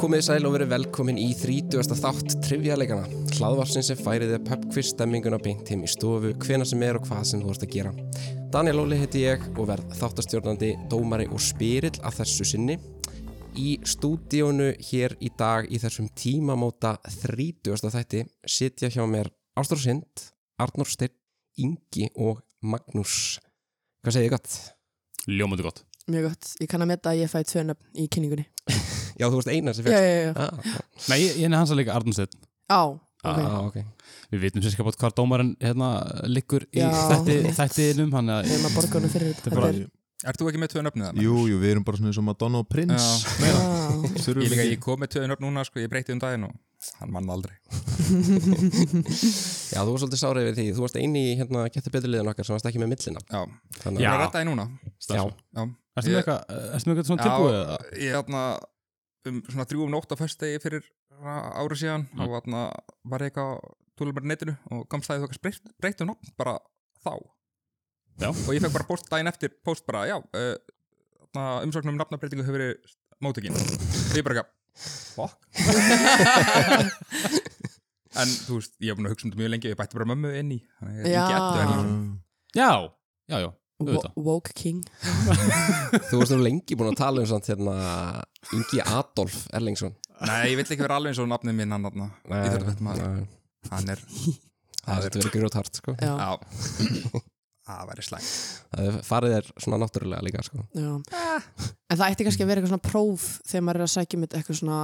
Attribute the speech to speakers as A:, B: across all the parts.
A: Komið sæl og verið velkomin í 30. þátt trivjaleikana. Hlaðvarsin sem færið er pubquiz stemminguna beint heim í stofu, hvena sem er og hvað sem þú ert að gera. Daniel Óli heiti ég og verð þáttastjórnandi, dómari og spyrill að þessu sinni. Í stúdíónu hér í dag í þessum tímamóta 30. þætti sitja hjá mér Ástór Sind, Arnór Steinn, Ingi og Magnús. Hvað segir ég gott?
B: Ljómandi gott.
C: Mjög gott, ég kann að metta að ég fæ tvö nöfn í kynningunni
A: Já, þú varst einar sem
C: Já,
A: fyrst.
C: já, já,
A: Ah,
B: Nei, ég, ég nefnir hans að leika Arnstedt.
C: á,
A: ah,
C: ok
A: ah, ok.
B: Við vitum sérskap átt hvar dómarinn hérna liggur í
C: Já.
B: þætti, þættinum, hann að
C: Við erum að borga honum fyrir þetta
B: bara-
C: Þetta er,
D: Ert þú ekki með tvö nöfnið það?
E: Jú, jú, við erum bara svona eins og Madonna og Prince
D: Já,
C: já,
E: Þurfum
D: ég, líka,
E: ekki-
D: ég kom með tvö nöfn núna, sko, ég breyti um daginn og hann mann aldrei.
A: Já, þú varst svolítið sárið við því. Þú varst eini í hérna getur beturliðan okkar sem varst ekki með millina.
D: Já,
A: Þannig
D: ég
B: Já.
D: er að rætta því núna.
A: Já,
B: Erstu
D: Já,
B: með
D: Ég-
B: eitthvað, erstu með eitthvað svona
D: Já.
B: tilbúið eða?
D: ég er þarna um svona þrjú um nótt á föstudegi fyrir ári síðan
B: Mm.
D: og þarna var ég eitthvað tólum bara netinu og komst það í þokkar breytum nöfn bara þá.
B: Já.
D: Og ég fekk bara post daginn eftir, post bara, já, uh, þarna umsóknum um nafnabreitingu hefur verið mótökin. Ég bara eitthvað, fuck. En þú veist, ég hef búin að hugsa um þetta mjög lengi, ég bætti bara mömmu inn í, þannig að ég
C: Já.
D: er ekki eftir henni.
B: Já, já, já,
C: wo-
B: auðvitað.
C: Woke King
A: Þú varst nú lengi búin að tala um samt hérna Ingi Adolf Erlingsson
D: Nei, ég vill ekki vera alveg eins og nafnið minn hann þarna Íþjóðlegt maður
A: Nei,
D: Hann er
A: Það er verið grót hart sko
C: Já,
D: Já Það væri slæmt
A: Það er- Farið er svona náttúrulega líka sko
C: já En það ætti kannski að vera eitthvað svona próf þegar maður er að sækja mitt eitthvað svona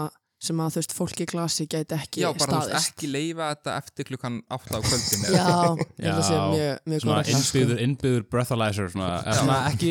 C: sem að þú veist, fólk í glasi gæti ekki
D: Já, bara þú veist
C: staðist
D: ekki leifa þetta eftir klukkan 8 á kvöldin
C: Já, ég held að sé
B: Já.
C: mjög, mjög
B: Svona
C: góð regla, sko.
B: innbyður, innbyður breathalyzer, svona, eða
D: Já.
B: svona ekki,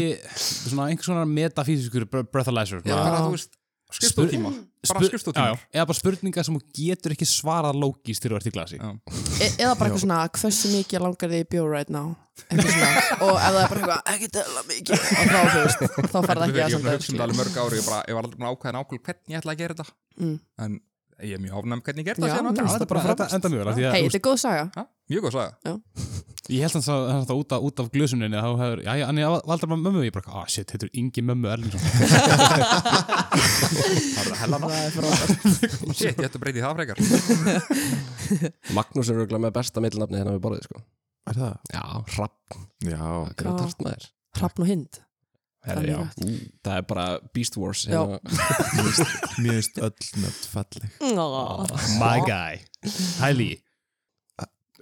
B: svona einhvers svona metafísiskur bre- breathalyzer.
D: Já,
B: Svona,
D: bara þú veist Skrifstóttíma Bara
B: Spur-
D: skrifstóttíma
B: Já, já, eða bara spurningar sem þú getur ekki svarað lógist þegar þú ert í glasi.
D: Já.
C: e Eða bara eitthvað svona, hversu mikið langar þig í bjór right now Eitthvað svona Og ef það er bara eitthvað, ekki dela mikið Og þá, þú veist, þá farið
D: Þetta
C: ekki
D: er
C: að
D: ég búin að hugsa um þetta
C: samt
D: alveg mörg ári Ég bara- ég var aldrei búin að ákveða nákvæmlega hvernig ég ætla að gera þetta
C: Mm.
D: En ég er mjög áfnæm hvernig ég gerði
C: Já,
D: þetta síðan á
B: Já,
C: mér
D: allir.
C: finnst
B: þetta er bara,
C: frábært.
B: þetta enda mjög vel, af því að,
C: Hei,
B: þú
C: þetta er góð saga
D: Já, Mjög góð saga
B: Ég held hans að það út, af- út af glösuninni þá hefur, já, já, en ég valda bara mömmu ég bara, ah, shit, þetta er yngi mömmu Erlingsson
C: Það er frábært
D: Shit, ég ætti að breyti það frekar
A: Magnús er auðvitað með besta millinafni hérna við borðið sko
E: Er það?
A: Já, hrapp,
E: Já,
A: grót hart maður
C: Hrafn og hind
A: Herri,
C: Það er
A: já.
C: rétt.
A: Ú, Það er bara Beast Wars
C: Já.
A: hérna.
E: mér finnst öll nöfn falleg
A: Ah.
B: My guy, Hæli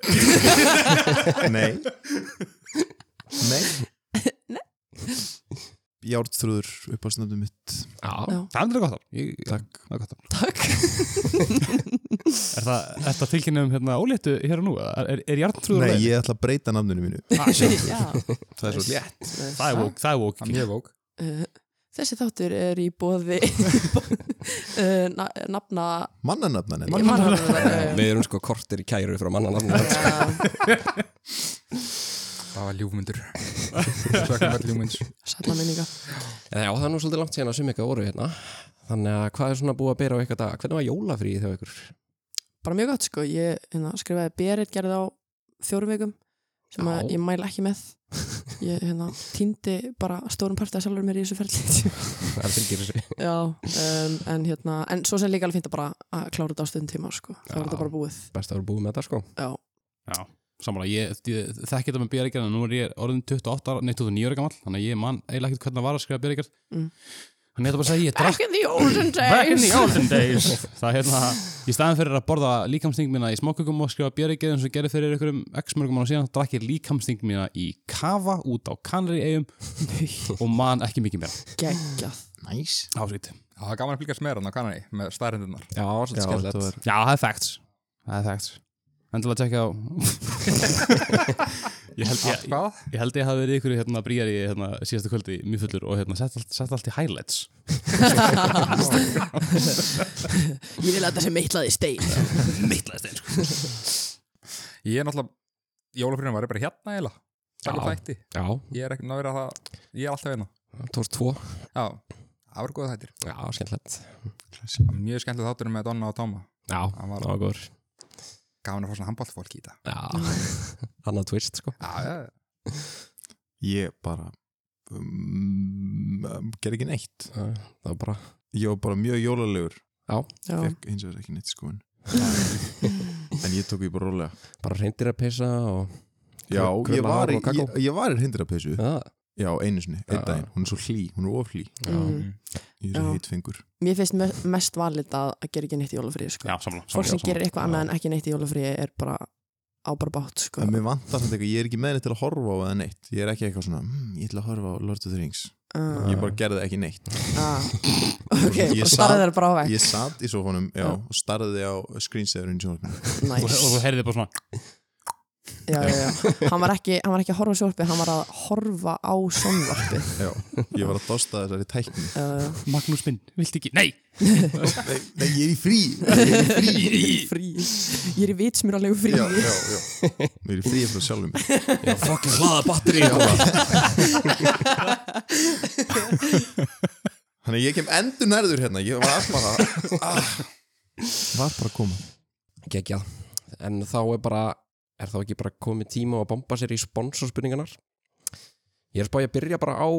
E: Nei Nei Járnþrúður upp á snöfnum mitt
A: Já,
B: Það er aldrei gott á ég,
E: Takk
B: það er gott á
C: Takk
B: Er það, er það tilkynnið um hérna óléttu hér og nú? eða Er, er, er jarntrúður
E: Nei, ég ætla að breyta nafninu mínu
B: ah, shit,
E: Það er svo létt
B: Það er vók, það er vók
D: Það er mjög vók
C: Uh, Þessi þáttur er í bóði nafna
E: Mannanafnan
C: Ég man hana þetta, já, já.
A: Við erum sko kortir í kæru frá mannanafni
C: Já,
D: Það var ljúfmyndur Svökkum öll ljúfmynds
C: Sætla minninga
A: Já, það er nú svolítið langt síðan að sum ykkar voru hérna Þannig að hvað er svona búið að bera á ykkar dag? Hvernig var jólafríði þegar ykkur?
C: Bara mjög gott sko Ég hérna, skrifaði Berit gerði á fjórum vikum sem
A: Já.
C: að ég mæla ekki með Ég hérna, týndi bara stórum part að sjálfur mér í þessu ferli
A: Það fylgir þessu
C: Já, um, en hérna en svo sem líka alveg fínt að bara að klára þetta á stöðum tíma sko. þá
A: Já.
C: er þetta bara búið
A: Best að vera búið með þetta sko
C: Já,
B: Samanlega, ég, ég þekki þetta með björgjarn en nú er ég orðin 28 ára, nei 29 ára gammal þannig að ég man eiginlega ekkert hvernig það var að skrifa björgjarn
C: Mm.
B: Þannig að þetta bara að segja, ég drakk
C: Back in the olden
B: Back in the
C: days
B: olden days Það er hérna, í staðin fyrir að borða líkamsting mína í smákökum og skrifa björgjarn sem ég gerði fyrir einhverjum x mörgum ára síðan, þá drakk ég líkamsting mína í kafa út á kanri og man ekki mikið meira
C: Geggjað
E: Næs
B: Ásvít
D: Það var gaman að fylgjast með hann á kanari með staðrindunar
A: Já, svolítið
E: Já,
A: skemmtilegt
E: þetta var
B: Já, það er facts Það er facts Endilega tjekka á ég, held, ég,
D: Hvað?
B: ég held ég hafi verið ykkur hérna brýjar í hérna, síðasta kvöldi mjög fullur og hérna sett allt, sett allt í highlights
C: Ég vil að þetta sem meitlaði stein
B: Mittlæst eins
D: Ég er náttúrulega, jólafrýðin var ég bara hérna eila Takk
A: Já.
D: þætti
A: Já,
D: Ég er ekki náður að það, ég er alltaf hérna
A: tórs tvo
D: Já, það var góða þættir
A: Já, skemmtilegt
D: Það var Mjög skemmtileg þáttur með Donna og Tóma
A: Já,
D: Það var
A: það var góður
D: gaman að fá svona handbóltfólk í þetta
A: Já, annað twist sko
D: Já, já,
E: Ég bara um, Ger ekki neitt
A: Það var bara
E: Ég var bara mjög jólalegur
C: já,
E: fekk hins vegar ekki neitt í skoðun en ég tók því bara rólega
A: bara reyndir að pissa og
E: já,
A: Krulla
E: ég var,
A: hár
E: í,
A: og kakó.
E: ég, ég var í hindrapeysu
A: ja,
E: já, einu sinni, einn
A: Já.
E: daginn, hún er svo hlý hún er oflý,
C: mm.
E: ég er svo
C: Já.
E: heitt fengur
C: mér finnst me- mest valid að, að gera ekki neitt í jólafríi sko.
B: Já, samla
C: fólk sem gerir eitthvað annað en ekki neitt í jólafríi er bara á bara bátt sko.
E: en mér vantar þetta eitthvað, ég er ekki með neitt til að horfa á eða neitt, ég er ekki eitthvað svona mmm, ég ætla að horfa á Lord of the Rings
C: uh,
E: ég bara gerði ekki neitt
C: uh, ok,
E: Ég
C: bara
E: sat-
C: starfið þær bara á vekk
E: ég satt í sófanum, já,
C: Já.
E: og starði á screensaverinn sjónvarpinu
B: Og og þú
C: nice.
B: heyrðir bara svona
C: já, já, já. Hann, var ekki, hann var ekki að horfa á sjónvarpið hann var að horfa á sjónvarpið
E: já, ég var að dosta þessari tækni
C: uh,
B: Magnús minn, vilt ekki? Nei!
E: nei, nei, ég er í frí ég er í frí
C: ég er í frí ég er í vitsmjöralegu frí
E: já, já, já, ég er í frí eftir sjálfum mér.
A: já, fucking hlaða batteri
E: þannig að ég kem endur nærður hérna ég var bara ah, var bara að koma
A: geggjað en þá er bara, er þá ekki bara komið tíma á að bomba sér í sponsorspurningarnar ég er spáði að byrja bara á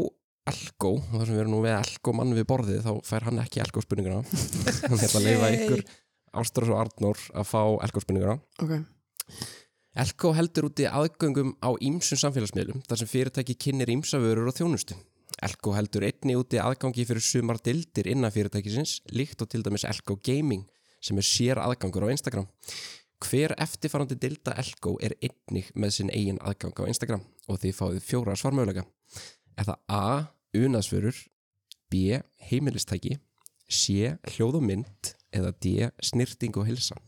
A: Elko, og þar sem við erum nú með Elko mann við borðið, þá fær hann ekki Elko spurninguna hann ætla að leifa
C: Yay.
A: ykkur Ástrós og Arnór að fá Elko spurninguna
C: ok,
A: Elko heldur úti aðgöngum á ímsum samfélagsmiðlum þar sem fyrirtæki kynir ímsavörur og þjónustu. Elko heldur einni úti aðgangi fyrir sumar dildir innan fyrirtækisins, líkt og til dæmis Elko Gaming sem er sér aðgangur á Instagram. Hver eftirfarandi dilda Elko er einnig með sinn eigin aðgang á Instagram og þið fáið fjóra svarmöðlega. Er það A. Unaðsvörur, B. Heimilistæki, C. Hljóð og mynd eða D. Snirting og hilsa.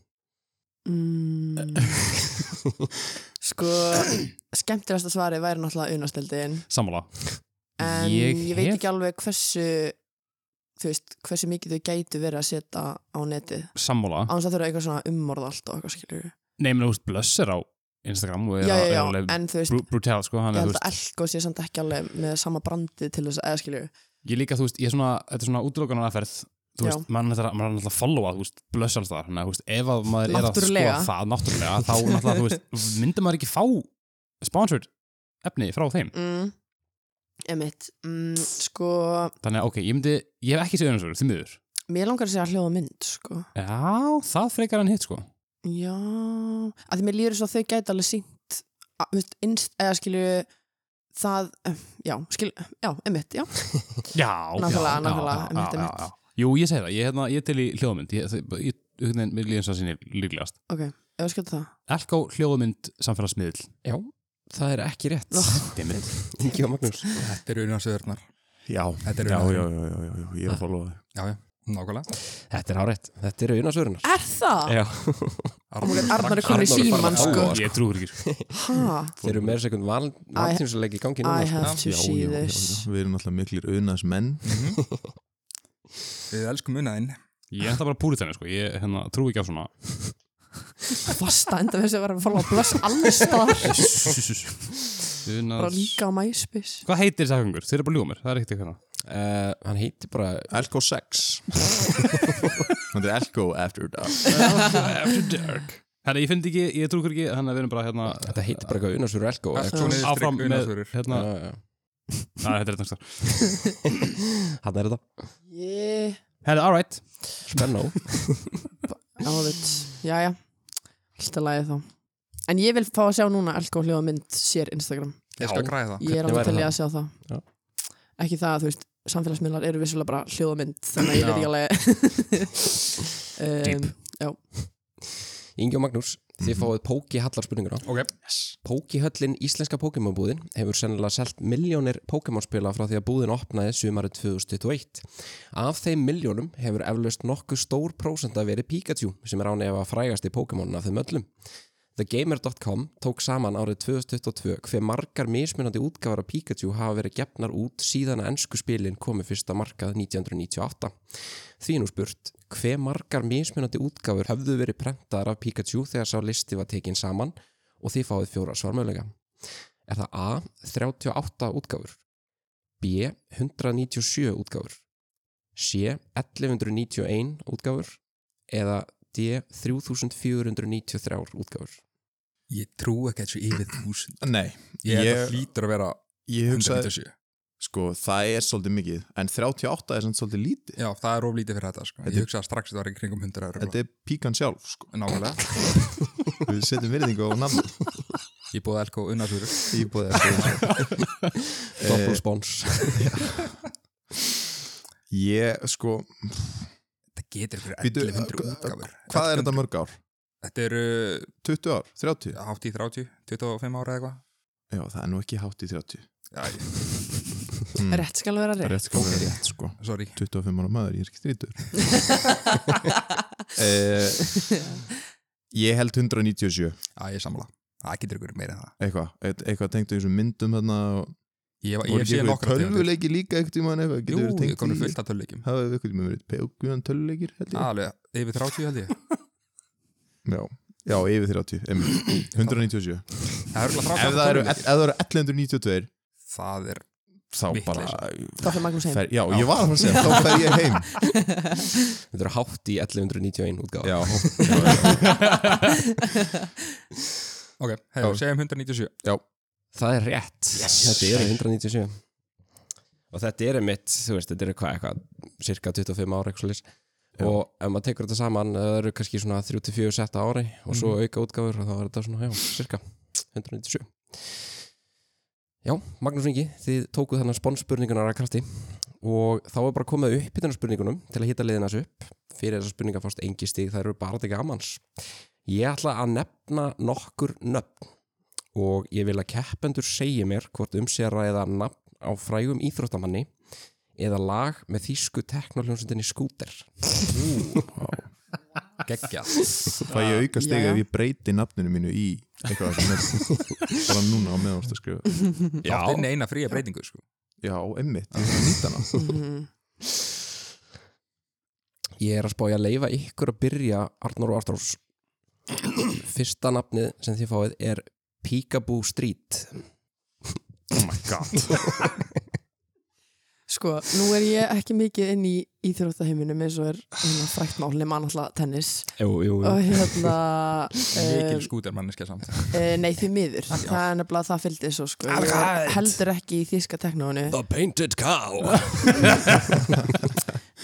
C: Mm. sko skemmtilegasta svari væri náttúrulega unastöldin
B: Samla
C: en
B: Ég
C: ég, veit
B: hef-
C: ekki alveg hversu þú veist, hversu mikið þau gætu verið að setja á netið
B: Samla
C: án þess að þau eru eitthvað svona ummorð allt og eitthvað skilur
B: Nei, menn, þú veist, Blöss er á Instagram og
C: já,
B: er
C: já,
B: að- er
C: já,
B: alveg
C: en þú veist
B: brú- brutal, sko hann
C: ég
B: er,
C: held
B: þú
C: að
B: veist,
C: Elko sé samt ekki alveg með sama brandið til þess að eða skilur
B: Ég líka, þú veist, ég er svona Þetta er svona útlókanar aðferð Þú
C: Já.
B: veist, mann er alltaf að followa, þú veist, Blöss alls þar Þannig að, þú veist, ef að maður er að skoða
C: Náttúrulega.
B: það Náttúrulega, þá náttúrulega, þú veist Myndar maður ekki fá sponsored efni frá þeim
C: mm. emitt mm, sko,
B: Þannig að, ok, ég myndi, ég hef ekki séð öðrunsvöru, því miður
C: mér langar að segja hljóða mynd sko,
B: Já, það frekar en hitt, sko
C: já að því mér líður svo að þau gæti alveg sínt að, þú veist, innst, eða skilur það, eh, já, skilur já, emitt, já,
B: Já,
C: Nákvæmlega,
B: já,
C: nákvæmlega,
B: já,
C: einmitt,
B: já,
C: einmitt.
B: já, já. Jú, ég segi það, ég, hérna, ég til í hljóðmynd Ég, það- ég, ég, mér líðum svo sinni líklegast
C: ok eða skilur það,
B: Elko hljóðmynd samfélagsmiðl
A: Já, það er ekki rétt.
C: Nó.
B: Dimmit
A: Ingi og Magnús
D: Þetta eru unasöðurnar
E: já, já,
D: Þetta
E: já,
D: eru
E: já,
D: unasöðurnar
E: já, já, já, ég er
C: Ah.
E: að followa þig
D: Já, já, nákvæmlega
A: Þetta er áreitt, þetta eru unasvörunar
C: er það?
A: Já,
C: Arnar, Arnar er
A: Arnar er
C: komin í
A: farin
C: síman
A: að
C: sko
A: fá
B: Ég trúur ekki sko.
C: ha,
A: þeir eru meira sekund valtímsleik í gangi
C: I
A: núna sko.
C: have to
E: já,
C: see
E: já, já,
C: this
E: já, við erum alltaf miklir unaðs menn
D: Við elskum unaðinn
B: Ég er þetta bara púrið þenni sko. Ég hérna, trú ekki á svona
C: fasta enda með þess að vera að fóla að blöss allir staðar bara
B: Unas...
C: líka á MySpace
B: Hvað heitir þessi aðgangur? Þeir eru bara ljúga mér, það er ekkert eitthvað
A: uh, Hann heitir bara
E: Elko 6 þetta er Elko After Dark
B: After dark Hérna, ég finn ekki, ég trú ekki Þannig að við erum bara hérna
A: Þetta heitir bara eitthvað unasvörur elko
D: Allt
A: eitthvað.
D: svona. Niðurstrikk,
B: Áfram með
D: unasvörur.
B: hérna,
A: Já, já, já.
B: að, Þetta er þetta
A: Þarna er þetta
C: yeah,
B: Hérna, alright
A: Spennó
C: alveg jæja, alltaf lagið þá en ég vil fá að sjá núna Elko hljóða mynd sér Instagram,
D: Ég skal græða það
C: ég er
A: Hvernig
C: alveg
A: væri
C: til ég
A: það?
C: að sjá það
A: Já.
C: ekki það að þú veist, samfélagsmiðlar eru vissulega bara hljóða mynd, þannig að ég veit ekki alveg um,
A: Ingi og Magnús, þið fáið Póki Hallar spurninguna
D: Ok,
A: Póki Höllin Íslenska Pokémon-búðin hefur sennilega selt miljónir Pokémon-spila frá því að búðin opnaði sumarið 2021. Af þeim miljónum hefur eflaust nokkuð stór prósenda verið Pikachu sem er án ef að frægast í Pokémonin af þeim öllum. TheGamer.com tók saman árið 2022 hver margar mismunandi útgáfar af Pikachu hafa verið gefnar út síðan að ennsku spilin komi fyrst að markað 1998. Því er nú spurt, hver margar mismunandi útgáfur höfðu verið prentaðar af Pikachu þegar sá listi var tekin saman og þið fáið fjóra svarmöðlega. Er það A. 38 útgáfur B. 197 útgáfur C. 1191 útgáfur eða D. 3493 útgáfur
D: ég trú ekki þessu yfir þúsund
E: nei,
D: Ég,
E: Ég-
D: ég... hlýtur að vera
E: ég hugsaði
D: 197
E: sko, það er svolítið mikið en 38 er samt svolítið lítið
D: Já, það er oflítið fyrir þetta, sko.
E: Þetta
D: Ég
E: er-
D: hugsa að strax þetta var í kringum 100 euro.
E: þetta er píkan sjálf, sko
D: Nákvæmlega.
E: við setjum virðingu á nafn
D: Ég búið elko unnasúru.
E: íbúðið eftir Eh,
A: Double spons
E: ég, sko,
D: Þetta getur fyrir
E: Býtu,
D: 1100
E: uh,
D: útgáfur.
E: hvað er þetta mörg ár?
D: Þetta eru
E: 20 ár? 30? Já,
D: hátt í 30, 25 ára eða eitthvað.
E: það er nú ekki hátt í 30
D: Já, ég-
E: mm.
C: um, Rétt skal vera rétt.
E: rétt, sko, rétt, sko
D: sorry.
E: 25 ára maður, ég er ekki strítur eh, ég held 197
D: Já, ég er sammála. Það getur ykkur meira en það.
E: eitthvað, eit- eitthvað tengt á þessum myndum þarna og
D: Ég, ég,
E: voru
D: ég
E: ekki
D: sé nokkra
E: eitthvað
D: tegundir.
E: tölvuleiki líka eitthvað tíma eitthvað,
D: Jú,
E: getur
D: ég
E: tengt
D: komur
E: í-
D: fullt af Ah. tölvuleikjum.
E: hafa við eitthvað tíma verið pegum tölvuleikir held ég
D: Alveg, yfir 30 held ég.
E: já, já, yfir 30, einmitt. 197 ef
D: Það eru
E: það
D: örugglega 30
E: eru,
D: tölvuleikir.
E: ef það eru 1192
D: Það er,
E: þá bara
C: Þá fyrir Magnús heim.
E: fer, já, ég var að fara að segja, þá fer ég heim
A: Þetta eru hátt í 1191 útgáfa
E: já,
D: ok,
E: Já.
D: hefur,
E: Mm.
D: segjum 197.
A: Það er rétt Þetta eru 197 Og þetta eru mitt, þú veist, þetta eru hvað eitthvað cirka 25 ára eitthvað list
E: Já.
A: og ef maður tekur þetta saman eh, það eru kannski svona 3-4 setta ári og svo auka útgáfur og þá er þetta svona, já, cirka 197 Já, Magnús Ingi, þið tókuð þannig spónspurningunar að krafti og þá er bara komið upp í þennan spurningunum til að hitta liðina þessu upp fyrir þessar spurningar fórst engi stig, það eru bara til gamans Ég ætla að nefna nokkur nöfn og ég vil að keppendur segi mér hvort um sé að ræða nafn á frægum íþróttamanni eða lag með þýsku teknoljónsundinni skúter.
D: Geggjað.
E: fæ ég auka stega
C: Já.
E: ef ég breyti nafninu mínu í eitthvað sem er bara núna á meðan þú ert að skrifa
D: Já. Það er eina fría breytingu, sko.
E: já, emmitt, ég
D: Ah.
E: þarf að nýta hana
C: Mhm.
A: Ég er að spá ég að leifa ykkur að byrja Arnór og Arnórs. Fyrsta nafnið sem þið fáið er Peekaboo Street.
E: oh my god
C: Sko, nú er ég ekki mikið inn í íþróttaheiminum eins og er hérna, frækt mál nema náttúrulega tennis
A: Jú, jú,
C: og hérna
D: Mikil
C: eh,
D: skúter manneskja samt.
C: eh, nei því miður, það er nefnilega það fylgdi svo sko, ég er heldur ekki í þíska teknóinu
A: The Painted Cow.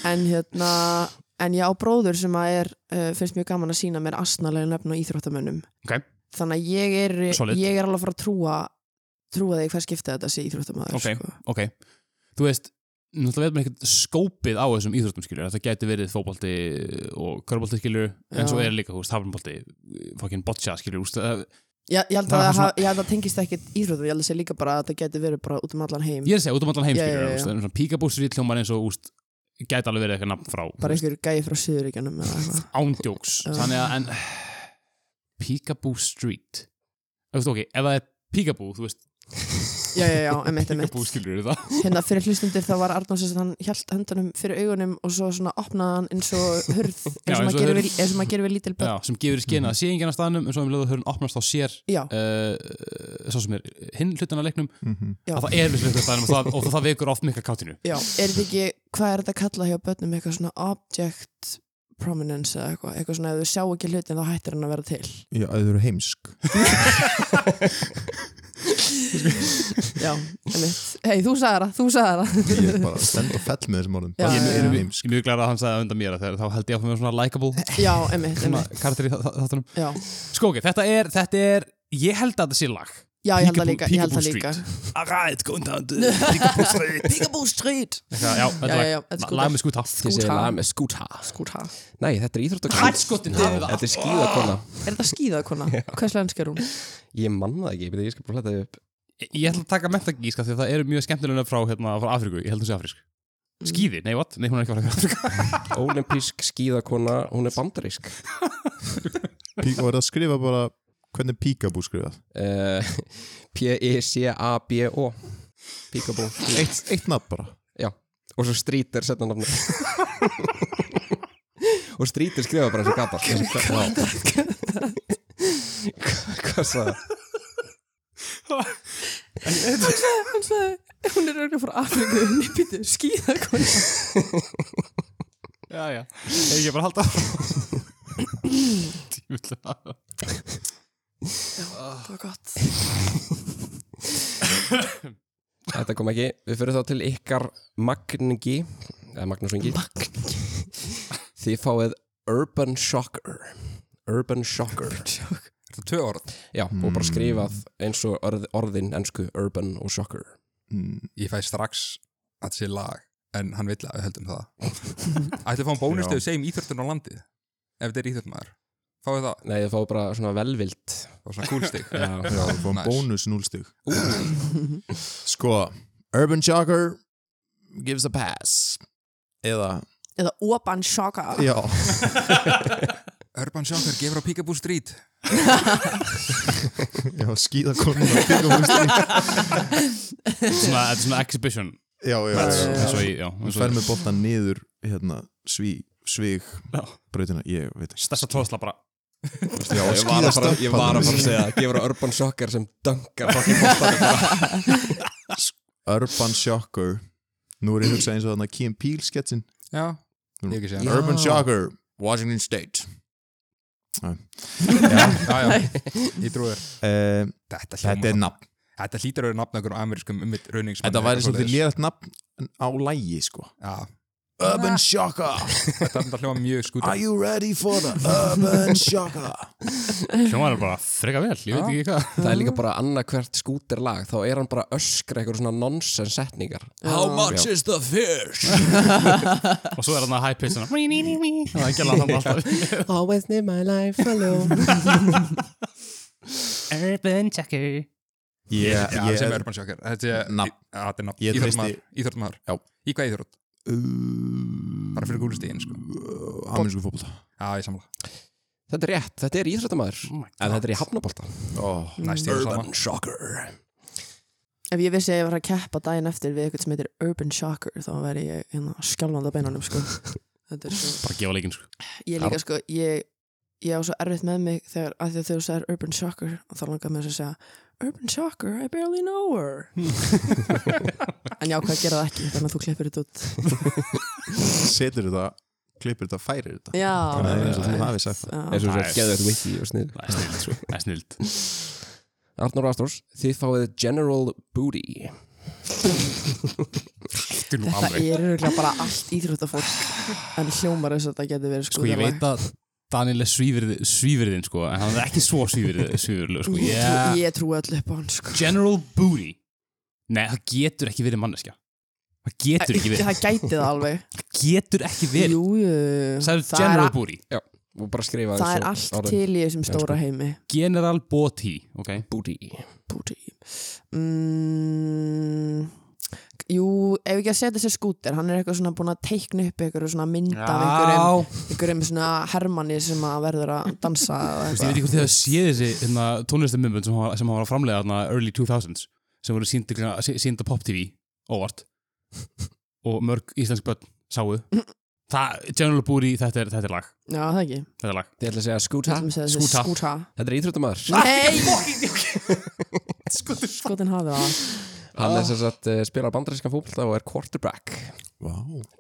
C: en hérna en ég á bróður sem að er uh, finnst mjög gaman að sína mér astnalega nöfn á íþróttamönnum
B: Ok.
C: þannig að ég er,
B: Solid.
C: ég er alveg að fara að trúa trúa þig hver skipti þetta sé íþróttamöður
B: Ok.
C: sko.
B: ok, þú veist náttúrulega veit maður ekkert skópið á þessum íþróttum skilur, þetta gæti verið fótbolti og körbolti skilur,
C: Já. Mm.
B: en svo er líka húst hafnbolti, fokkin boccia skilur úst, uh,
C: ég, ég, held
B: Það er
C: að
B: svona-
C: það ha- ég held að það tengist ekki íþróttum, ég held að sé líka bara að þetta geti verið bara út um allan heim
B: ég er að segja út um allan heim
C: Já,
B: skilur,
C: já, já,
B: yeah,
C: já.
B: yeah, yeah. píkabúsri hljómar eins og úst, gæti alveg verið eitthvað nafn frá
C: bara
B: þú veist,
C: einhver gæi frá Suðuríkjanum eða eitthvað.
B: ándjóks,
C: Já.
B: þannig að en, Peekaboo Street Þú veist, ok, ef það er Peekaboo þú veist,
C: já, já, já, emitt, emitt
B: Peekaboo skilur það
C: hérna fyrir hlustundir þá var Arnór sérst hann held hendunum fyrir augunum og svo svona opnaði hann eins og hurð
B: Já,
C: eins og
B: eins og
C: maður gerir
B: hurð.
C: við- eins og maður gerir við lítil börn
B: Já, sem gefur í skina að sé enginn að staðnum en svo um leiðu hörn opnast þá sér
C: já,
B: uh, svo sem er hinn hlutin að leiknum
E: Mhm.
C: já,
B: að það er við hlutin að staðnum og það, og það vekur oft mikla kátinu
C: já er þetta ekki, hvað er þetta að kalla hjá börnum eitthvað svona object prominence eða eitthvað, eitthvað svona ef þú sjá ekki hlutin þá hættir hann að vera til
E: já, þau eru heimsk
C: já, emitt, hei þú sagði það, þú sagði það
E: ég er bara stend og fell með þessum orðum
C: Já,
E: Bara
C: já,
B: Ég
E: þau
B: er
E: eru
B: mjög- ég
E: heimsk
B: er mjög glæður að hann sagði það undan mér að þegar þá held ég áfram með svona likeable
C: já, emitt,
B: svona
C: emitt
B: karakter í þa- þa- þáttunum
C: já,
B: Sko ok, þetta er, þetta er, ég held að þetta sé lag
C: já ég held það
B: Peekaboo-
C: líka, ég held það
B: Peekaboo
C: líka
B: Alright, góðan dag
C: Peekaboo Street
B: Já, þetta
C: já, já,
B: er
C: já,
B: lag.
C: þetta er
B: lag með skúta
A: Þið segja lag með skúta.
C: skúta
A: Nei, þetta er íþróttakona.
B: Hætskotin
A: Þetta er skíðakona.
C: er þetta skíðakona, hvers lensk er hún?
A: Ég manna það ekki, byrja, ég skal bara fletta þið upp.
B: Ég ætla að taka metagíska því að það eru mjög skemmtilega frá, hérna, frá Afriku, ég held að það sé afrisk Skíði, nei what? Nei, hún er ekki frá Afriku
A: Ólimpísk skíðakona, hún er bandarísk.
E: Pí- og er það að skrifa bara hvernig píkabú skrifað
A: Eh, E P-I-C-A-B-O Peekaboo
E: eitt, eitt nafn bara
A: og svo Street er setna nafni og Street er skrifað bara eins og gatar eins og gatar hvað sagði það?
C: hann sagði, hún er auðvitað frá Afriku hún er býtið skíðakona
B: Já, já, Ef ekki bara að halda Tímulega
C: það var gott
A: þetta kom ekki Við fyrir þá til ykkar Magningi eða Magnús Ingi
C: Magningi.
A: Þið fáið Urban Shocker Urban Shocker Hmm.
D: Þetta er tvö orð
A: Já, og bara skrifað eins og orð, orðin ensku Urban og Shocker
E: Mm,
D: Ég fæ strax að sé lag En hann vill að við höldum það Ætli að fá
E: Já.
D: bónus þegar við segjum íþjörtun á landið Ef þetta er íþjörtmaður Fáðu það,
A: Nei, þið fáið bara svona velvild
D: það var svona kúlstig
A: Já,
E: Já, við fáum
D: Nice.
E: bónus núlstig Sko, Urban Shocker gives a pass Eða,
C: Eða Oban Shaka
E: já
D: Urban Shocker gefur á Peekaboo Street
E: Já, skýða konuna Já,
B: svona, þetta er svona exhibition
E: já,
C: Já.
E: já
B: eins og í, já,
E: Hún
B: eins
E: fer
B: og
E: með boltan niður hérna, sví, svig brautina, ég veit ekki
B: stessa tróðsla bara
A: Ég
E: Já,
A: var að fara,
E: skíðastöppan.
A: ég var að fara að segja það Gefur á Urban Shocker sem dunkar fucking bóttanum
E: Urban Shocker Nú er ég að hugsa eins og þarna Kim Peel sketsin
D: Já, ég hef ekki segja
A: Já.
E: Urban Shocker, Washington State
D: Já, já, ég trúi þér
E: uh,
D: Þetta,
E: Þetta er
D: hljómar-
E: nafn
D: þetta hlýtur að vera nafn okkur á amerískum ummið rauningsmann
E: Þetta væri svolítið lérætt nafn á lægi, sko
D: Já,
E: Urban Shocker,
D: þetta er þetta hljóma mjög skúta
E: are you ready for the Urban Shocker
B: hljómaður bara freka vel, ég veit ekki hvað
A: Það er líka bara annarkvært skúterlag Þá er hann bara að öskra eitthvað svona nonsens setningar How much is the fish?
B: og svo er hann að high pitch þannig að hann gæla hann alltaf
A: Always live my life alone
B: Urban Checker
E: Yeah,
D: Já, sem er Urban Shocker Þetta er
E: Nafn.
D: Já, Þetta er nafn
E: Ég treysti-
D: Íþjörtmaður Íþjörtmaður
E: Já.
D: Í hvað íþjörut? Bara fyrir kúlstigin, sko
E: Amerísku fótbolta
D: Já, ég samla
A: Þetta er rétt, þetta er íþróttamæður
B: Oh my
A: En þetta er í hafnabolta
E: oh.
D: Næst ég er sama
A: Urban Shocker
C: Ef ég vissi að ég var að keppa daginn eftir við eitthvað sem heitir Urban Shocker þá væri ég hérna skjálfandi á beinunum sko. Þetta er svo
B: bara gefa leikin sko
C: Ég líka sko, ég, ég á svo erfitt með mig þegar að því að þegar þú sagðir Urban Shocker og þá langar mér að segja Urban Shocker, I barely know her En já, hvað gera það ekki þannig að þú klippir þetta út
E: Setur þetta, klippir þetta, færir þetta
C: Já,
E: Nei, eins og þú
C: já,
E: hafið sagt það.
C: já.
A: eins og svo
B: Nice.
A: geðu þetta wiki og snið
B: það er snild, sko. það er snild
A: Arnur Astors, þið fáið General Booty
B: þetta er nú
C: Þetta
B: alveg
C: er öruglega bara allt íþróttafólk en hljómar þess að þetta getur verið
B: sko ég
C: skútalag.
B: veit að Daniel er svífirði, svífirðin sko en hann er ekki svo svífirði, svífirði sko.
C: Ég
B: yeah.
C: trú- Ég trúi allir upp á hann sko.
B: General Booty nei, það getur ekki verið manneskja það getur ekki verið
C: Það gæti það alveg
B: það getur ekki verið
C: Jú, jú.
B: sagði
C: Það er
B: General
C: a-
B: Booty
A: og bara skrifa
C: Það er allt til í þessum stóra heimi
B: General Booty, ok
A: Booty
C: Búti mm, Jú, ef ekki að setja sér skúter Hann er eitthvað svona búin að teikna upp eitthvað svona mynd af einhverjum,
B: Já.
C: einhverjum svona hermanni sem að verður að dansa
B: Þú
C: eða
B: veist, ég veit
C: eitthvað.
B: ekki hvort þið hafa séð þessi hérna, tónlistamömbund sem, hann var- sem hann var að framlega hérna, early 2000s sem voru sýnd líklega- sí- sýnd á Pop TV óvart og mörg íslensk börn sáu það, General Búri, þetta er, þetta er lag
C: Já, það ekki
B: þetta er lag
A: Þið ætla að segja Scooter
C: Það sem segja þessi
B: Skúta. Ah,
C: skúta
A: Þetta er íþróttamæður
C: Nei Skotin hafið það
A: Hann er sem sagt uh, spilar bandarískan fókbalta og er quarterback
E: Vá.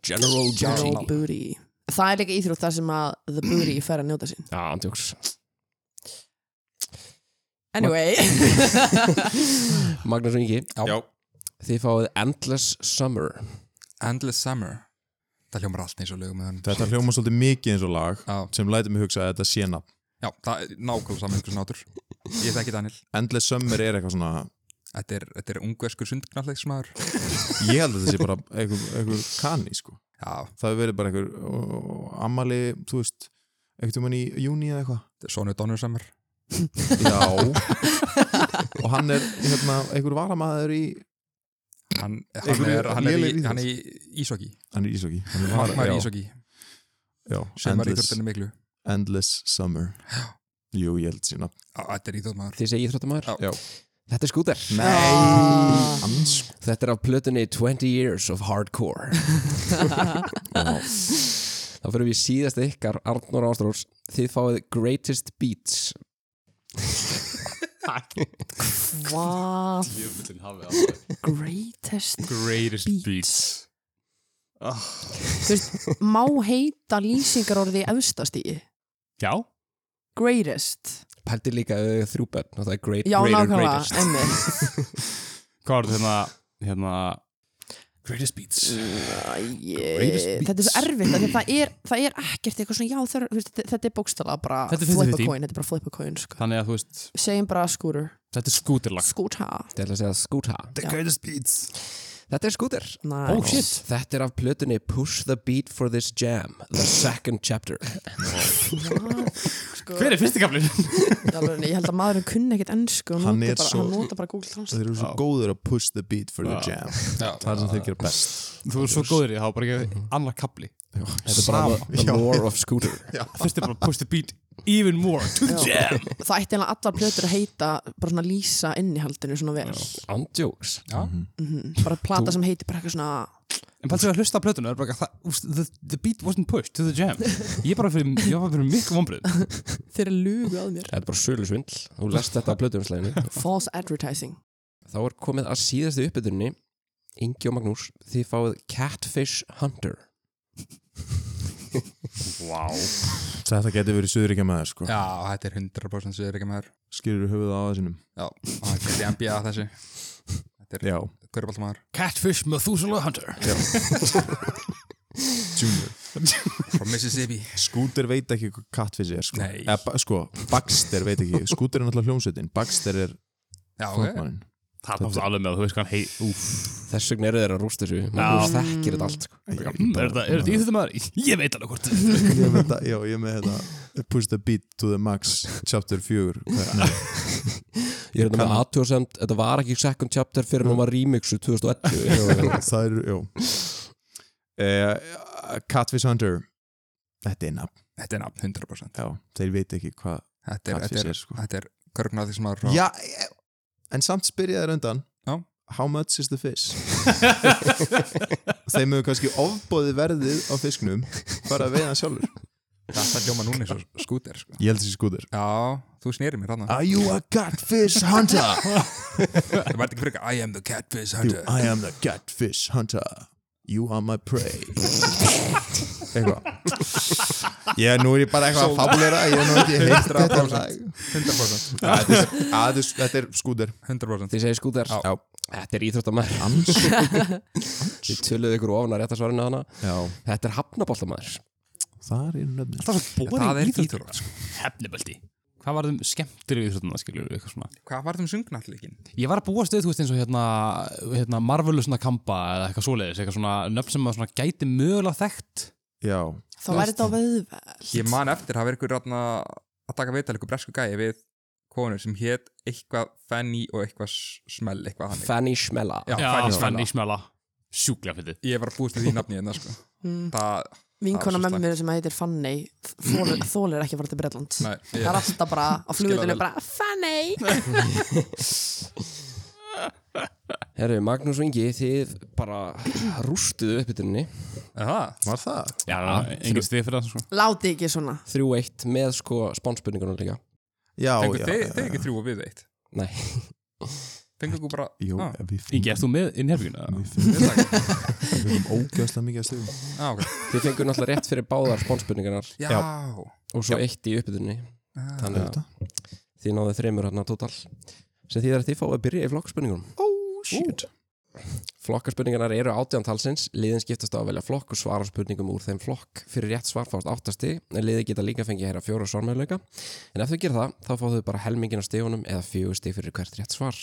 A: General
C: General
A: Booty
C: Booty Það er líka íþrótt þar sem að The Booty fer að njóta sín
A: Já, andjóks
C: Anyway
A: Magnús og Ingi,
D: Já.
A: þið fáið Endless Summer
D: Endless Summer Það hljómar allt eins og lögum með hann
E: Þetta hljóma svolítið mikið eins og lag
D: Já.
E: sem lætur mig hugsa að þetta sé nafn
D: Já, það er nákvæmlega saman einhversu nátur Ég þekki Daniel
E: Endless Summer er eitthvað svona
D: Þetta er, þetta er ungveskur sundknallegsmaður
E: ég held að þetta sé bara einhver, einhver kanni sko.
D: Já,
E: það hefur verið bara einhver ó, ammali, þú veist einhvern tímann í júni eða eitthvað
D: þetta er Sonu Donner Summer
E: já og hann er hérna, einhver varamaður í
D: Hann, hann,
E: Einhverju
D: er, hann, er,
E: lélegir
D: í-
E: íþrótt.
D: hann
E: hann er
D: er í Ísokki
E: ísóki
D: Markmaður í Ísokki sem var í
E: endless,
D: kjörtinu miklu
E: endless Summer jú, ég held sína
D: Já, Þetta er íþjóðmaður
A: Þið segja íþróttamæður
E: Já.
A: Þetta er Scooter
C: Ah.
E: hans
A: Þetta er af plötunni 20 Years of Hardcore Þá fyrir við í síðasta ykkar Arnur Ástrós Þið fáið Greatest Beats
C: Hvað Greatest
B: greatest beats Ah.
C: Þú veist, má heita lýsingar orðið í efstastíi
B: já,
C: Greatest
A: Pældi líka uh, þrjú börn og það er great,
C: Já,
A: Greater
C: nákvæmlega,
A: Greatest
C: emmi
B: hvað var þetta hérna hérna Greatest Beats
C: Greatest Þetta er svo erfitt af því að það er, það er ekkert eitthvað svona já þar, veist, þetta- þetta er bókstala bara
B: Þetta er
C: flip a
B: 50-50.
C: coin, þetta er bara flip a coin sko.
B: Þannig að þú veist,
C: segjum bara skúrur,
B: þetta er skútirlag
C: skúta
A: Þetta er að segja skúta
E: The greatest beats
A: Þetta er skúter
C: Nice. Oh, shit.
A: Þetta er af plötunni Push the Beat for this Jam The Second Chapter
C: sko,
B: Hver er fyrsti kaflin?
C: í alvörunni, ég held að maðurinn kunni ekkert ennsku og
E: Hann
C: notar
E: er
C: bara,
E: svo-
C: hann nota bara Google Translate
E: Þeir eru svo góður að push the beat for the jam Það er sem þeir gera best
B: þú er svo góður í það, bara ekki annar kafli
A: Þetta er bara
B: Sama.
A: The, the War of Scooter
B: Fyrst er bara push the beat even more to the
C: Já.
B: jam
C: það ætti eiginlega allar plötur að heita bara svona lýsa innihaldinu svona vel
A: Andjóks
C: bara plata sem heiti bara eitthvað svona
B: En pæltu að hlusta á plötuna, það er bara það, úst, the, the beat wasn't pushed to the jam Ég er bara fyrir, ég var bara fyrir miklu vonbröð
C: þeir eru lugu að mér
A: Þetta er bara sölu svindl Þú lest þetta af plötuumslæðinu
C: false advertising
A: Þá er komið að síðastu uppbytunni Ingi og Magnús Þið fáið Catfish Hunter
B: Wow
E: Þetta getur verið suðuríkja maður sko
D: Já, þetta er 100% sér ekki maður
E: Skilur höfuð á aðeinsinum
D: Já, og hann geti NBA þessi Þetta er
E: Já,
D: kvörubaltamaður
B: Catfish Methuselah Hunter
E: junior
D: Frá Mississippi
E: Skúter veit ekki hvað kattfissi er sko
D: Nei.
E: Eða, ba- Sko, Baxter veit ekki Skúter er náttúrulega hljómsveitin Baxter er
D: Já, ok
E: frontmannin
B: Það er alveg með, þú veist hvað hann hei Úf
A: Þess vegna eru þeir að rústa þessu Magnús þekkir þetta allt sko.
B: Er þetta er þetta íþjóttum maður? Ég veit alveg hvort þetta er.
E: Ég veit að, já, ég er með þetta Push the beat to the max Chapter 4 Nei,
A: Ég er þetta með
E: Kann-
A: aðtjóðsend Þetta var ekki second chapter fyrir hann var remixu 2011
E: Það eru, já eh, Catfish Hunter Þetta er nafn
D: Þetta er nafn 100%
E: já. Þeir veit ekki hvað
D: Þetta er,
E: Catfish
D: þetta
E: er
D: er,
E: sko
D: þetta er kvörubaltamaður
E: Já, eh, en samt spyrja þér undan
D: Já.
E: How much is the fish? Þeim hefur kannski ofbóðið verðið á fisknum bara að veiða hann sjálfur
D: Þetta ljóma núna eins og skúter sko
E: Ég held þessi skútur
D: Já, þú snýri mér hann
E: Are you a catfish hunter?
D: Það vært ekki frekar I am the catfish
E: You,
D: hunter
E: I am the catfish hunter You are my prey Eitthvað Ég, nú er ég bara eitthvað að fabulera Ég er nú ekki heitt þetta
D: 100%
E: lag Þetta er skútur
D: 100%
A: Þið segir skúter
E: Já.
A: Þetta er íþróttamæður Þið töluðu ykkur ofan að rétta svarinu hana
E: Já,
A: Þetta er hafnaboltamæður
E: þar er nöfnir
B: Það er svo
D: Það
B: bóri
D: er
B: íþjóttur
D: íþrótt sko.
B: Hefniböldi Hvað var þeim skemmtir í íþjóttum það skiljur eitthvað svona
D: Hvað var það um sungnalleikin?
B: Ég var að búa stuð, þú veist, eins og hérna, hérna Marvelous Nakamba eða eitthvað svoleiðis, eitthvað svona nöfn sem maður svona gæti mögulega þekkt.
E: Já,
C: þá væri þetta á vöðvel
D: Ég man eftir hafa verið ykkur þarna að taka viðtal ykkur bresku gæi við konur sem hétt eitthvað Fanny og eitthvað S- smell eitthvað hann
A: Fanny Schmella
D: Fanny Smella.
B: Fanny Smella. Sjúklega fyrir
D: Ég var að búist til því nafni hérna sko Það,
C: vinkona
D: Það er svo
C: með mér sem heitir Fanny þólir, þólir ekki að fara til Bretland
D: nei,
C: það
D: ég,
C: er alltaf bara á flugutinu
D: vel.
C: bara Fanny
A: Herru, Magnús og Ingi, þið bara rústuðu uppbytunni
D: það,
E: var það?
B: Já, engin stið fyrir það, sko.
C: láti ekki svona
A: 3-1 með sko spánspurningunum líka
E: Já,
D: fengur
E: já,
D: þið
E: já,
D: þið ekki þrjú og við eitt
A: Nei,
D: Fengur ykkur bara
E: Jó,
D: Ah.
E: við
B: Ingi, erst þú með inn herfinguna?
E: Við finnum
D: við það ekki?
E: ógjöðslega mikið að stöðum
D: Já, ok.
A: þið fengur náttúrulega rétt fyrir báðar spánspurningunar
D: Já,
E: Já.
A: og svo eitt í uppbytunni
D: Ah.
A: Þannig að þið náðu þreymur hérna total sem þýðir að þið fáið að byrja í flokkspurningum
E: Oh shit
A: Flokkarspurningarnar eru átján talsins, liðin skiptast á að velja flokk og svara spurningum úr þeim flokk. Fyrir rétt svar fást áttasti, en liði geta líka fengið að heyra fjóra svarmöðuleika. En ef þau gera það, þá fá þau bara helmingin á stegunum eða fjögur steg fyrir hvert rétt svar.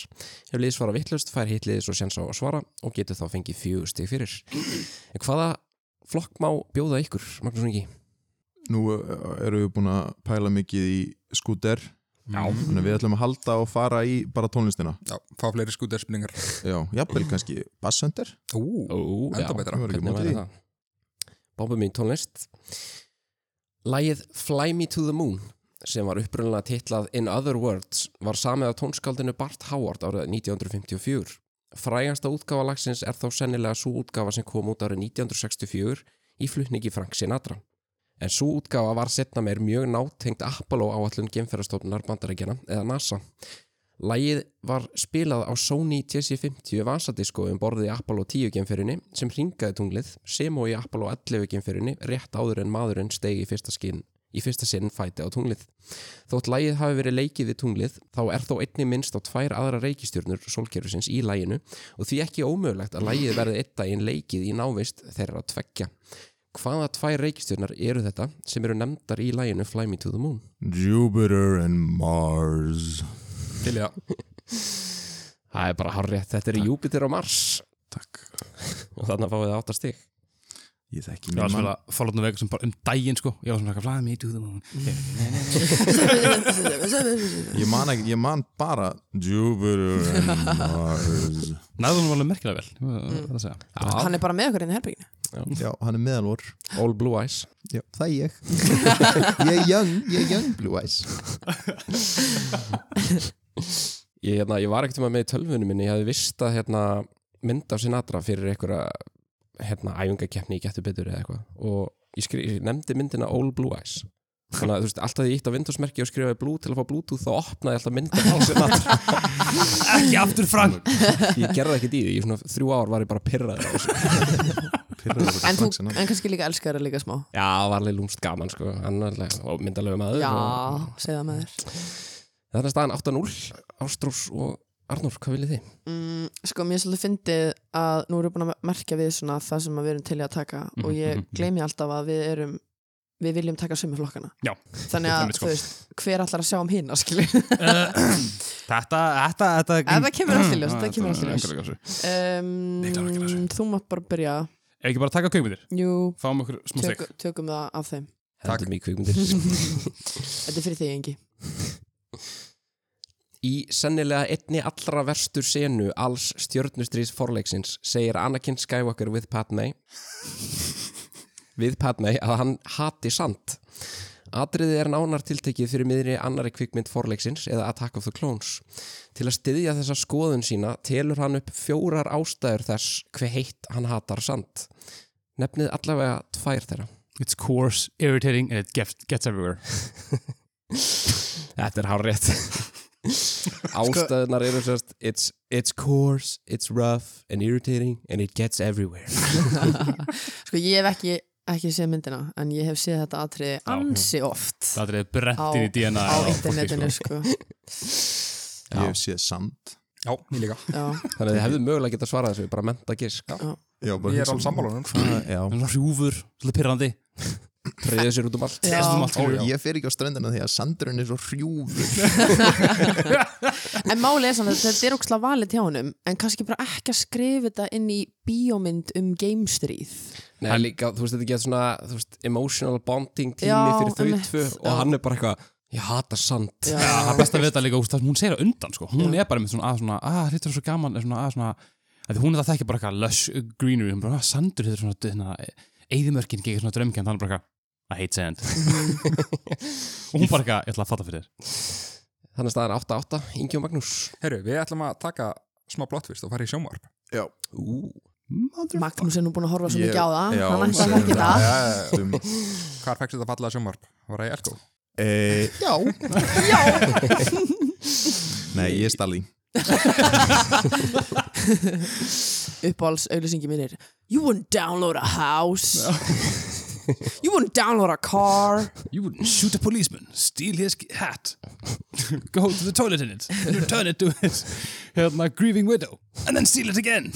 A: Ef liðið svara vittlust, fær hitt liðið svo sjans á að svara og getur þá fengið fjögur steg fyrir. En hvaða flokk má bjóða ykkur, Magnús Ungi?
E: Nú uh, erum við búin að pæla mikið í skúter
D: Já.
E: Þannig að við ætlum að halda og fara í bara tónlistina
D: Já, fá fleiri skútarspilningar
E: Já, jafnvel kannski bassöndir
D: Ú,
A: Ó,
D: enda betra
E: Ég var ekki
A: Hvernig
E: mótið
A: væri
E: því
A: það? Bábum í tónlist Lægið Fly Me to the Moon sem var upprunnilega titlað In Other Words var samið af tónskáldinu Bart Howard árið 1954. Frægasta útgáfa lagsins er þá sennilega svo útgáfa sem kom út árið 1964 í flutningi Frank Sinatra. En svo útgáfa var setna meir mjög nátengt Apollo áallun geimferðarstofnunar bandarækjana eða NASA. Lægið var spilað á Sony TC50 vasadisko um borðið í Apollo 10 gemferinni sem ringaði tunglið sem og í Apollo 11 gemferinni rétt áður en maðurinn stegi í fyrsta skinn í fyrsta sinn fæti á tunglið. Þótt lægið hafi verið leikið við tunglið, þá er þó einni minnst á tvær aðra reikistjörnur sólkerfisins í læginu og því ekki ómögulegt að lægið verði einn daginn leikið í návist þeirra að tveggja. Hvaða tvær reikistjörnar eru þetta sem eru nefndar í læginu Fly Me to the Moon?
E: Jupiter and Mars
D: Til í það
A: Það er bara harrið, þetta er Júpiter og Mars
E: Takk
A: og þannig fáið það áttastig.
E: Ég þekki
B: Ég var að
E: mér mann
B: spila Fallout New Vegas um, bara um daginn sko Ég var svona að flæða mig í dúðum
E: Ég man, ekki, ég man bara Jupiter and Mars
B: Næðunum var alveg merkilega vel ég var-
C: Mm.
B: var að segja.
C: Hann er bara með okkur inn í herbygginu
E: Já, hann er meðalvor
A: All Blue Eyes.
E: Já, það er ég Ég er young, ég er young blue eyes
A: Ég, hérna, ég var ekkert um að með í tölvunum minni, ég hefði vist að hérna, mynda á Sinatra fyrir einhverja hérna, æfingakeppni í getur betur eða eitthvað og ég, skri, ég nefndi myndina All Blue Eyes þannig að þú veist, alltaf því ég ítt á vindhúsmerki og skrifaði Blue til að fá Bluetooth þá opnaði alltaf myndina á Sinatra
B: Ekki aftur Frank
A: ég gerði ekkert í því, í svona þrjú ár var ég bara pirraður á þessu
C: En þú, en kannski líka elskar það líka smá
A: Já, var alveg lúmst gaman sko, annarlega og myndalegu maður
C: Já,
A: og,
C: segða með þér
A: Þannig að staðan 8-0, Ástrós og Arnór, hvað viljið þið?
C: mm, Sko, mér er svolítið fyndið að nú erum við búin að merkja við svona það sem að við erum til í að taka
B: Mhm,
C: og ég gleymi alltaf að við erum við viljum taka sömu flokkana
B: Já,
C: Þannig að,
B: einmitt, sko.
C: þú veist, hver allar að sjá um hinn skilur,
B: Þetta, þetta, þetta
C: en það kemur allt
B: Ah,
C: í ljós það kemur allt í ljós
B: allir ljós klarar ekki að
C: um, Þú mátt bara byrja
B: Ekki bara taka kveikmyndir
C: Jú,
B: Fáum okkur smá stygg
C: tök, tökum það af þeim
D: Takk.
A: Heldur mig kvikmyndir
C: Þetta er fyrir þig, Engi
A: Í sennilega einni allra verstur senu alls stjörnustrís forleiksins segir Anakin Skywalker við Padme við Padme að hann hati sand. Atriðið er nánar tiltekið fyrir miðri annari kvikmynd forleiksins eða Attack of the Clones. Til að styðja þessa skoðun sína telur hann upp fjórar ástæður þess hver heitt hann hatar sand. Nefnið allavega tvær þeirra.
B: It's coarse, irritating and it gets, gets everywhere
A: Þetta er hár rétt
C: Sko-
A: Ástæðunar eru sérst it's, it's coarse, it's rough and irritating and it gets everywhere
C: Sko ég hef ekki, ekki séð myndina en ég hef séð þetta atriði ansi oft
B: Það er brent inn í DNA
C: á
B: fólki,
C: internetinu sko.
E: Ég hef séð sand
D: Já, ég líka
C: Já,
A: Þannig að þið hefðu mögulega getað svarað þessu bara menta gisk
E: Já, bara hugsa-
D: Ég er
E: um-
D: alveg sammála honum.
E: Hvað- Já
B: sko. Rúfur, svolítið pirrandi
A: Treyðið sér út um allt
C: já.
B: Estum allt
E: Ó,
B: skilur við.
E: ég fer ekki á strendina því að sandurinn er svo hrjúfur
C: En málið er samt að þetta er ókslega valið hjá honum en kannski bara ekki að skrifa þetta inn í bíómynd um geimstríð
A: Nei, líka, þú veist, þetta getur svona þú veist, emotional bonding tími
C: Já,
A: fyrir þau
C: einmitt,
A: tvö
C: já.
A: og hann er bara eitthvað, ég hata sand
C: Já,
B: Já, það er best að vita líka úst, það sem hún segir á undan sko. hún er bara með svona að svona að þetta er svo gaman er svona, að svona, að því hún er það þekkja bara eitthvað lush greenery hún bara að sandur þetta er svona, svona eðimörkin gegn svona drömkjönd hann er bara eitthvað I hate sand og hún bara eitthvað ég ætla að fatta fyrir þér
A: Þannig að staðan 8-8, Ingi og Magnús
D: Herru, við ætlum að taka smá blottvist og fara í sjómar
A: Ú,
C: Magnús er nú búin að horfa svo
E: Ég-
C: mikið á það
E: Já,
C: hann ætti að
E: segðu
C: þekki það
E: Stum.
D: Hvar fækst þetta fallega sjómar? Var það í Elko?
E: Eh, Já Nei, ég er Stalin
C: uppáhalds auðlýsingi mín er You wouldn't download a house You wouldn't download a car
B: You wouldn't shoot a policeman steal his hat go to the toilet in it and return it to his hérna, grieving widow and then steal it again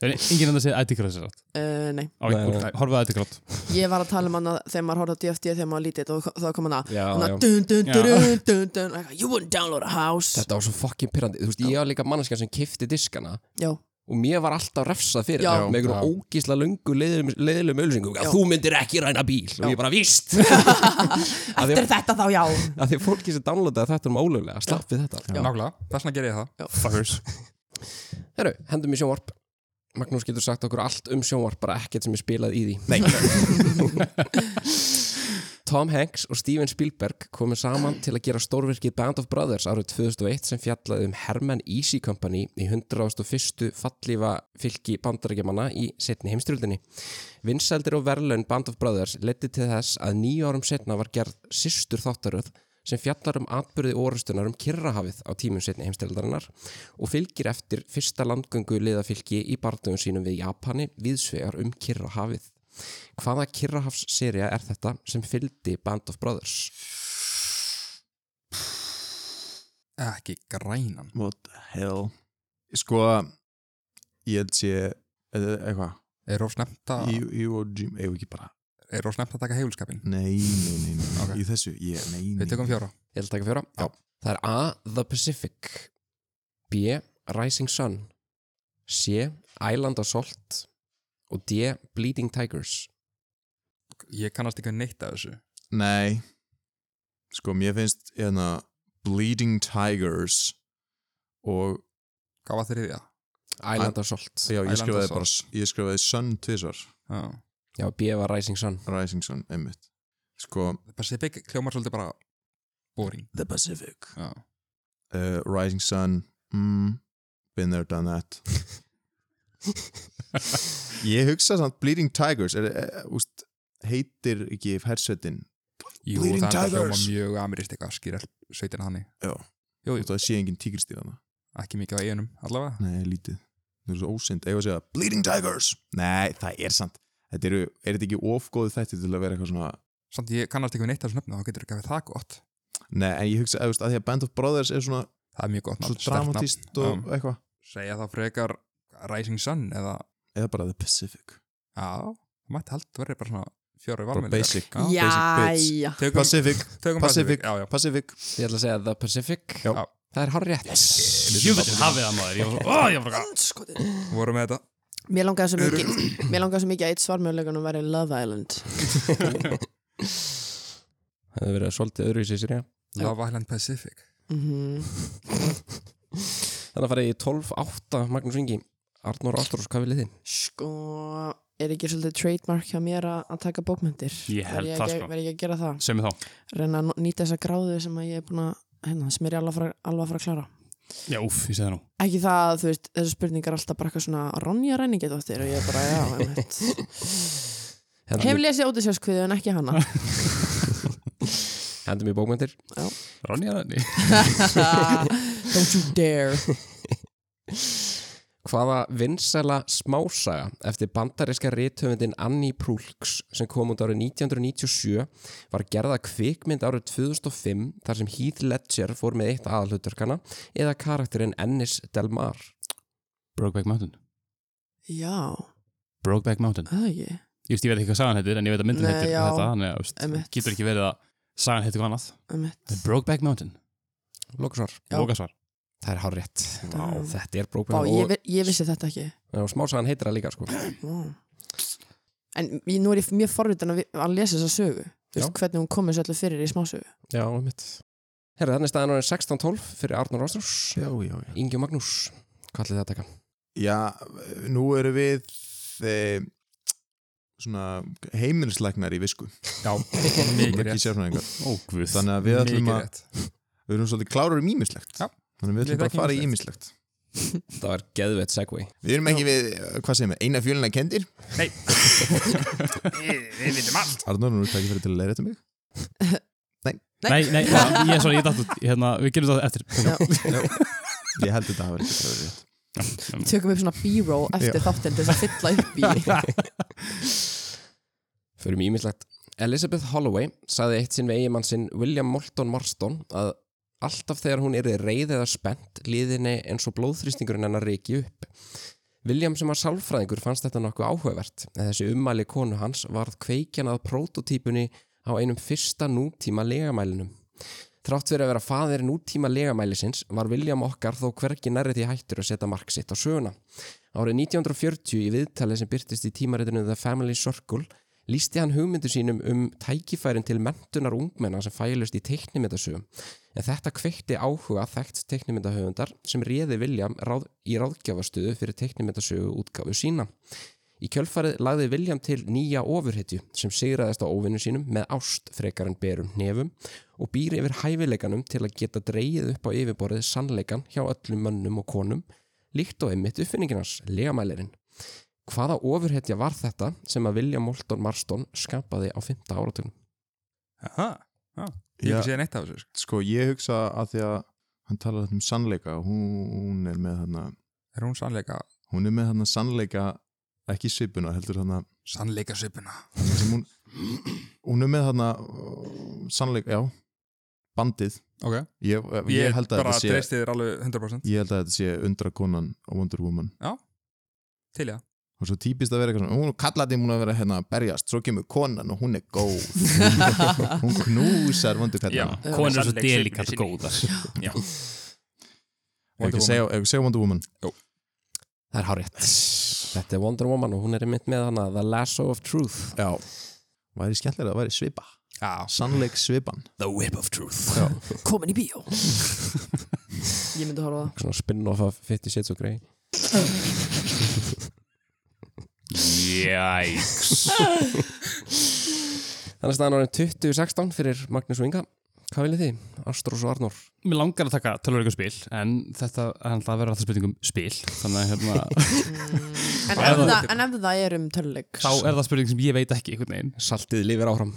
B: það er enginn annar að segja ættikrátt sér átt
C: uh, Nei,
A: Nei, nei.
B: horfaði ættikrátt
C: ég var að tala um hann að þegar maður horfði á DFD þegar maður var lítið og þá kom hann að
A: Já,
C: hann
A: já.
C: að dun dun
B: Já.
C: dun dun dun dun like, You wouldn't download a house
A: þetta var svo fucking pirrandi Þú veist, ég var líka manneskja sem kifti diskana
C: Já,
A: og mér var alltaf refsað fyrir
C: Já.
A: það með einhverjum ógísla löngu leiðilegum leiðilegum ölsingu
C: Já.
A: að þú myndir ekki ræna bíl og ég bara víst að því,
C: eftir þetta þá já
A: að því fólki sem downloadaði þetta um ólöglega slappið þetta
D: Nákvæmlega, þess vegna gerði ég það
B: fuckers
A: Herru, hendum í sjónvarp Magnús getur sagt okkur allt um sjónvarp bara ekkert sem er spilað í því
E: Nei
A: Tom Hanks og Steven Spielberg komu saman til að gera stórvirkið Band of Brothers árið 2001 sem fjallaði um Herman Easy Company í 101. fallífa fylki bandarækjamanna í setni heimstyrjöldinni. Vinsældir og verðlaun Band of Brothers leti til þess að nýju árum setna var gerð sýstur þáttaröð sem fjallar um atbyrði orustunar um Kirrahafið á tímum setni heimstyrjaldarinnar og fylgir eftir fyrsta landgöngu liðafylki í barndögun sínum við Japani viðsvegar um Kirrahafið. Hvaða Kirrahafs-serja er þetta sem fylgdi Band of Brothers?
D: Ekki grænan
E: What the hell Sko, ég held sé eða eitthvað,
D: Er of snemmt að
E: Iwo- Iwo Jima eigum við ekki bara,
D: Er of snemmt að taka heifulskapin
E: nei, nei, nei, nei.
D: Ok.
E: í þessu, ég, nei, nei
D: Við tökum fjóra
A: Ég held að taka fjóra.
D: Já.
A: Það er A. The Pacific B. Rising Sun C. Island of Salt og D. Bleeding Tigers
D: Ég kannast ekki neitt af þessu
E: Nei Sko, mér finnst hérna Bleeding Tigers og
D: Hvað var þriðja?
A: Island of Salt
E: já, ég
D: Island
E: skrifaði
D: of
E: bara ég skrifaði Sun tvisar
D: Já.
A: Já, B var Rising Sun
E: Rising Sun, einmitt Sko,
D: Pacific hljómar svolítið bara boring
E: The Pacific
D: Já.
E: uh, Rising Sun mm, Been there, done that Ég hugsa samt Bleeding Tigers er, er, úst, heitir ekki hersvetin
D: Jú,
E: Bleeding
D: það er þetta
E: Tigers.
D: hljóma mjög amirist eitthvað skýrall sveitina hannig
E: Já.
D: Jú,
E: og
D: jú,
E: það sé engin tígristíðana
D: ekki mikið á einum allavega
E: Nei, lítið Það eru svo ósynd Ef að segja Bleeding Tigers Nei, það er sant Þetta eru, er þetta ekki ofgóðu þætti til að vera eitthvað svona
D: Samt ég kannast ekki við neitt af þessu nöfnu þá getur ekki að við það gott
E: Nei, en ég hugsa, eða, þú veist, að því að Band of Brothers er svona
D: Það er mjög gott
E: svo
D: nafn, sterkt nafn.
E: dramatist og
D: Já.
E: eitthvað
D: Segja þá frekar Rising Sun eða
E: Eða bara The Pacific
D: Já, það mætti haldið verið bara svona fjóra í
E: Bara
D: valmið
E: basic Basic
C: Jæja
D: Tökum,
E: Pacific,
D: tökum
E: Pacific,
D: Já, já
E: Pacific
A: Ég ætla að segja The Pacific
E: Já.
A: Það er hár rétt yes.
B: Jöfnveitin hafið það maður, ég var svo, ó, ég var bara
C: Andskotin.
D: Vorum við þetta
C: Mér langaði svo mikið Mér langaði svo mikið að eitt svarmjöðlegan væri Love Island
A: Það hefur verið svolítið öðruvísi sér já
D: Love Island Pacific
C: Mhm.
A: Þannig að farið í 12-8 Magnús Ingi Arnur Ástrós, hvað viljið þið?
C: Sko Er ekki svolítið trademark hjá mér að að taka bókmyndir
B: Ég held
C: Verð
B: það,
C: ekki-
B: sko.
C: Verð ég að gera það
B: Sem er þá
C: Reyna að nýta þessa gráðu sem að ég er búin að hérna, sem er ég alveg að fara- alveg að fara að klára
B: Já, úf, ég segi það nú
C: ekki það að þú veist, þessu spurningar alltaf bara eitthvað svona Ronja ræningi dóttir og ég bara, já, einmitt Hef
A: Hendum,
C: lesið Ódisjóskviðu en ekki hana
A: hendum í bókmyndir
B: Ronja Ræni
C: Don't you dare
A: Hvaða vinsæla smásaga eftir bandaríska rithöfundin Annie Prulks sem kom út árið 1997 var gerða kvikmynd árið 2005 þar sem Heath Ledger fór með eitt aðalhuturkana eða karakterinn Ennis Del Mar
B: Brokeback Mountain
C: Já,
B: Brokeback Mountain
C: það ekki
B: Ég veist, ég veit ekki hvað sagan heitir, en ég veit að myndin
C: Nei,
B: heitir
C: já.
B: þetta Þannig að, þú
C: Einmitt.
B: veist, getur ekki verið að sagan heitir hvað annað
C: einmitt.
B: En Brokeback Mountain,
A: Lókusvar
C: Já.
B: lókasvar
A: Það er hár rétt
C: Vá.
A: Þetta er
C: Vá,
A: brókmynd
C: ég,
A: og,
C: vi- ég vissi þetta ekki
A: og smásagan heitir það líka sko.
C: Vá. En ég, nú er ég mjög forvitin að, vi- að lesa þessa sögu Þú veist, hvernig hún komið svo allir fyrir í smásögu
A: Já, mitt Herra, þannig staðan árið 16-12 fyrir Arnur Ástrós
E: Já, já, já
A: Ingi og Magnús Hvað ætlið það að taka?
E: Já, nú eru við e, svona heimilislæknar í visku
D: Já, mikið
E: Ekki
D: rétt
E: sérfræðingar.
B: Ó, guð
E: Þannig að við ætlum
D: Mikið
E: að
D: rétt
E: Við erum svolítið klárar um ímislegt
D: Já.
E: Þannig að við
D: Ég
E: ætlum bara
D: þekki
E: að fara í
D: ýmislegt.
E: ímislegt
A: Það var geðveitt segway
E: Við erum ekki við, hvað segir við, eina fjölina kendir
D: Við við vitum allt
E: Arnór, nú er það ekki fyrir til að leira þetta mig
B: Nei, nei, já, ég, sorry, ég datt út hérna, Við gerum það eftir
C: Já.
E: Ég held þetta að vera ekki fyrir rétt
C: Tökum upp svona b-roll eftir
E: Já.
C: þáttinn til þess að fylla upp í
A: Fyrir mjög ímislegt Elizabeth Holloway sagði eitt sinn við eigimann sinn William Moulton Marston að alltaf þegar hún yrði reið eða spennt liðinni eins og blóðþrýstingurinn hennar reiki upp William sem var sálfræðingur fannst þetta nokkuð áhugavert en þessi ummæli konu hans varð kveikjan að prototípunni á einum fyrsta nútíma legamælinum Þrátt fyrir að vera faðir nútíma legamælisins var William okkar þó hvergi nærri því hættur að setja mark sitt á söguna. Árið 1940 í viðtali sem byrtist í tímaritinu The Family Circle lísti hann hugmyndu sínum um tækifærin til mentunar ungmenna sem fælust í teiknimyndasögum. En þetta kveikti áhuga þekkt teiknimyndahöfundar sem réði William ráð, í ráðgjafarstöðu fyrir teiknimyndasögu útgáfu sína. Í kjölfarið lagði William til nýja ofurhetju sem sigraðist á óvinnu sínum með ást frekar en berum nefum og býr yfir hæfileikanum til að geta dreyið upp á yfirborðið sannleikan hjá öllum mönnum og konum líkt og einmitt uppfinninginars, legamælirinn. Hvaða ofurhetja var þetta sem að William Moulton Marston skapaði á 5. áratögnum?
D: Aha, Ég hef ekki séð neitt af þessu sko.
E: Sko, ég hugsa að því að hann talar þetta um sannleika hún er með þarna
D: Er hún sannleika
E: hún er með þarna sannleika ekki svipuna heldur þarna
D: Sannleika svipuna
E: sem hún, hún er með þarna sannleik, já bandið,
D: Ok
E: ég, ég, held að
D: bara
E: þetta sé
D: treysti þér alveg 100%
E: ég held að þetta sé undra konan á Wonder Woman
D: til ég
E: og svo típist að vera eitthvað svona, hún kallaði múin að vera hérna að berjast, svo kemur konan og hún er góð hún knúsar vondur kallan
D: Já.
B: Konur er svo
D: Sannleik
B: delikat
D: sinni.
B: góðar
E: Ef ekki segja, ef ekki segja Wonder Woman
A: Það er hárétt. Þetta er Wonder Woman og hún er mynd með hana The Lasso of Truth.
E: já. væri skemmtilega, væri svipa
D: Já
E: sannleik svipan
A: The Whip of Truth. Já.
C: komin í bíó ég myndi horfa á það
A: Svona spin-off af 50 Shades of Grey.
B: Jæks
A: Þannig að staðan árið 2016 fyrir Magnús og Inga. Hvað viljið þið? Ástrós og Arnór.
B: Mér langar að taka tölvöleikum spil en þetta er alltaf að vera alltaf spurningum spil þannig að hérna,
C: en ef það, en ef það er um töluleik
B: þá er það spurning sem ég veit ekki einhvern veginn
A: Saltið lifir áfram.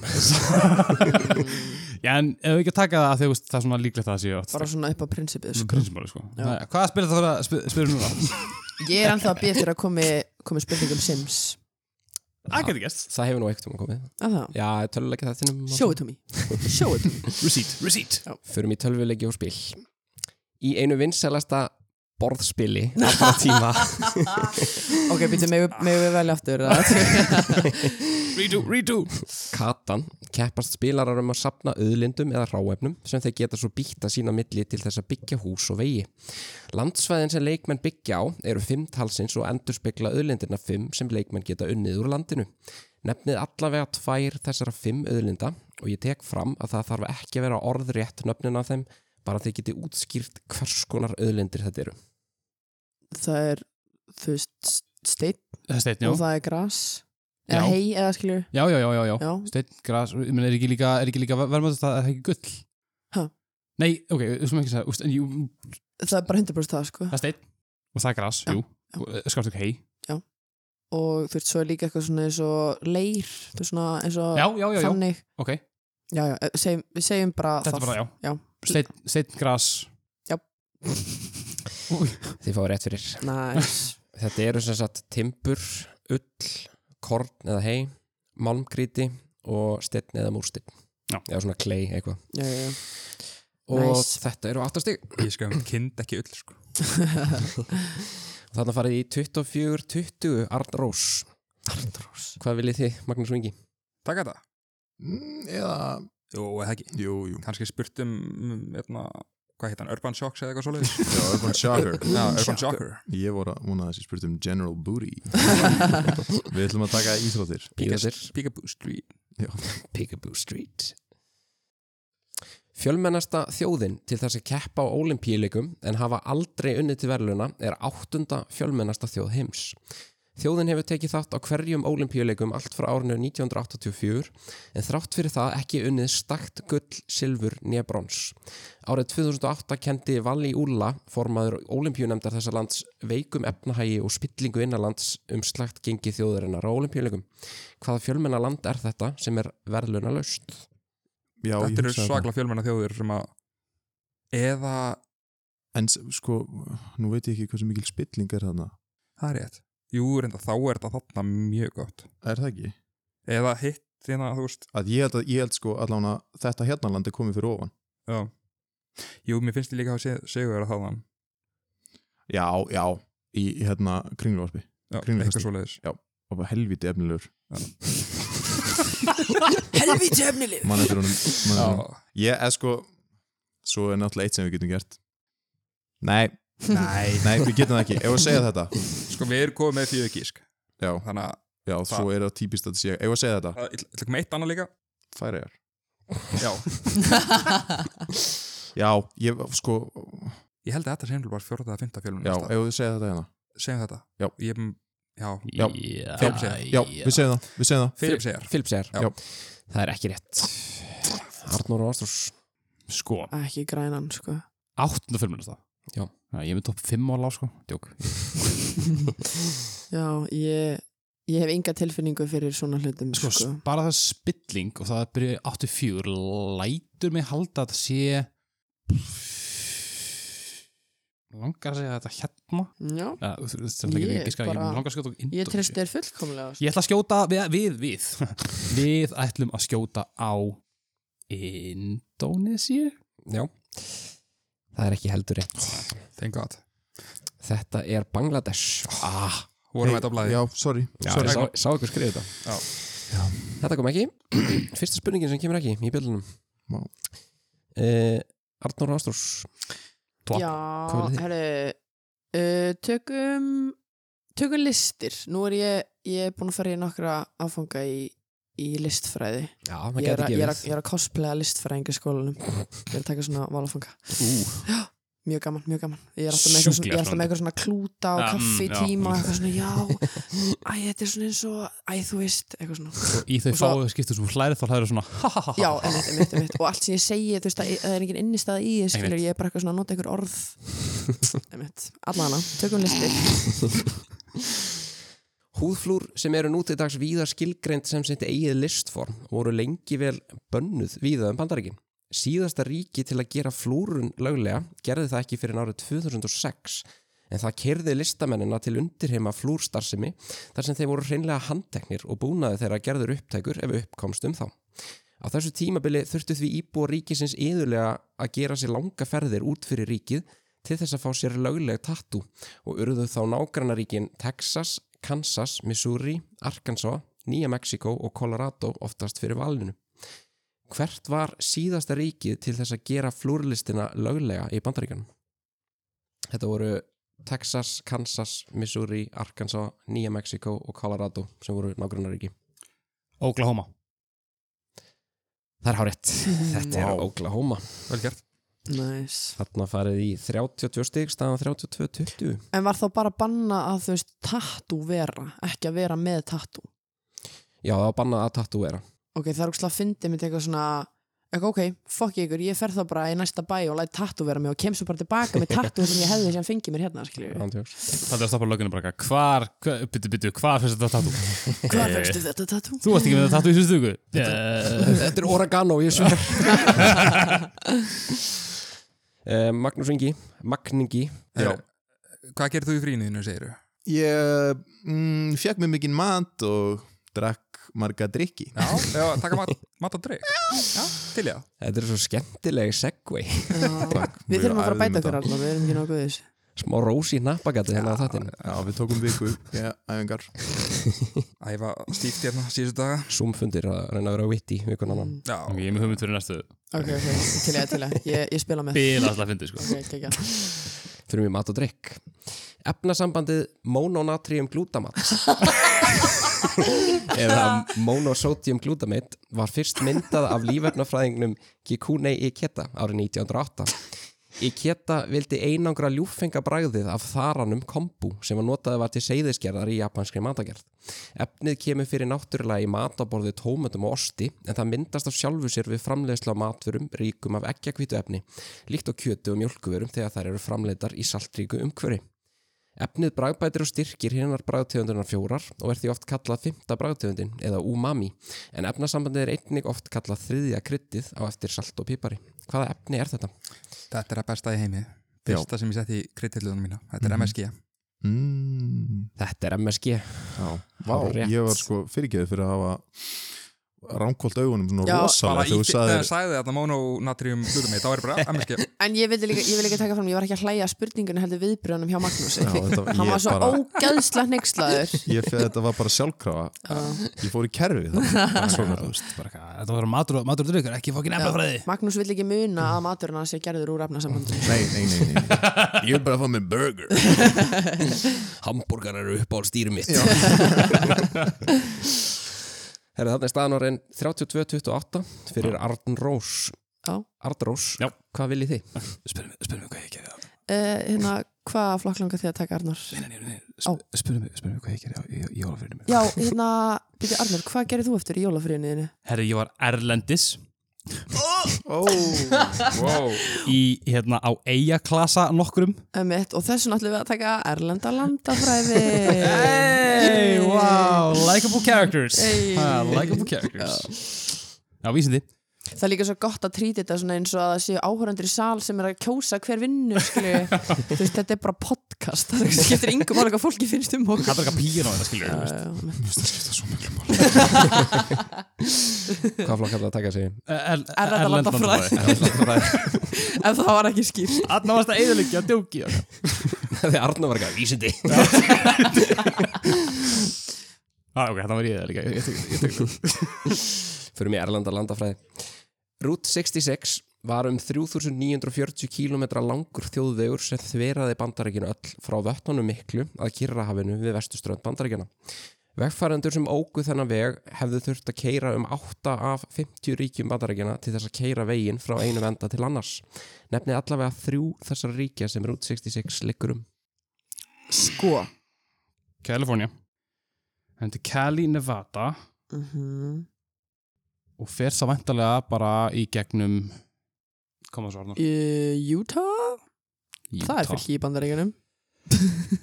B: Já, en ef við ekki að taka það af því að það er svona líklegt að það séu
C: bara svona upp á prinsipið sko.
B: Prinsimáli, sko. Jæja, Hvaða spil það að spil, spil núna? Mm.
C: ég er ennþá að býja eftir að komi, komi spurning um Sims
B: Það getur gæst
A: Það hefur nú eitt um að komið.
C: af það
A: Já, tölvuleiki þættinum.
C: Show it to me Show it to me
B: Receipt, receipt
A: Förum í tölvuleiki og spil. Í einu vinsælasta borðspili allra tíma.
C: Ok, býtum, megum megum við velja aftur
B: Redo, redo
A: Katan keppast spilarar um að sapna auðlindum eða ráefnum sem þeir geta svo býtta sína milli til þess að byggja hús og vegi. Landsvæðin sem leikmenn byggja á eru fimm talsins og endur spekla auðlindina fimm sem leikmenn geta unnið úr landinu. Nefnið allavega tvær þessara fimm auðlinda og ég tek fram að það þarf ekki að vera orðrétt nöfnin af þeim bara að þeir geti útskýrt hvers konar auðlindir þetta eru.
C: Það er, þú veist, steinn
B: Það er steinn,
C: og
B: já
C: það er gras
B: Já.
C: Eða hei, eða skilur
B: Já, já, já, já, já.
C: Já,
B: Steinn, gras, ég meina, er ekki líka, er ekki líka verðmöndast það er það ekki gull
C: Ha?
B: Nei, ok, við skulum ekki segja úst, en, jú,
C: það er bara 100% það sko
B: Það er steinn og eh, það er gras, jú Skást ekki hei
C: Og þú veist, svo er líka eitthvað svona eins og leir Þú veist, svona eins og
B: Já, já, já, já,
C: þannig
B: ok
C: Já, já, eh, segjum, við segjum bara
B: Þetta er bara, já,
C: Já,
B: steinn, steinn, gras
A: Þið fáið rétt fyrir.
C: nice
A: Þetta eru sem sagt timbur, ull, korn eða hei, malmgríti og steinn eða múrsteinn.
B: Já.
A: Eða svona klei eitthvað.
C: Já, já, já
A: Og
C: Nice.
A: þetta eru áttastig.
D: Ég skal um kind ekki öll sko
A: Þannig að farið í 24-20 Arnrós. Arnrós. Hvað viljið þið, Magnús og Ingi?
D: Takk að það
E: Mm, eða,
D: Jú, eða ekki
E: jú, jú
D: Kanski spurt um, um, hérna, hvað heit hann, Urban Shocks eða eitthvað svoleiðis
E: já, Urban Shocker
D: Já, Urban Shocker
E: ég voru að múna þessi spurt um General Booty við ætlum að taka íþróttir
A: Íþróttir.
D: Peekaboo Street
A: Peekaboo Street. Fjölmennasta þjóðin til þess að keppa á olimpíuleikum en hafa aldrei unnið til verðluna er áttunda fjölmennasta þjóð heims. Þjóðin hefur tekið þátt á hverjum olimpíuleikum allt frá árinu 1984 en þrátt fyrir það ekki unnið stakt gull, silfur, nýja brons. Árið 2008 kendi Valli Úlla, formaður olimpíunemdar þessa lands, veikum efnahægi og spillingu innanlands um slagt gengi þjóðarinnar á olimpíuleikum hvaða fjölmenna land er þetta sem er verðluna laust
E: já, ég
D: Þetta eru
E: hugsaði það.
D: svaklega fjölmennar þjóðir sem að Eða,
E: en s- sko, nú veit ég ekki hversu mikil spilling er þarna
D: það er rétt Jú, reynda, þá er þetta þarna mjög gott
E: er það ekki?
D: Eða hitt, þína, þú veist
E: að ég held, að, ég held sko allan að þetta hérna land er komið fyrir ofan
D: Já Jú, mér finnst ég líka að segur vera þaðan
E: já, já, í hérna kringluvarpi
D: Já,
E: Kringlufesti.
D: eitthvað svoleiðis
E: og bara helviti efnilegur
C: Helvíti efnileg
E: mann eftir honum mann eftir honum.
D: Já.
E: ég er sko, svo er náttúrulega eitt sem við getum gert nei,
D: Nei
E: nei, við getum það ekki ef við segja þetta
D: Sko, við erum komið með því gísk
E: já,
D: Þannig að
E: já, svo er það típist að þetta segja ef við segja þetta,
D: Það er ekki með eitt annað líka
E: færiðar
D: Já
E: já, ég, sko,
D: Ég held að þetta sem bara fjórða að fynda fjölun
E: já, ef við segja þetta hérna
D: Segjum þetta
E: Já.
D: Ég, já
E: Já.
D: Filip segir.
B: já,
E: já, við segjum það, við segjum það
D: Filip segjar
A: Filip segir,
D: Já.
A: það er ekki rétt Arnór og Ástrós
B: Sko,
C: Ekki grænan, sko
B: áttunda fjölmennast það
A: Já.
B: sko. Ég er með topp 5 á lág, sko Djók
C: Já, ég, ég hef enga tilfinningu fyrir svona hlutum
B: sko,
C: sko,
B: bara það er spilling og það er byrja 84 lætur mig halda að það sé langar að segja þetta hérna
C: Já,
B: Eða, þú- þú- sem ekki
C: Ég
B: ekki skæði,
C: bara-
B: ég langar að skjóta á
C: ég
B: Indonesia.
C: treysti þér fullkomlega sko.
B: Ég ætla að skjóta við Við, við. við ætlum að skjóta á Indonesia
A: Já, það er ekki heldur rétt.
D: Thank god
A: Þetta er Bangladesh. Ah,
D: Vorum þetta á blæði
E: Já, sorry,
A: Sorry,
E: sorry.
A: sá, sá ykkur skrifa þetta.
D: Já.
A: Þetta kom ekki. Fyrsta spurningin sem kemur ekki í bjöllunum.
E: Vá.
A: Uh, Arnór Ástrós.
B: Tvo.
C: Já,
A: Hvað viljið þið?
C: herru uh, Tökum Tökum listir Nú er ég, ég er búin að fara í nokkra áfanga í, í listfræði
A: Já, það
C: ég er,
A: getur
C: að, ég, er að,
A: gefið.
C: ég er að cosplaya listfræðingi skólanum Ég er að taka svona valafanga Já, mjög gaman, mjög gaman Ég er alltaf með eitthvað svona, ég er alltaf með eitthvað svona klúta og
B: Ja, mm,
C: kaffi í
B: já.
C: tíma og eitthvað svona, já Æ, þetta er svona eins og, æ, þú veist eitthvað svona,
B: Í þau
C: Og svo-
B: fáu skiptu sem hlæri þá hlæri svona ha, ha, ha,
C: já,
B: ha.
C: einmitt, einmitt, einmitt og allt sem ég segi, þú veist, það, það er engin innistæða í þess skilur, ég er bara eitthvað svona að nota einhver orð einmitt, allana, tökum listir
A: Húðflúr sem eru nú til dags víða skilgreint sem sitt eigið listform voru lengi vel bönnuð víða um bandaríkin. Síðasta ríki til að gera flúrun löglega gerði það ekki fyrir árið 2006 en það kerði listamennina til undirheima flúrstarfsemi þar sem þeir voru hreinlega handteknir og búnaði þeirra gerður upptækur ef uppkomst um þá. Á þessu tímabili þurftu því íbúa ríkisins yðurlega að gera sér langa ferðir út fyrir ríkið til þess að fá sér lögleg tattu og urðu þá nágrannaríkin Texas, Kansas, Missouri, Arkansas, Nýja Mexiko og Colorado oftast fyrir valinu. Hvert var síðasta ríkið til þess að gera flúrlistina löglega í bandaríkanum? Þetta voru Texas, Kansas, Missouri, Arkansas, Nýja Mexiko og Colorado sem voru nágrannaríki.
B: Oklahoma
A: Það er hárétt.
C: Mm,
A: Þetta er Oklahoma.
D: Vel gert
C: nice.
A: Þarna farið í 32 stig, staðan 32-20.
C: en var þá bara að banna að, þú veist, tattoo vera ekki að vera með tattoo
A: Já, það var bannað að tattu vera.
C: ok, það er ógslag að fyndi mitt eitthvað svona eitthvað, ok, fuck ykkur, ég fer þá bara í næsta bæ og læt tattoo vera mig og kem svo bara tilbaka með tattoo sem ég hefði sem fengið mér hérna skilju,
A: Andjóks.
B: Það er að stoppa löggunum bara eitthvað, Hvar, hva- byttu, byttu, hvað fyrst þetta tattu?
C: hvað vextu þetta tattoo?
B: Þú varst ekki með þetta tattu í síðustu viku Eh,
A: Þetta er oregano, ég sver Eh, Magnús Ingi Magningi
D: Já.
A: er-
D: Hvað gerir þú í frínu þínu, segir þú?
E: Ég mm, fekk mér mikinn mat og drakk marga drikki
D: Já, já, taka mat, mat og drikk Já, til ég
A: Þetta er svo skemmtilegi segway
C: við þurfum að fara að bæta okkur alveg, við erum ekki nokkuð þess
A: Smá rósi nappagati hérna að þattin
E: Já, við tókum viku Já, æfingar
D: það Æfa stíft hérna síðustu daga
A: Zoomfundir að reyna að vera vitt í vikun annan
B: ok,
D: Já,
B: Ég er með hugmynd fyrir næstu
C: ok, ok, til ég, til ég, ég, ég spila með
B: Bila alltaf að fyndi sko
C: ok, ekki, ekki,
A: Fyrir mér mat og drikk Efnasambandið mononatrium glutamat eða monosodium glutamate var fyrst myndað af lífefnafræðingnum Kikune Iketa árið 1908. Iketa vildi einangra ljúffengabræðið af þaranum kombu sem að notaði var til seyðisgerðar í japanskri matagerð. Efnið kemur fyrir náttúrulega í mataborðið tómatum og osti en það myndast af sjálfu sér við framleiðslu á matfurum ríkum af ekkjakvítu efni líkt á kjötu og mjölkuverum þegar þær eru framleiðar í saltríku umhverfi. Efnið bragbætir og styrkir hinnar bragtegundunar fjórar og er því oft kallað fymta bragtegundin eða umami en efnasambandið er einnig oft kallað þriðja kryddið á eftir salt og pipari. Hvaða efni er þetta?
D: þetta er að besta í heimi Fyrsta sem ég sett í kreitillunum mína Þetta
E: Mhm.
D: er MSG
E: mm,
A: Þetta er MSG.
E: Já, vá,
A: Hárrétt.
E: ég var sko fyrirgeðið fyrir að hafa ránkólt augunum svona
C: Já,
D: Bara
E: rosalega
D: í
E: þegar þú
D: þegar
E: sagðir
D: sagði þetta mononatrium glutamate Þá er bara MSG
C: en ég vildi líka, ég vil líka taka fram, ég var ekki að hlæja að spurningunni heldur viðbrjónum hjá Magnúsi
E: Já, þetta,
C: hann var
E: ég,
C: svo
E: bara,
C: ógæðslega hneykslaður
E: ég fyrir þetta var bara sjálfkrafa Ég fór í kerfið það Svona, þú veist
B: Bara eitthvað, Þetta var matur og matur og drikkur, ekki fokkin eflafræði
C: Magnús vill ekki muna að maturinn hans sé gerður úr efnasambandi
E: Nei, nei, nei, nei, nei. Ég vil bara fá mér burger
A: Hamburgar eru upp á stýrum mitt. Herra, þarna er staðan orðin 32-28 fyrir Arn Rós.
C: Já.
A: Arn Rós,
B: Já.
A: hvað viljið þið?
B: Spyrum mig hvað ég gerði á
C: uh, hérna, hvað flokk langar þið að taka Arnór? Á.
B: Spyrum mig hvað ég gerði á jólafyririnu
C: Já, hérna, byrju Arnur, hvað gerir þú eftir í jólafriðinniðinu?
B: Herri, ég var erlendis
E: Ó,
D: Wow
B: í, hérna, á eigaklasa nokkrum
C: Ömmitt, og þessum ætlum við að taka Erlenda landafræði
B: Hey, wow, likeable characters
C: Hey.
B: ha, Likeable characters Já, vísindi
C: það er líka svo gott að trýta þetta svona eins og að það séu áhörandur í sal sem er að kjósa hver vinnu skilju, þú veist, þetta er bara podcast það skiptir yngum alveg að fólki finnst um okkur
B: Það er bara eitthvað píin á þetta skilur uh,
C: Já, já, já.
E: Mér finnst það skipta svo miklu máli
A: Hvað flokk er það að taka sig?
B: er,
C: þetta landafræði? ef það var ekki skýrt
B: Anna varst að eðalikja að djóki
A: Þegar Arna var eitthvað vísindi
B: ah, Ok, þannig var ég það líka Ég tek- ég tek það.
A: Fyrir mig Erlanda landafræði Route 66 var um 3940 km langur þjóðvegur sem þveraði bandaríkinu öll frá vötnunum miklu að Kyrrahafinu við vestuströnd bandaríkina Vegfærandur sem ógu þennan veg hefðu þurft að keira um 8 af 50 ríkjum bandaríkina til þess að keira veginn frá einum enda til annars Nefnið allavega þrjú þessar ríkja sem Route 66 liggur um
C: sko
B: California Hendi Cali, Nevada
C: mm
B: Og fer það vantarlega bara í gegnum Koma svo Arnar
C: Utah? það er
B: Utah.
C: fyrir hýbandaríkunum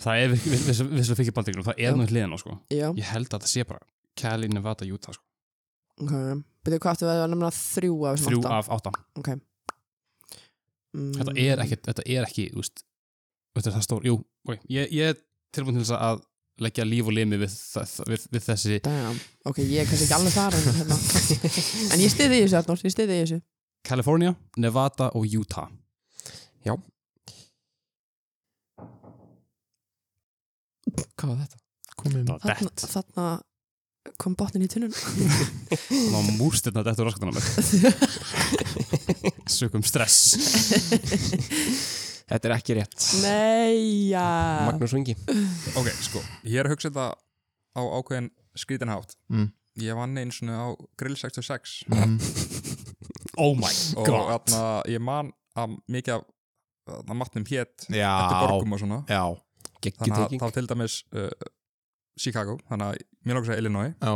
B: Það er visslega fyrir bandingunum Það
C: Já.
B: er nú hliðin á sko
C: já,
B: Ég held að það sé bara Cali, Nevada, Utah sko.
C: ok betur hvað áttu að það nefna þrjú af þessum
B: Þrjú
C: átta?
B: af átta
C: ok mm.
B: Þetta er ekki, þetta er ekki úst, Þetta er það stór Jú, ok, ég, ég er tilbúin til þess að leggja líf og limi við, það- við, við þessi
C: Mm, Damn. ok, ég er kannski ekki alveg þar en, hérna. en ég stiði í þessu Arnór, ég stiði í þessu
B: California, Nevada og Utah
A: Hvað var þetta?
E: Komið
B: Það var
C: þarna,
B: dett
C: þarna kom botnin í tunnun
B: Það var múrst þetta dett úr raskatunum Sökum stress
A: Þetta er ekki rétt
C: nei, já
A: Magnús Vingi
D: Ok, sko, ég er að hugsa þetta á ákveðin skrítinhátt
E: Mm.
D: Ég vann einu svona á Grill 66
E: Mhm.
B: Oh my
D: og
B: god
D: þarna, ég man að mikið af þarna, matnum hétt
E: Já
D: eftir borgum og svona
E: Já
A: Gekki
D: þannig að
A: tekking
D: það var til dæmis uh, Chicago, þannig að mér lókast að Illinois
E: Já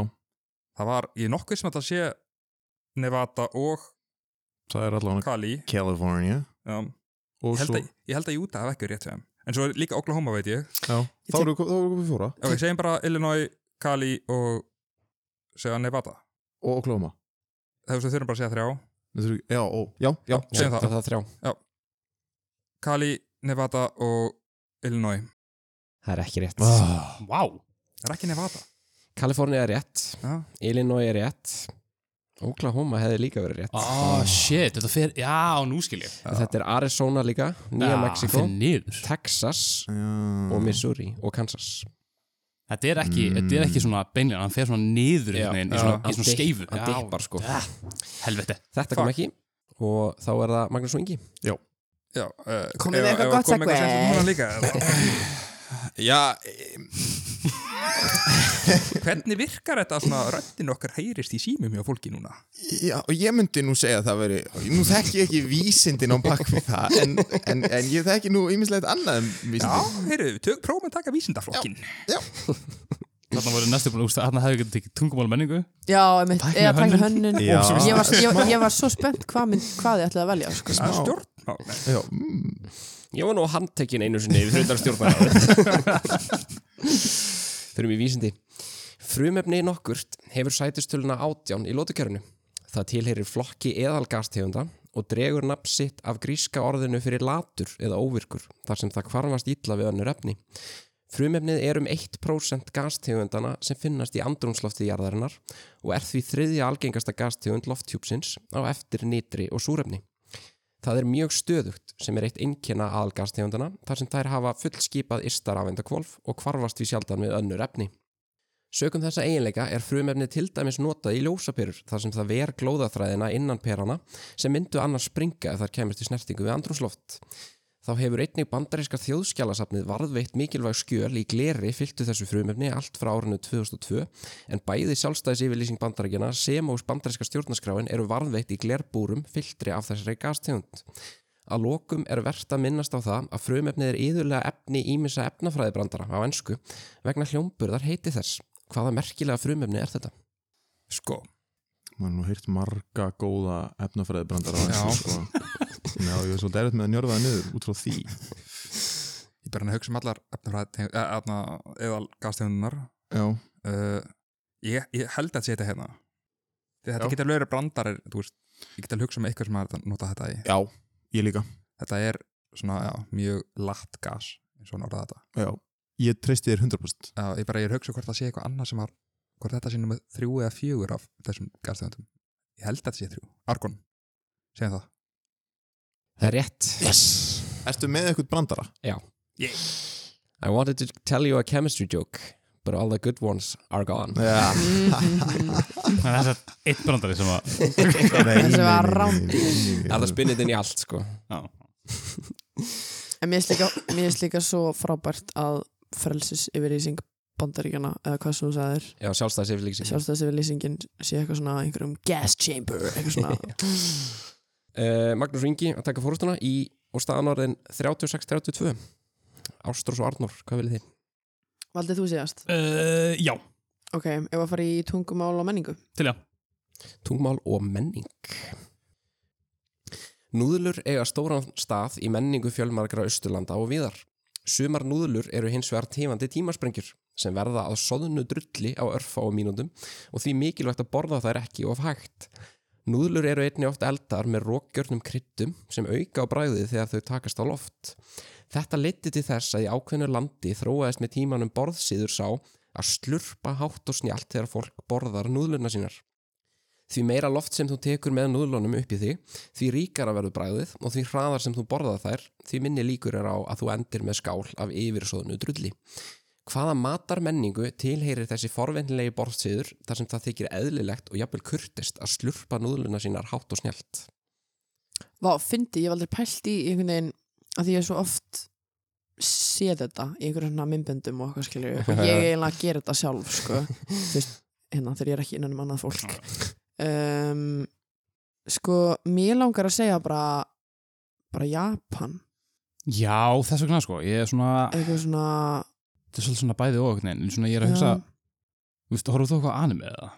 D: það var, ég er nokkuð sem að það sé Nevada og
E: Það er allavega
D: Cali
E: California
D: um,
E: Og
D: ég, held
E: svo
D: að, ég held að Utah hafa ekki verið rétt hjá þeim en svo er líka Oklahoma veit ég
E: Já Þá erum við þá erum við fjóra
D: ok, segjum bara Illinois, Cali og segja Nevada
E: Og Oklahoma
D: þegar við þurfum bara að segja þrjá
E: Þetta eru- Já, ó, já, já
D: segjum það.
A: Það er þrjá
D: Cali, Nevada og Illinois
A: Það er ekki rétt
E: Ah,
B: Wow
D: það er ekki Nevada
A: Kalifornia er rétt
D: Já.
A: Illinois er rétt Oklahoma hefði líka verið rétt
B: Ah shit, þetta fer, já nú skil ég
A: Þetta er Arizona líka, Nýja
B: Já,
A: Mexiko
B: þetta er niður.
A: Texas
E: já.
B: Mm.
A: og Missouri og Kansas
B: Þetta er ekki, þetta er ekki svona beinlega Hann fer svona
A: Mm.
B: niður
A: Já.
B: einhvern veginn í
D: Já.
B: svona, í
A: Hann
B: svona
A: dip-
B: skeifu
A: hann
B: Já.
A: dippar, sko.
B: Ah, Helvete
A: Þetta kom ekki og þá er það Magnús Vingi
D: Já, uh,
C: Komið með eitthvað gott
D: komið
C: segway.
D: með eitthvað sem núna líka eða?
E: Já, e,
D: Hvernig virkar þetta svona röndin okkar heyrist í símum hjá fólki núna?
E: já, og ég myndi nú segja að það veri Nú þekki ég ekki vísindin á bak við það En, en, en ég þekki nú ímislegt annað um
D: Já,
E: vísindin
D: heyrðu, tök, prófum að taka vísindaflokkin
B: Þarna voru næstu búin, úst, þarna hefði getið tekið tungumál menningu
C: já, einmitt,
B: Tækni
C: eða tækna
B: hönnun.
C: hönnun
E: Já.
C: ég var, ég, var- ég var svo spennt hvað, mynd, hvað ég ætlaði að velja sko.
D: Það er stjórn
E: Já, mm,
A: Ég var nú handtekinn einu sinni við þrjóðar stjórnar Þurfum í vísindi Frumefni nokkurt hefur sætistöluna átján í lótukjörnu Það tilherir flokki eðalgastegunda og dregur nafn sitt af gríska orðinu fyrir latur eða óvirkur þar sem það hvarfast illa við önnur efni Frumefnið er um 1% gastegundana sem finnast í andrumsloftið jarðarinnar og er því þriðja algengasta gastegund lofthjúpsins á eftir nýtri og súrefni. Það er mjög stöðugt sem er eitt einkenna aðalgastegundana þar sem þær hafa fullskipað ystarafendakvolf og hvarfast við sjaldan við önnur efni. Sökum þessa eiginleika er frumefnið til dæmis notað í ljósapyrur þar sem það ver glóðaþræðina innan perana sem myndu annars springa ef þær kemur til snertingu við andrúsloft. Þá hefur einnig bandaríska þjóðskjálasafnið varðveitt mikilvæg skjöl í gleri fylgtu þessu frumefni allt frá árinu 2002 en bæði sjálfstæðis yfirlýsing bandaríkjana sem og bandaríska stjórnaskráin eru varðveitt í glerbúrum fylgtri af þessari gastegund. Að lokum er verðt að minnast á það að frumefnið er yðurlega efni ímissa efnafræðibrandara á ennsku vegna hljómburðar heiti þess. Hvaða merkilega frumefni er þetta?
D: Sko,
E: maður er nú heyrt marga góða efnafræðibrandar á
D: Já.
E: þessu sko. Já, ég er svolítið erfitt með að njörfa það niður út frá því
D: ég bara hann að hugsa um allar efnafræði, eða gastegundunar
E: Já,
D: uh, ég, ég held að þetta sé þetta hérna Því Þetta
E: Já.
D: getur lögur brandarir, þú veist ég get alveg hugsa um eitthvað sem að nota þetta í
E: Já, ég líka
D: þetta er svona, já, mjög latt gas eins og hann orðaði þetta
E: Já, ég treysti þér 100%
D: já, ég bara, ég er að hugsa hvort það sé eitthvað annað sem að hvort þetta sé nummer þrjú eða fjögur af þessum gastegundum ég held að þetta sé þrjú, Argon segjum það,
A: Það er rétt
E: Yes Ertu með eitthvað brandara?
A: I wanted to tell you a chemistry joke But all the good ones are gone
E: Já
B: Það er þess að eitt brandari sem að
C: Þessi var rándýr.
A: Það er spinnit inn í allt sko
B: já.
C: En mér finnst líka, mér finnst líka svo frábært að frelsis yfirlýsing bandaríkjana eða hvað sem þú sagðir
A: Já, sjálfstæðis yfir líka
C: sjálfstæðis yfirlýsingin sé eitthvað svona í einhverjum gas chamber eitthvað svona
A: Eh, Magnús Ringi að taka fórustuna í og staðan orðin 36-32 Ástrós og Arnór, hvað viljið þið?
C: Valdið þú síðast?
A: Eh,
B: Uh, já,
C: Ok, ef að fara í tungumál og menningu
B: til já
A: Tungmál og menning Núðlur eiga stóran stað í menningu fjölmargra austurlanda og viðar. Sumar núðlur eru hins vegar tífandi tímasprengjur sem verða að soðnu drulli á örfa og mínúndum og því mikilvægt að borða þær ekki of hægt. Núðlur eru einni oft eldar með rókjörnum kryddum sem auka á bræðið þegar þau takast á loft. Þetta leyti til þess að í ákveðnu landi þróaðist með tímanum borðsýður sá að slurpa hátt og snjált þegar fólk borðar núðluna sínar. Því meira loft sem þú tekur með núðlunum upp í þig, því ríkara verður bræðið og því hraðar sem þú borðar þær, því minni líkur er á að þú endir með skál af yfirsóðnu drulli. Hvaða matar menningu tilheyrir þessi forvendinlegi borðsýður þar sem það þykir eðlilegt og jafnvel kurtist að slurpa núðluna sínar hátt og snjált?
C: Vá, fyndi, ég hef aldrei pælt í einhvern veginn að því ég hef svo oft séð þetta í einhverjum svona myndböndum og eitthvað skilur og ég er eiginlega að gera þetta sjálf sko. Þú veist, hérna þegar ég er ekki innan um annað fólk um, sko, mér langar að segja bara bara Japan
B: Já, þess vegna sko, ég er svona
C: eitthvað svona um,
B: þetta er svolítið svona bæði og einhvern veginn en svona ég er að hugsa,
C: Já.
B: þú veist, horfðu þú eitthvað á anime eða?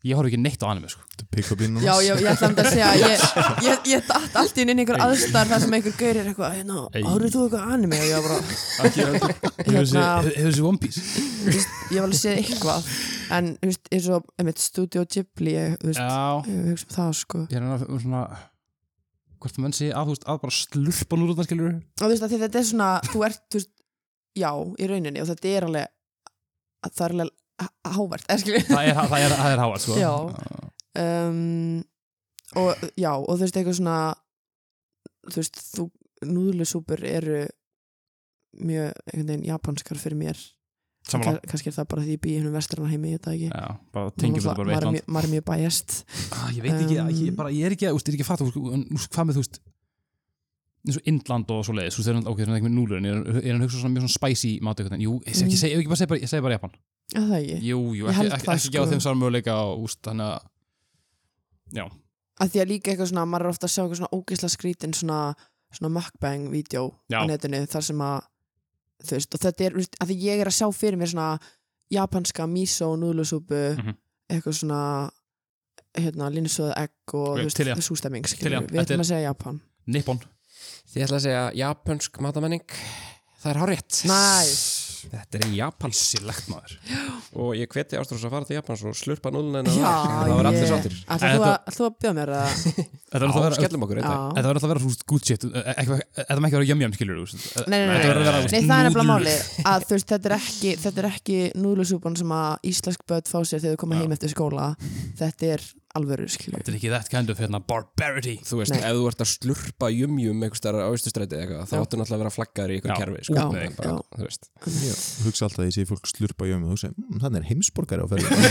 B: Ég horf ekki neitt á anime sko
E: Pick up in
C: Já, ég, ég ætla um þetta að segja ég, ég, ég datt allt í einu inn í einhver aðstar þar sem einhver gaurir eitthvað, hérna,
B: Ey.
C: árið þú eitthvað anime og ég var bara, hérna,
B: Hefur þessi-
A: Hérna-
B: hefur þessi One Piece?
C: þú veist, ég var alveg að segja eitthvað en, þú veist, eins og, einmitt, Studio Ghibli ég, þú veist,
B: Já,
C: ég hugsa um það, sko
B: ég er að um svona hvort það menn sé að, þú veist, að bara slurpa núr út af skilur
C: og þú veist að þetta er svona þú ert, þú veist, já, í rauninni og þetta er alveg að það er alveg há- hávært, er skilur
B: það er, það er, það er hávært sko
C: Já. um, og já, og þú veist eitthvað svona þú veist, þú núðlusúpur eru mjög einhvern veginn japanskar fyrir mér
B: Samanlá
C: Kann- kannski er það bara því ég býi hennum vestrana heimi þetta ekki
B: Já, bara tengjum þetta bara við
C: maður, er
B: Eitland
C: mjög- maður er mjög bæjast
B: ah, Ég veit ekki,
C: Um,
B: ég, bara, ég er ekki, að- þú veist, ég er ekki að fatta þú veist, en, þú veist, hvað með, þú veist eins og Indland og svo leiðis, þú veist, þegar hann- ok, það er ekki með núlurinn ég er- er hann hugsa svona mjög svona spicy mat eitthvað, en jú, ég segi ekki,
C: Mm.
B: segi- ef ekki bara segi bara, ég segi bara Japan
C: að það ekki
B: Jú, jú,
C: Ég
B: ekki,
C: held
B: ekki,
C: það,
B: ekki sko.
C: sko.
B: á þeim sára möguleika og úst, þannig að
C: að því að líka eitthvað svona, maður er ofta að sjá eitthvað svona ógeðsla skrítin svona, svona mukbang-vídeó
B: Já.
C: á netinu þar sem að þú veist, og þetta er, þú veist, að því ég er að sjá fyrir mér svona japanska miso og núðlusúpu
B: Mhm.
C: eitthvað svona hérna, linsöðu egg og
B: Ok,
C: þú veist,
B: til í það.
C: sústemming
B: Til í það.
C: skilur, við við
B: Þetta
C: ætlum að segja Japan
B: Nippon
A: Þið ætla að segja japansk matamenning, það er hárétt.
C: Nice.
A: Þetta er í Japan
B: Pissilegt maður
A: og ég hveti Ástrós að fara til Japans og slurpa núðluna
C: Já,
A: hennar. Það var allir
C: ég-
A: sáttir.
C: Ætlar
B: En
C: þú
B: þetta-
C: að- ætlar þú að bjóða mér að
B: Þetta
A: Já,
B: verður alltaf að vera
A: skellum okkur
C: Já.
A: þetta.
B: Þetta verður alltaf að vera svona good shit eh, ekki- Þetta má ekki vera jömjum skilur
C: Nei, nei,
B: Þetta
C: nei,
B: verður að vera þú
C: nei,
B: veist,
C: nei, það er nefnilega
B: núðlur.
C: máli að þú veist, þetta er ekki, þetta er ekki núðlusúpan sem að íslensk börn fá sér þegar þau koma
B: Já.
C: heim eftir skóla þetta er alvöru skilur
B: Þetta er ekki that kind of hérna, barbarity
A: þú veist,
C: Nei.
A: ef þú ert að slurpa jumjum einhverstaðar á austustræti eða eitthvað, þá
C: Já.
A: áttu náttúrulega að vera flaggaður í
B: Já,
A: eitthvað kerfi,
B: út með
A: En
B: þig.
A: bara,
C: Já.
A: þú veist.
E: Hugsa alltaf að ég sé fólk slurpa í um og hugsa, mmm, þannig er heimsborgari á ferðinni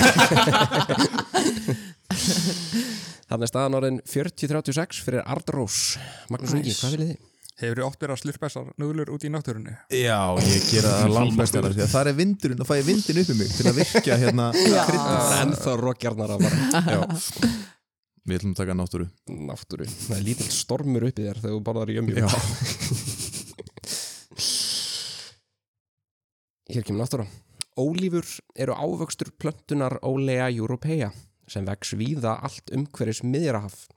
A: Þannig er staðan orðin 4036 fyrir Ardrós. Magnús Ingi,
C: Nice.
A: hvað viljið þið?
D: hefur þið oft verið að slurpa þessar núðlur út í náttúrunni
E: Já, ég gera það langbæstar Það er vindurinn, þá fæ ég vindin upp í mig til að virkja hérna
A: Það er ennþá roggjarnar að bara
E: Já. Við ætlum að taka náttúru
A: náttúru. Það er lítill stormur uppi þér þegar þú borðar jumjum.
E: Já.
A: Hér kemur náttúra. Ólífur eru ávöxtur plöntunar Ólea Europeia sem vex víða allt umhverjus miðjarahaf.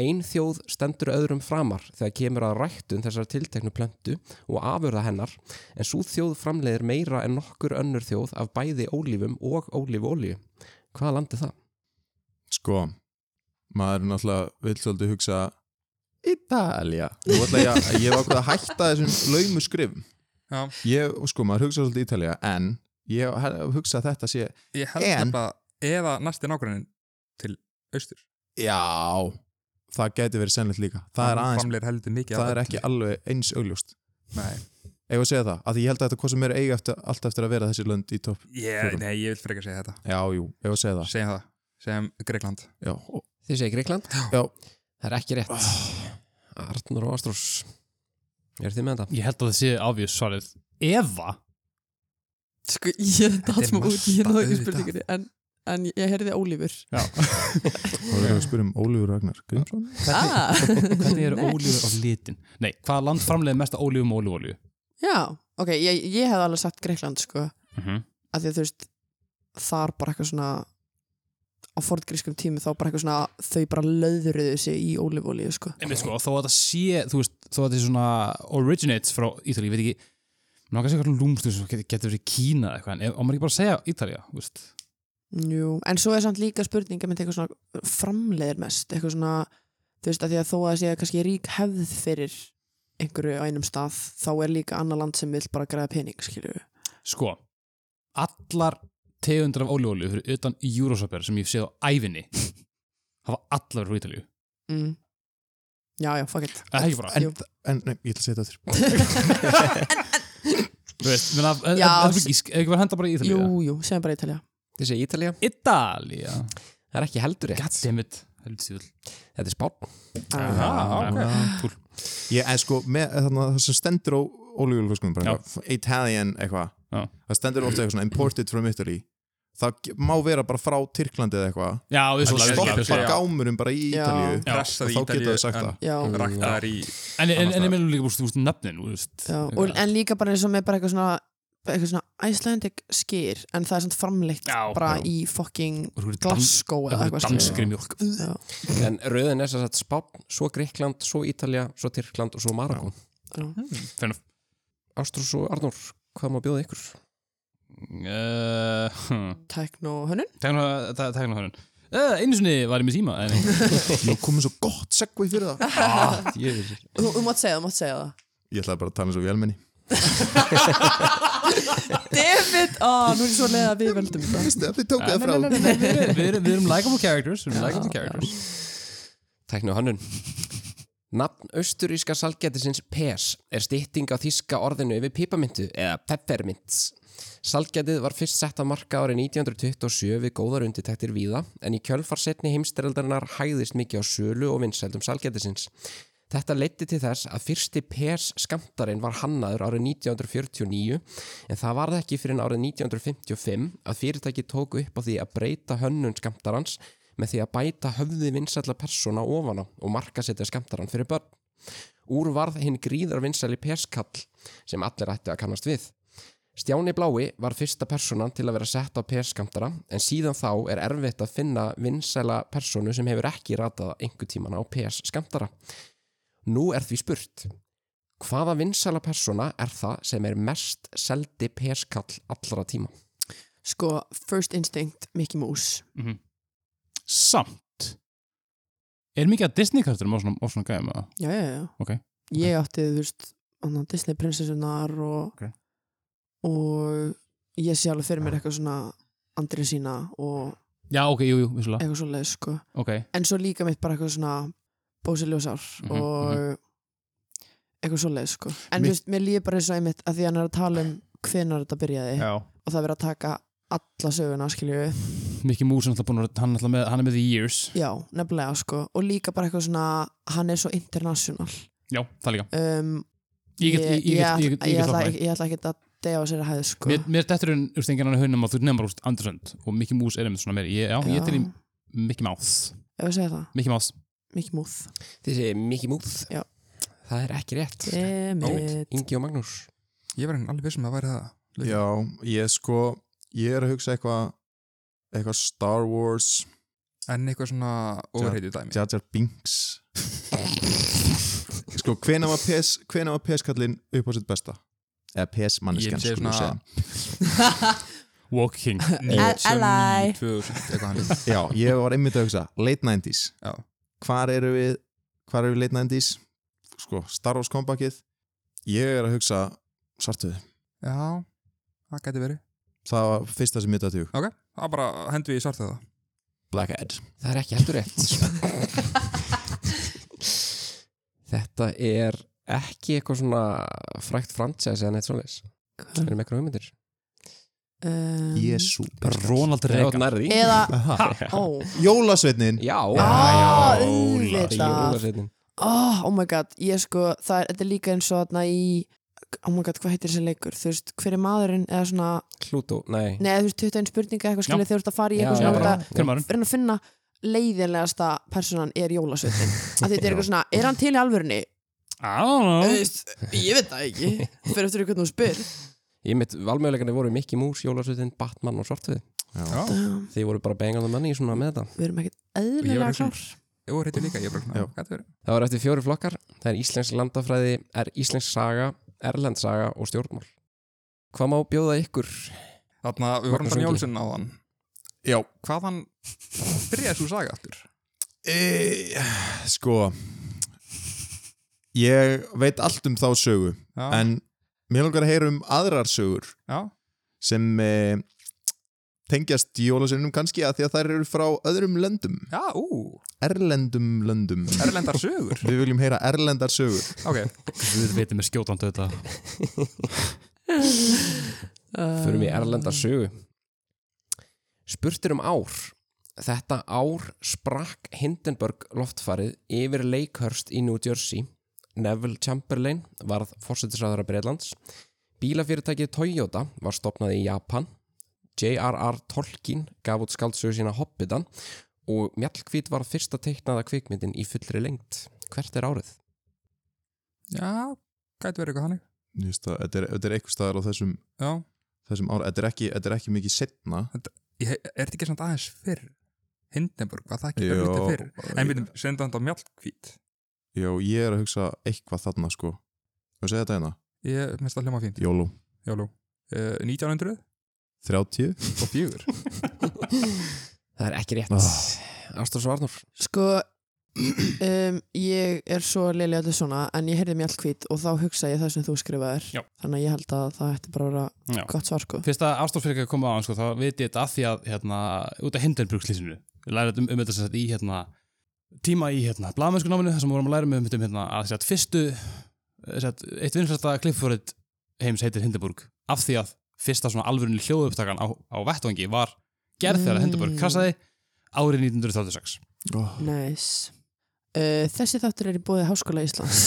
A: Ein þjóð stendur öðrum framar þegar kemur að ræktun þessar tilteknu plöntu og afurða hennar en svo þjóð framleiðir meira en nokkur önnur þjóð af bæði ólífum og ólífu ólíu. Hvaða landi það?
E: Sko, maður náttúrulega vil svolítið hugsa Ítalja Nú ætla ég að ég var okkur að hætta þessum laumu skrifum
D: Já.
E: Ég, sko, maður hugsa svolítið Ítalja en ég hef- hugsa að þetta sé
D: Ég held
E: En-
D: nefnilega eða næsti nágrannin til austur
E: Já Það gæti verið sennilegt líka Það er
D: Hann
E: aðeins,
D: framleiðir heldur mikið
E: það
D: af
E: er
D: öllu.
E: ekki alveg eins augljóst
D: Nei,
E: Ef að segja það, að ég held að þetta hvað sem er eiga eftir, allt eftir að vera þessi lönd í topp
D: ég,
E: Fjórum.
D: nei, ég vil frekar segja þetta
E: Já, jú, ef að segja það
D: Segja það, segjum Greikland
E: Já,
A: Þið segir Greikland?
E: Já.
A: Það er ekki rétt. Arnur og Ástrós. Er þið með þetta?
B: Ég held að það sé afvís svarið Eva
C: Sko, ég
D: Þetta
C: datt
D: er
C: smá út, ég
D: Marta,
C: náðu ekki
D: auðvitað.
C: spurningunni en, en ég heyrði Ólífur
E: þá erum við að spyrja um Ólífur Ragnar Grímsson
C: ah,
B: Hvernig eru
C: nice.
B: ólífur af litin? Nei, hvaða land framleiði mest af ólífum og ólífólíu?
C: Já, ok, ég, ég hef alveg sagt Greikland sko,
B: Mm -hmm.
C: af því að þú veist þar bara eitthvað svona á forngrískum tími þá bara eitthvað svona þau bara löðruðu sig í ólífólíu sko.
B: Einmitt sko, þó að það sé, þú veist, þó að þetta sé svona originates frá Ítalíu, ég veit ekki Ná kannski eitthvað lúmst, þú veist, getur geti verið Kína eða eitthvað, en ef- á maður ekki bara að segja Ítalía, þú veist
C: Jú, en svo er samt líka spurning með eitthvað svona framleiðir mest eitthvað svona, þú veist, af því að þó að það sé kannski rík hefð fyrir einhverju á einum stað, þá er líka annar land sem vil bara græða pening, skilju
B: Sko, allar tegundar af ólífólíu fyrir utan Júrósapir sem ég séð á ævinni hafa allar verið frá Ítalíu
C: mm. Já, já, fuck it
B: Það er ekki bara,
E: En,
C: Jú.
E: en nei, ég ætla að segja þetta þér
B: þú veist, menna, það
C: Já,
B: er ekki, ef ekki verið henda bara í Ítalíu
C: Jú, jú, segjum bara Ítalja
A: Þið segir Ítalja?
B: Ítalía
A: Það er ekki heldur rétt.
B: Goddammit, heldur sýðul
A: Þetta er Spán.
C: ah.
B: Cool
E: Ég er sko með þarna það sem stendur á ólífjólfiskunum bara
B: Já.
E: eitthvað, Italian eitthvað
B: Já.
E: það stendur ofta eitthvað svona imported from Italy það ge- má vera bara frá Tyrklandi eða eitthvað
B: Já,
E: það
B: vissulega,
D: stoppar
B: vissulega,
E: stoppar
B: vissulega.
E: gámurum bara í
C: Já.
E: Ítalíu
B: Já,
D: Pressað
E: og
D: í
E: þá geta
D: Ítalíu
E: þau sagt það
C: Já,
D: en Raktaðar í
B: En, en, en
D: Annars
B: ég meðlum líka bara, þú veist, nöfnin, þú veist
C: Já, og, en líka bara eins og með bara eitthvað svona eitthvað svona Icelandic skyr en það er svona framleitt
B: Já,
C: bara
B: já.
C: í fucking
B: Og þú eru dans-
C: Glasgow
B: Það
C: eða
B: er
C: eitthvað
B: danskri mjólk
C: skilur. Já,
A: En rauðin er sem sagt Spán, svo Greikland, svo Ítalja, svo Tyrkland og svo Marakon.
C: já.
A: Ástrós og Arnur, hvað má bjóða ykkur?
B: uh, hm.
C: Tekno hönnun
B: Tegna hörun uh, Einu sinni var ég með síma en,
E: Nú komum svo gott segvei fyrir það
C: Þú þú mátt segja það, þú mátt segja það
E: Ég ætlaði bara að tala eins og vélmenni
C: David, á, nú er ég svo leið að við veldum þetta
E: Stefni tók það frá
B: Við erum- við erum, við erum likeable characters Við erum likeable
C: Já,
B: characters
A: Tæknu hönnun. Nafn austuríska salgætisins pes er stytting á þíska orðinu yfir pípamyntu eða peppermint. Salgætið var fyrst sett að marka árið 1927 við góðar undirtæktir víða en í kjölfar setni heimstereldarinnar hæðist mikið á sölu og vinsældum salgætisins. Þetta leiddi til þess að fyrsti pes skamtarinn var hannaður árið 1949 en það varði ekki fyrir en árið 1955 að fyrirtæki tóku upp á því að breyta hönnun skamtarans með því að bæta höfði vinsætla persóna ofan á og markasetja skamtaran fyrir börn. Úr varð hinn gríðar vinsæli peskall sem allir ættu að kannast við. Stjáni Blái var fyrsta personan til að vera sett á peskamtara en síðan þá er erfitt að finna vinsæla personu sem hefur ekki ratað einhver tíman á peskamtara. Nú er því spurt, hvaða vinsæla persona er það sem er mest seldi peskall allra tíma?
C: Sko, first instinct, Mickey Mouse
B: Samt Er mikið að Disney karakterum á svona, á svona gæðum eða?
C: Já, já, já
B: Ok.
C: Ég átti, þú veist, annað, Disney prinsessunar og
B: Ok.
C: og ég sé alveg fyrir mér eitthvað svona Andresína og
B: Já, ok, jú, jú, vissulega
C: eitthvað svo leið, sko
B: Ok,
C: en svo líka mitt bara eitthvað svona Bósi Ljósár
B: Mhm,
C: og eitthvað svoleið sko. en
E: Mér-
C: þú veist, mér líður bara eins og einmitt að því að hann er að tala um hvenar þetta byrjaði
B: já
C: og það er verið að taka alla söguna skilju við,
B: Mickey Mouse er alltaf búin að hann, er náttúrulega með, hann er með The Years
C: já, nefnilega sko og líka bara eitthvað svona, hann er svo international
B: Já, það líka
C: um,
B: Ég get, ég, ég
C: ætla-
B: get, ég get, ég get
C: ætla
B: hlappað
C: ekki- ég ætla ekki að dega á sér að hæðu sko
B: Mér, mér dettur en, þú veist, engan hann haugnum að þú nefnir, þú veist, Andersönd og Mickey Mouse er einmitt svona meiri Ég, já, ég til í
C: Já,
B: Mickey Mouse
C: ef ég segja það,
B: Mickey Mouse
C: Mickey Mouse
A: Þið segir Mickey Mouse.
C: Já.
A: Það er ekki rétt.
C: Emmett.
A: Ingi og Magnús.
D: Ég var alveg vissum að væri það líka.
E: Já, ég sko Ég er að hugsa eitthvað eitthvað Star Wars
D: En eitthvað svona overheitu dæmi
E: Jar Jar Binks Sko, hvena var PS hvena var PS kallinn upp á sitt besta? Eða PS
D: Ég
E: manneskjan
D: segi
E: skulum við
D: svona-
E: segja.
B: Walking
C: Ally.
D: 2000, eitthvað hann er.
E: Já, ég var einmitt að hugsa, late 90s
D: Já.
E: Hvar eru við, hvar eru við late 90s? Sko, Star Wars kompakið Ég er að hugsa svartuðu
D: Já, það gæti verið
E: Það var fyrsta sem mitt að tjúk
D: Ok, það bara hendur við í svarta það
E: Blackhead
A: Það er ekki heldur rétt Þetta er ekki eitthvað svona frækt franchise eða neitt svoleiðis Það er með eitthvað hugmyndir
C: Um,
E: Jésu
B: Ronald
A: Eða
B: Reagan
A: nærði
C: Eða,
E: Aha.
C: ó,
E: Jólasveitnin
A: Já
C: Ah,
A: Það er
C: auðvitað.
A: jólasveinninn.
C: oh, oh my god, ég sko, það er, þetta er líka eins og þarna í, oh my god, hvað heitir þessi leikur, þú veist, hver er maðurinn eða svona,
A: Klútó, nei
C: nei, þú veist, 21 spurninga eitthvað skilja þegar þú ert að fara í
A: Já, já,
C: eitthvað svona,
A: já.
C: já,
B: Hver maður?
C: reyna að finna leiðinlegasta personan er jólasveitin að þetta er eitthvað svona, er hann til í alvörunni
B: I don't know
C: Veist, ég veit það ekki, fyrir eftir hvernig hún spyr
A: Ég mitt valmöðuleikana voru Mickey Mouse, Jólasveitin, Batman og Svartfið
E: Já.
C: Já,
A: Þið voru bara bengað um manni svona með þetta
C: við erum ekkert
D: Ég var
C: eðlilega
D: ekki-
C: klár
D: um- Jú, heitir líka, ég bara, svona,
E: Já.
D: gæti verið
A: Það var eftir fjóri flokkar Það er íslensk landafræði, er íslensk saga, erlend saga og stjórnmál Hvað má bjóða ykkur?
D: Þarna, við vorum
A: Magnús
D: þannig
A: Ingi.
D: Jónsson á þann
E: Já.
D: Hvaðan byrjaði svo saga aftur?
E: e, Sko Ég veit allt um þá sögu
D: Já,
E: En mér langar að heyra um aðrar sögur
D: já,
E: sem e, tengjast jólasveinum kannski að því að þær eru frá öðrum löndum
D: já, ú,
E: Erlendum löndum
D: erlendar sögur
E: Við viljum heyra erlendar sögur
D: Ok,
B: Við veitum með skjótandi þetta
A: Förum í erlenda sögu Spurtir um ár Þetta ár sprakk Hindenburg loftfarið yfir Lakehurst í New Jersey Neville Chamberlain varð fórsetisræðara Breitlands Bílafyrirtækið Toyota var stopnað í Japan J.R.R. Tolkien gaf út skaldsögu sína Hobbitan og Mjallkvít var fyrsta teiknaða kvikmyndin í fullri lengt Hvert er árið?
D: já, gæti verið eitthvað þannig
E: Nýsta, þetta, er, þetta er eitthvað staðar á þessum,
D: Já,
E: þessum ára þetta er, ekki, þetta er ekki mikið setna
D: ég, er þetta ekki samt aðeins fyrr? Hindenburg, var það ekki
E: Já.
D: örlítið fyrr? En við senda hann á mjallkvít
E: Já, ég er að hugsa eitthvað þarna sko og segja þetta hérna
D: Ég minnst það hljóma fínt
E: Jólu
D: Jólú uh, 1900
E: 30
D: og fjögur
A: Það er ekki rétt
E: Ah.
A: Ástur Svarnur
C: Sko um, Ég er svo leilig öllu svona en ég heyrði mjallkvít og þá hugsa ég það sem þú skrifaðir
B: Já.
C: þannig að ég held að það ætti bara að vera
B: Já
C: gott svar sko
B: Fyrst að ástofsfyrirka koma á hann sko, þá veit ég þetta að því að hérna, út af Hindenburg-slýsinu við lærum um, um þetta sem sagt í hérna, tíma í hérna, blamenskunáminu þar sem við vorum að læra um, um hérna, að sagt, fyrstu eh, sagt, eitt vinsvæsta klippfórið heims heitir Hindenburg af því að fyrsta svona alvörunni hljóðupptakan á, á vettvangi var gerð þegar
C: Mm.
B: Hindenburg krasaði árið 1936
E: oh.
C: Næs uh, Þessi þáttur er í bóði Háskóla Íslands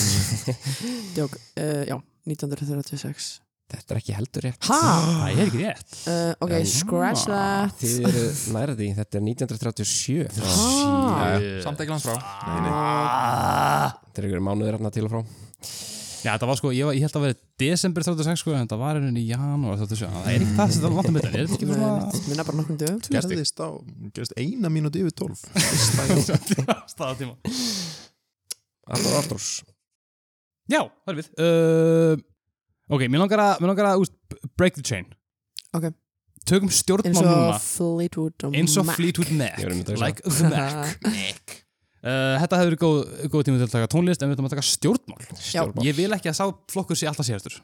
C: Jók, uh, já 1936
A: Þetta er ekki heldur rétt
C: Ha?
B: Það er ekki rétt
C: Uh, ok,
A: Já.
C: scratch that
A: Þið eru nærði, þetta er 1937
C: Ha?
B: Shit.
D: Samt ekki langt frá
E: Nei, nei.
C: Ah,
A: Þetta er ykkur mánuður hérna til og frá
B: Já, þetta var sko, ég, var, ég held að vera desember 36 sko, en þetta var einhvern í janúar 37 Það er ekki það sem þetta vantum þetta, er þetta ekki bara svona
C: Minna bara nokkrum dögum
E: gerðist á gerðist eina mínúti yfir 12
B: staðatíma
A: Artur Arturs
B: Já, það er við uh, Ok, mér langar að, mér langar að úst, break the chain
C: Ok.
B: Tökum
C: eins
B: stjórnmál
C: og
B: núna
C: Fleetwood og
B: eins og
C: Mac.
B: Fleetwood Mac
A: Ég var einmitt að hugsa.
B: like the Mac uh, Þetta hefur verið góð, góð tíma til að taka tónlist en við ætlum að taka stjórnmál
A: Stjórnmál.
B: Ég vil ekki að sá flokkur sé alltaf sérastur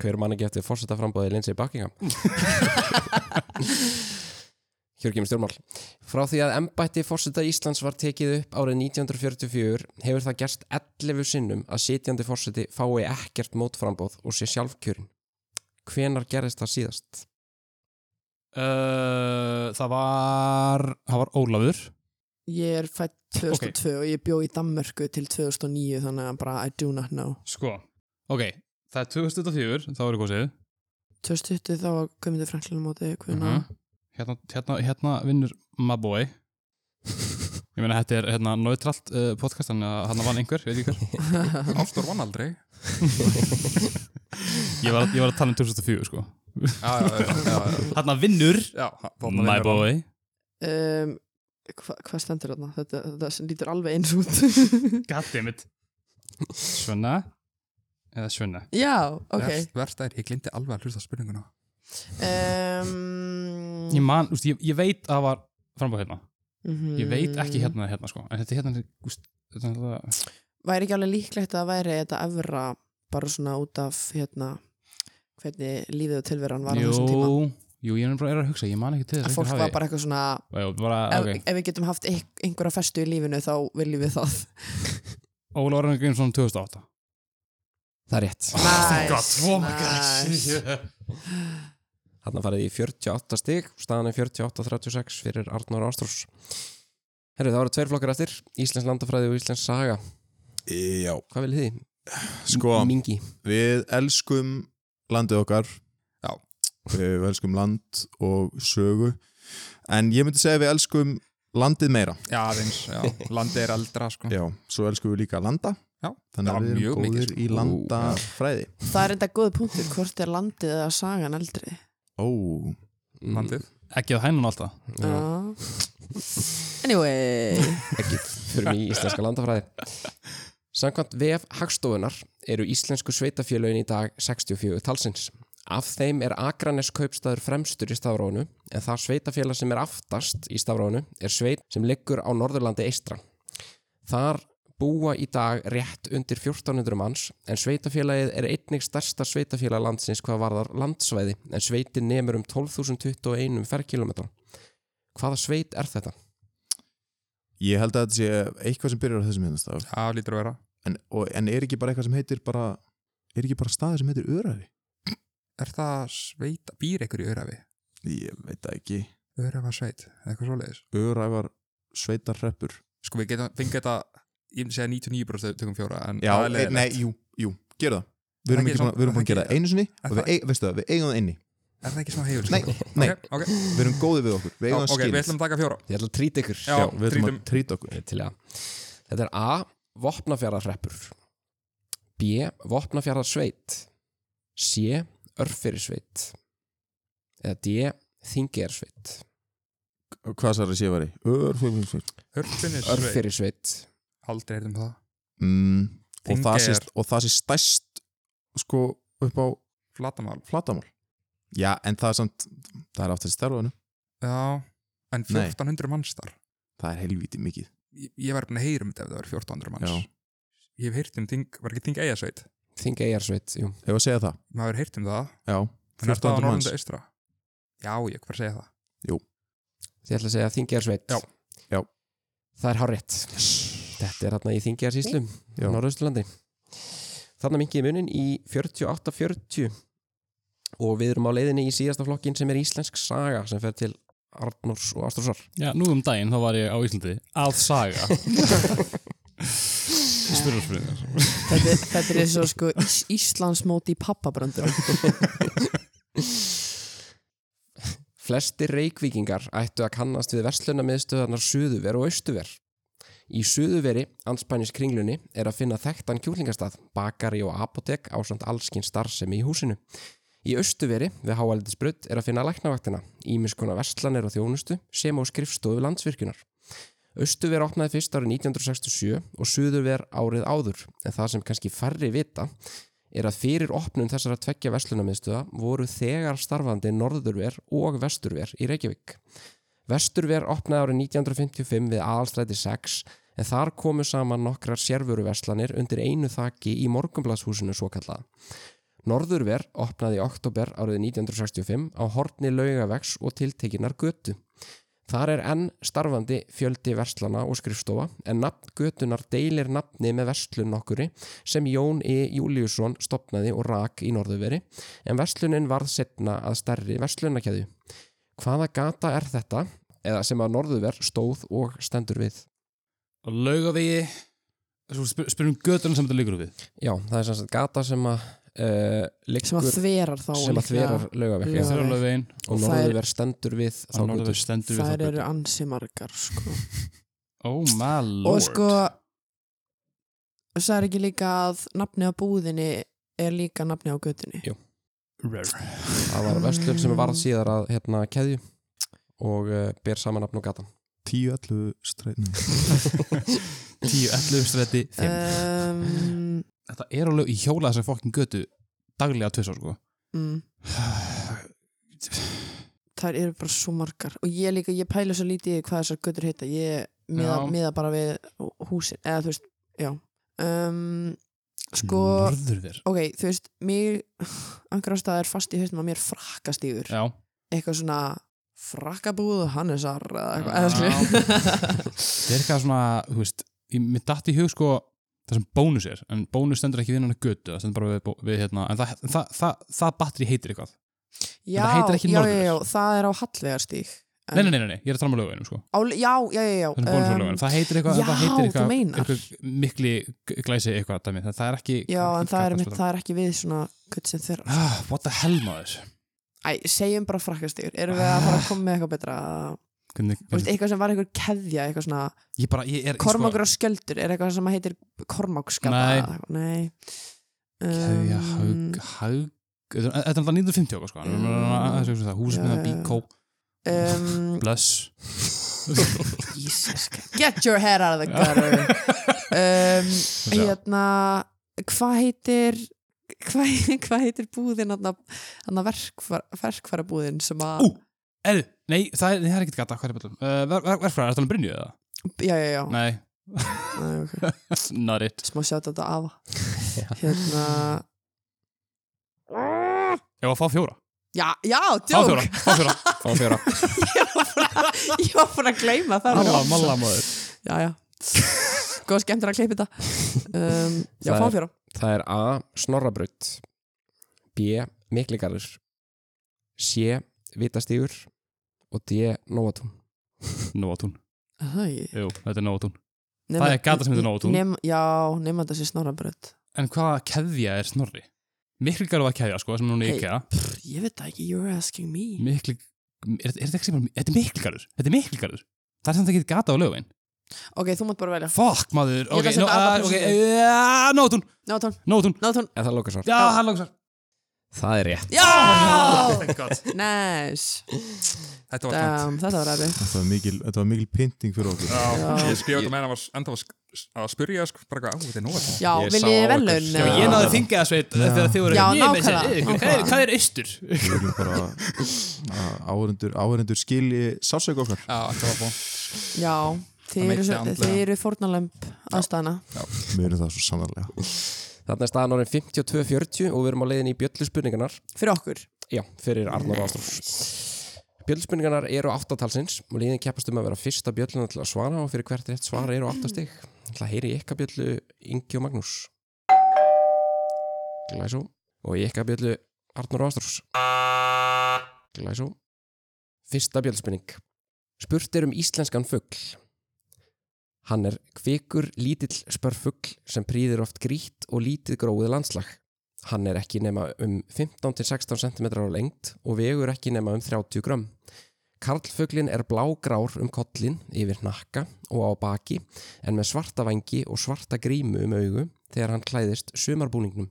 A: Hver mann ekki eftir fórseta frambóði Lindsay Buckingham Hér kemur stjórnmál Frá því að embætti fórseta Íslands var tekið upp árið 1944 hefur það gerst 11 sinnum að sitjandi fórseti fái ekkert mótframbóð og sé sjálfkjörin Hvenar gerðist það síðast?
B: uh, Það var það var Ólafur
C: Ég er fætt 2002 og ég bjó í Danmörku til 2009 þannig að bara I do not know
B: Sko, ok Það er 2004, það var góðsið
C: 2020 þá var Guðmundur Franklin á móti hvuna
B: Mhm. hérna, hérna, hérna vinnur Maboy Ég meina, þetta er hérna neutralt uh, podcast Þannig að hann vann einhver, veit ég hver
D: Ástór vann aldrei
B: Ég var, ég var að tala um 2004, sko
D: Já, já, já, já, já.
B: Hérna vinnur
D: já þarna
B: My
D: vinnur hann.
B: boy
C: um, hva, Hvað stendur þarna? Þetta, þetta sem lítur alveg eins út
B: Goddammit Svona Eða svona
C: Já, ok
D: Verst, verst er, ég glimti alveg að hlusta á spurninguna
C: um,
B: ég man, úst, ég, ég veit að það var frambúð hérna
C: Mhm.
B: ég veit ekki hérna eða hérna sko en þetta er hérna úst, þetta er hérna- náttúrulega-
C: væri ekki alveg líklegt að það væri þetta efra bara svona út af hérna hvernig lífið og tilveran var á þessum tíma
B: jú, jú, ég er bara er að Ah, hugsa, ég man ekki til
C: að
B: þess
C: fólk var bara eitthvað svona
B: Jú, bara,
C: ef,
B: okay.
C: ef við getum haft ein- einhverja festu í lífinu þá viljum við það
B: Óla Orðan Grímsson 2008
A: Það er rétt.
C: nice,
A: Þarna farið í 48 stig, staðan er 48-36 fyrir Arnór Ástrós. Herru, það voru tveir flokkar eftir, Íslands landafræði og Íslands saga.
E: Já,
A: Hvað viljið þið?
E: sko
A: Mingi.
E: Við elskum landið okkar
D: Já.
E: Við elskum land og sögu En ég myndi segja að við elskum landið meira
D: Já, aðeins, já, landi er eldra sko.
E: Já, svo elskum við líka að landa
D: Já.
E: Þannig
D: Já,
E: að við
D: mjög
E: erum
D: mikið,
E: góðir
D: sko.
E: í landafræði
C: það er enda góð punktur hvort er landið eða sagan eldri
E: Ó,
D: landið
B: ekki að hænun alltaf
C: Ah. anyway
A: fyrir mig í íslenska landafræði. Samkvæmt VF Hagstofunar eru íslensku sveitafjölögin í dag 64 talsins. Af þeim er Akranes kaupstæður fremstur í stafrónu en það sveitafjöla sem er aftast í stafrónu er sveit sem liggur á Norðurlandi eistra. Þar búa í dag rétt undir 1400 manns en sveitafélagið er einnig stærsta sveitafélag landsins hvað varðar landsvæði en sveitin nemur um 12.021 ferkilometrum. Hvaða sveit er þetta?
E: ég held að þetta sé eitthvað sem byrjar á þessum hérna staf
D: Já, lítur að vera
E: en, og, en er ekki bara eitthvað sem heitir bara Er ekki bara staðið sem heitir Öræfi?
D: Er það sveita, býr ykkur í Örafi?
E: Ég veit það ekki
D: Örafa sveit, eitthvað svoleiðis
E: Öræfar sveitarhreppur
D: Sko, við getum, fengið þetta, ég myndi segja 99% tökum fjóra en
E: Já, eh,
D: það er leiðilegt.
E: nei, jú, jú, gera það Við erum
D: Það
E: ekki
D: gerir
E: svona, við erum
D: samt-
E: búin að gera
D: það
E: það einu sinni og
D: það-
E: við, eig- veistu það, við eigum það inni
D: Er það ekki smá hefur?
E: Nei, nei.
D: Ok, ok,
E: Við erum góðið við okkur, við
D: Já,
E: eigum það
D: ok, við
E: skilið
D: ætlum að taka fjóra
A: Ég ætla að trýta ykkur.
D: Já, Eh,
E: Já, við ætlum að
D: trítum.
E: trýta okkur
A: Ég er til í það. Þetta er A. Vopnafjarðarhreppur B. Vopnafjarðarsveit C. Örfyrirsveit eða D. Þingersveit
E: Hvað sær að sé var í? Örfjöfumsveit
D: Hörfinni sveit
A: Örfyrirsveit
D: Aldrei heyrðum það
E: mm, og, það sé-
D: Þingeyjar.
E: og það sé stæst sko upp á
D: Flatamál
E: flatamál Já, en það er samt, það er aftast í stærfanum
D: Já, en
E: Nei.
D: 1400 manns þar
E: Það er helvítið mikið
D: Ég, ég var búin að heyra um þetta ef það var 1400 manns
E: Já.
D: Ég hef heyrt um þing, var ekki þing eiga sveit
A: Þingersveit, jú
E: Ef að segja það,
D: Maður hefur heyrt um það
E: já,
D: En er það á
E: 1400 manns
D: Norrlanda eystra? Já, ég var að segja það
A: Þið ætla að segja Þingersveit
D: Já.
E: Já.
A: Það er hárétt Þetta er hérna í Þingersíslum
E: Já.
A: Norðausturlandi Þannig mingiði munin í 48-40 og við erum á leiðinni í síðasta flokkin sem er Íslensk saga sem fer til Arnórs og Ástursar
B: já, nú um daginn þá var ég á Íslandi að saga spyrir og spyrir
C: þetta, er- þetta er eins og sko Ís Íslands móti í pappabröndur
A: Flesti reykvíkingar ættu að kannast við verslunamiðstöðarnar Suðuver og Austuver. Í Suðuveri, anspænis kringlunni, er að finna þekktan kjúlingastað, bakari og apotek ásamt allskinn starfsemi í húsinu. Í Austuveri, við háaldisbrudd, er að finna læknavaktina, ímiskona verslanir og þjónustu, sem á skrifstofu landsvirkjunar. Austuver opnaði fyrst árið 1967 og Suðuver árið áður, en það sem kannski færri vita er að fyrir opnun þessara tveggja verslunamiðstöða voru þegar starfandi norðurver og vesturver í Reykjavík. Vesturver opnaði árið 1955 við aðalstræti 6 en þar komu saman nokkrar sérvöruverslanir undir einu þaki í morgumbladshúsinu svo kallaða. Norðurver opnaði í oktober árið 1965 á horni laugavegs og tiltekinar götu. Þar er enn starfandi fjöldi verslana og skrifstofa en nafn götunar deilir nafni með verslun nokkuri sem Jón E. Júliusson stopnaði og rak í norðuveri en verslunin varð setna að stærri verslunakæðu. Hvaða gata er þetta eða sem að norðuver stóð og stendur við?
B: og laugavegi spyrum götuna sem þetta líkur við
A: Já, það er sem sagt gata sem að uh,
C: sem að
A: liggur
C: þverar þá
A: sem að
C: líklega.
A: þverar lögavekki
C: Já.
B: það er alveg veginn
A: og
C: Og það er-
A: norðuver stendur við þá
B: að
A: gutur.
B: norðveg stendur við
C: þær
B: þá
C: eru
B: götu
C: ansi margar sko.
B: oh my
C: og
B: lord
C: sko það er ekki líka að nafni á búðinni er líka nafni á götunni
A: Jú. Það var verslun sem varð síðar að hérna kæðu og uh, ber saman nafn og gata.
E: 10-11 stræðin
B: 10, 11,
C: Eh.
B: 30, 5
C: um,
B: þetta er alveg í hjóla þessar fokkin götu daglega tvisar sko
C: mm, þær eru bara svo margar og ég líka, ég pæla svo lítið í hvað þessar göttur heita ég miða,
B: Já.
C: miða bara við húsin, eða þú veist, já um, sko
B: Norðurver
C: ok, þú veist, mér angrástaðar er fast í haustum að mér frakkastífur
B: Já,
C: eitthvað svona frakkabúð Hannesar eða
B: Já.
C: eitthvað, eða skilju
B: það er eitthvað svona, þú veist ég, Mér datt í hug sko það sem bónus er, en bónus stendur ekki við hann að götu það stendur bara við, við hérna en það, það, það, það batteri heitir eitthvað
C: já,
B: það heitir ekki
C: já, já,
B: norður.
C: já, það er á Hallvegarstíg
B: nei,
C: En-
B: nei, nei, nei, nei, ég er að tala um lögveginum sko
C: Á- já, já, já, já
B: það er bónusfólögin,
C: um,
B: það heitir eitthvað
C: já,
B: það heitir
C: þú
B: eitthvað,
C: meinar.
B: eitthvað mikli g- glæsi eitthvað dæmi, það, það er ekki
C: Um, já, en það er, mitt,
B: það
C: það er ekki við svona gött sem þeirra
B: ah, what the hell maður
C: Æ, segjum bara frakkastígur, erum við að fara að koma með eitthvað betra
B: Hvernig,
C: Þú veist, eitthvað sem var eitthvað keðja, eitthvað svona
B: ég bara, ég sko, er
C: Kormákur á skjöldur, er eitthvað sem heitir Kormákskapa
B: Nei.
C: Nei.
B: Kæja,
C: Um,
B: haug, haug Þetta er- þetta er alltaf 1950 okkar sko
C: Mm.
B: mm. Húsmiða,
C: Já, já, já.
B: bíkó,
C: um,
B: bless
C: Jesus Get your head out of the gutter um, Hérna Hvað heitir Hvað hva heitir búðin hann að verkfæra búðin sem að
B: Ú! Er, nei, það er, nei, það er ekkert gata, hvað er betur? Uh, ver, ver, verfræðar, ertu alveg Brynju eða?
C: Já, já, já
B: Nei,
C: Æ, okay.
B: not it
C: Smá sjátt þetta af Hérna
B: Ég var að fá fjóra
C: Já, já,
B: Fá fjóra,
C: djók
B: fá fjóra
A: Fá fjóra
C: Ég var búin að- ég var búin að gleyma það
B: Alla, malla maður
C: Já, já Góð skemmtir að kleipa þetta um, Já,
A: Það
C: fá
A: er-
C: fjóra
A: Það er A. Snorrabraut B. Mikligarður C. Vitastígur og D. Nóatún
B: Nóatún,
C: Það
B: jú, þetta er Nóatún Það er gata sem heitir Nóatún.
C: Já, nema þetta sé snorrabröð
B: En hvaða keðja er snorri? Mikli garfa keðja, sko, sem hún er
C: Hey.
B: IKEA
C: Pff, Ég veit það ekki, you're asking me
B: Mikli, er, er þetta ekki sem bara Þetta er mikli garður, þetta er mikli garður Það er sem það getur gata á lögvein
C: Ok, þú mátt bara velja
B: Fuck maður,
C: Ég
B: ok,
C: ætla að setja
B: nó-
C: alla
B: ah, ok,
C: prósentu.
B: ja, Nóatún,
C: Nótón,
B: Nóatún
C: nótón
A: Eða það lókar svar
B: Já,
C: Já.
B: hann lóksar
A: Það er rétt
C: Já Nice
D: Þetta var tæmt.
C: Damn, Þetta var ræði
E: Þetta var mikil, þetta var mikil pynting fyrir okkur
D: Já,
C: Já.
D: Ég skrifa þetta meðan hann var enda var sk- að spyrja sko, bara eitthvað, á, þetta er nóg að
C: Já,
A: Ég
C: viljið
A: sá á
C: þið
A: ykkur.
C: velun
B: Já, ég náði þingið að sveit þegar þið voru
C: Já,
B: Ég meina,
C: nákvæmlega,
B: eh, hvað er-
C: nákvæmlega.
B: Hvað er austur?
E: Við viljum bara að áhörendur, áhörendur skilji sásöku okkar
D: Já, þetta var bó
C: Já,
D: Það
C: þið eru,
D: meitti
C: svo-
D: andlega.
C: þið eru fórnalömb aðstæðana
E: Við erum það svo sannarlega
A: Þarna er staðan orðin 52-40 og við erum á leiðin í bjöllu spurningarnar
C: Fyrir okkur
A: Já, fyrir Arnór Ástrós Bjöllspurningarnar eru áttatalsins og liðin keppast um að vera fyrsta bjölluna til að svara og fyrir hvert rétt svara eru áttastig Það heyri í ykkar bjöllu Ingi og Magnús Glæsó og í ykkar bjöllu Arnór Ástrós Glæsó Fyrsta bjöllspurning Spurt er um íslenskan fugl Hann er kvikur lítill spörfugl sem prýðir oft grýtt og lítið gróið landslag Hann er ekki nema um 15-16 cm á lengt og vegur ekki nema um 30 grömm. Karlfuglin er blágrár um kollin yfir hnakka og á baki en með svarta vangi og svarta grímu um augu þegar hann klæðist sumarbúningnum.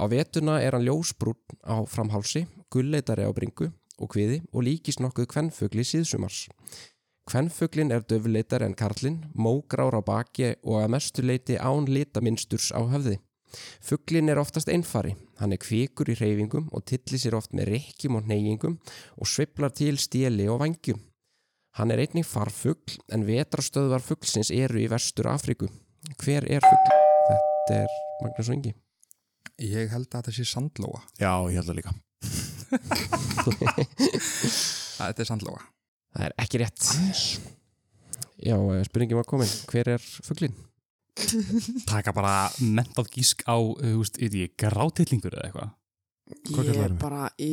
A: Á vetuna er hann ljósbrún á framhálsi, gulleitari á bringu og kviði og líkist nokkuð kvennfugli síðsumars. Kvennfuglin er döfleitar en karlin, mógrár á baki og að mestu leiti án litaminsturs á höfði. Fuglin er oftast einfari, hann er kvikur í reyfingum og tillir sér oft með rekkjum og neyingum og sveiflar til stíli og vangjum. Hann er einnig farfugl en vetrastöðvar fuglsins eru í vestur Afriku. Hver er fugl? Þetta er Magnús Vengi.
D: Ég held að þetta sé sandlóa
E: Já, ég held það líka
D: Að Þetta er sandlóa
A: Það er ekki rétt. Já, eh, spurningin var komin. Hver er fuglin?
B: taka bara mentað gísk á uh, þú veist, veit ég, grátillingur eða eitthvað
C: Ég
E: Hvað kallar
C: er
E: mig?
C: bara í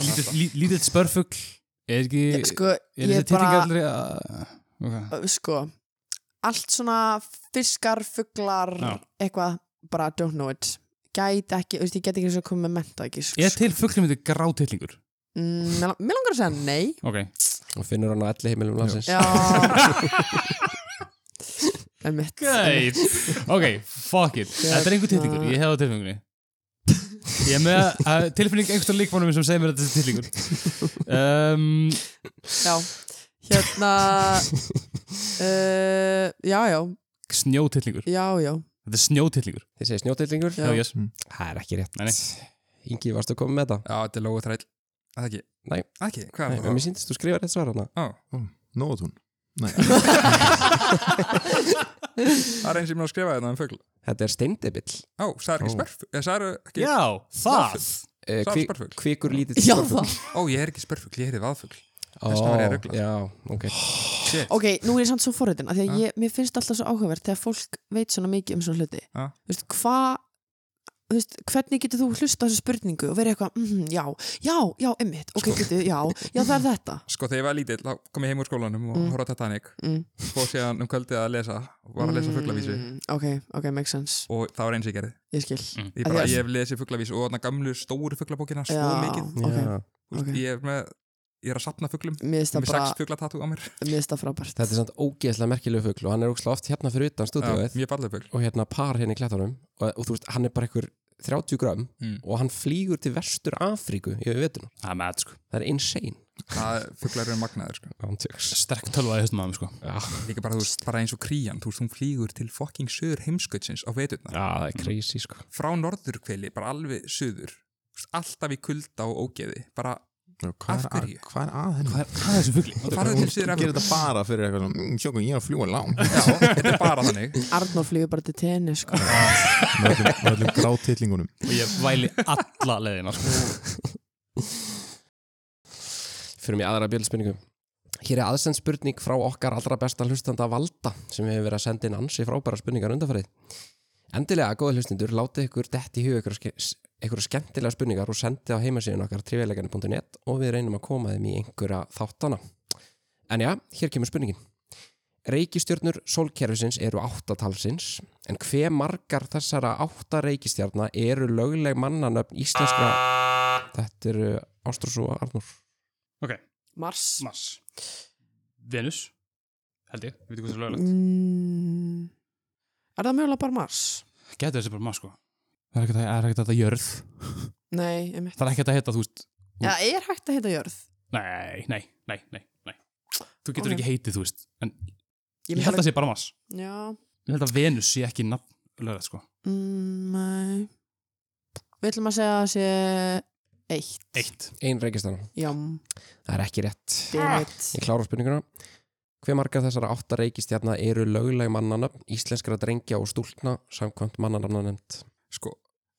B: lítill lí- lítill spörfugl er ekki
C: Sko,
B: er
C: ég er
B: þetta
C: bara
B: titlingar okay.
C: Sko Allt svona fiskar, fuglar
B: Já.
C: Eitthvað, bara don't know it Gæti ekki, þú veist, ég get ekki svo komið með menta ekki sko.
B: er til fuglum þetta grátillingur
C: Mm, Mér mér langar að segja nei
B: ok,
A: Og finnur hann á elli heimilum landsins.
C: Já En mitt
B: Gæt. ok, fuck it þetta er einhver titlingur, ég hef á tilfengunni ég er með uh, tilfinning einhverstað líkmánum sem segir mér að þetta er titlingur um,
C: Já, hérna uh, Já, já,
B: snjótillingur
C: já, já
B: þetta er snjótillingur
A: Þið segir snjótillingur.
B: já, yes.
A: Það er ekki rétt.
B: Nei, nei.
A: Ingi, varstu að koma með þetta?
D: Já, þetta er lóa þræll að ekki
A: Nei.
D: Að ekki, hvað
A: Nei,
D: er
A: en
D: það?
A: mér síndist þú skrifa rétt svar hana
D: Ó,
E: Nóatún Nei,
D: það er eins sem ég mér að skrifa þetta um fugl
A: Þetta er steindebill
D: Ó, það er ekki spörfugl Eða það er ekki
B: Já, það
A: Eh,
D: Það er
A: kvi-
D: spörfugl.
A: Kvikur lítið
C: Já,
A: spörfugl.
C: það.
D: Ó, ég er ekki spörfugl, ég er í vaðfugl
A: Ó,
D: Þess vegna var ég ruglað.
A: Já, ok
D: Shit
C: Ok, nú er ég samt svo forritin af því að ég, mér finnst alltaf svo áhugavert þegar fólk veit svona mikið um svona hluti
D: Ja.
C: Þú veist, hvað þú veist, hvernig getur þú hlusta á þessu spurningu og verið eitthvað, mhm, já, já, já, emmitt ok, getur, já, já, það er þetta
D: Sko, þegar ég var lítill, þá kom ég heim úr skólanum og
C: Mm.
D: horfði á Titanic
C: mm.
D: Fór síðan um kvöldið að lesa og var að lesa fuglavísu
C: Mm, ok, ok, makes sense,
D: og það var eins ég gerði
C: ég skil
D: Ég,
C: Af
D: bara,
C: því að-
D: ég hef lesið fuglavísu og þarna gamlu stóru fuglabókina svo mikið
C: ok,
A: Já.
D: Úst,
C: ok.
D: ég, er með, ég er að sapna fuglum
C: mér finnst
D: með
C: það
D: sex
C: bara,
D: fuglatatú á mér
C: mér finnst það frábært
A: Þetta er samt ógeðslega merkilegu fugl og hann er ógeðslega oft hérna fyrir utan
D: Já,
A: stúdíóið
D: mjög falleg fugl
A: og hérna par hérna í klettunum og, og þú veist, hann er bara einhver 30 gram
D: Mm.
A: og hann flýgur til vestur Afríku yfir vetunum.
B: Það er með, sko
A: Það er insane
D: það fuglar eru magnaður sko.
A: Ándjöks
B: Sterk tölvaði höstum maður, sko
A: Já,
D: líka bara, þú veist, bara eins og krían þú veist, hún flýgur til fucking söður heimskautsins á veturna,
A: það er crazy sko
D: frá norðurkveli bara alveg söður, Þú veist, alltaf í kulda og ógeði, bara
E: Já, hvað
D: Af
E: er að,
D: hverju?
E: hvað er að henni?
B: Hvað er að þessu fugli?
D: farðu til söður
E: Gerir
D: Evrópu
E: þetta bara fyrir eitthvað svona "Mm, Sjókum, ég er að fljúa langt
D: já, þetta er bara þannig
C: Arnór flýgur bara til tenni, sko
E: Með öllum- með öllum grátillingunum
B: Og ég væli alla leðina, sko
A: Fyrir mig aðra bjöldspurningu Hér er aðsend spurning frá okkar allra besta hlustanda Valda sem hefur verið að senda inn ansi frábæra spurningar undanfarið Endilega, góða hlustendur, látið ykkur dett í hug ykkur, ykkur skemmtilega spurningar og sendið á heimasíðun okkar trivialegani.net og við reynum að koma þeim í einhverja þáttana En já, hér kemur spurningin Reykistjörnur sólkerfisins eru áttatalsins en hve margar þessara átta reykistjarna eru lögleg mannanöfn íslenskra Þetta eru Ástrós og Arnur
C: Mars
B: Mars Venus Held ég, við veitum hvað það er lögulegt
C: mm, Er það mögulega bara Mars?
B: Getur þessi bara Mars, sko Það er ekkert að- það er ekkert að þetta jörð
C: Nei, emmitt
B: Það er ekkert að þetta, þú veist
C: Já, er hægt að heita jörð?
B: Nei, nei, nei, nei, nei Þú getur
C: Ok.
B: ekki heitið, þú veist En
C: Ég
B: ég
C: myndi
B: held að
C: alveg-
B: það sé bara Mars
C: Já,
B: Ég held að Venus sé ekki nafn lögulegt, sko
C: Mm, Nei Við ætlum að segja að það sé eitt
B: Eitt
A: Ein reikistjana
C: Já,
A: Það er ekki rétt.
C: damn it
A: Ég klára spurninguna. Hve margar þessara átta reikistjarna eru löguleg mannanöfn, íslenskra drengja og stúlna samkvæmt mannanöfna nefnd?
D: sko,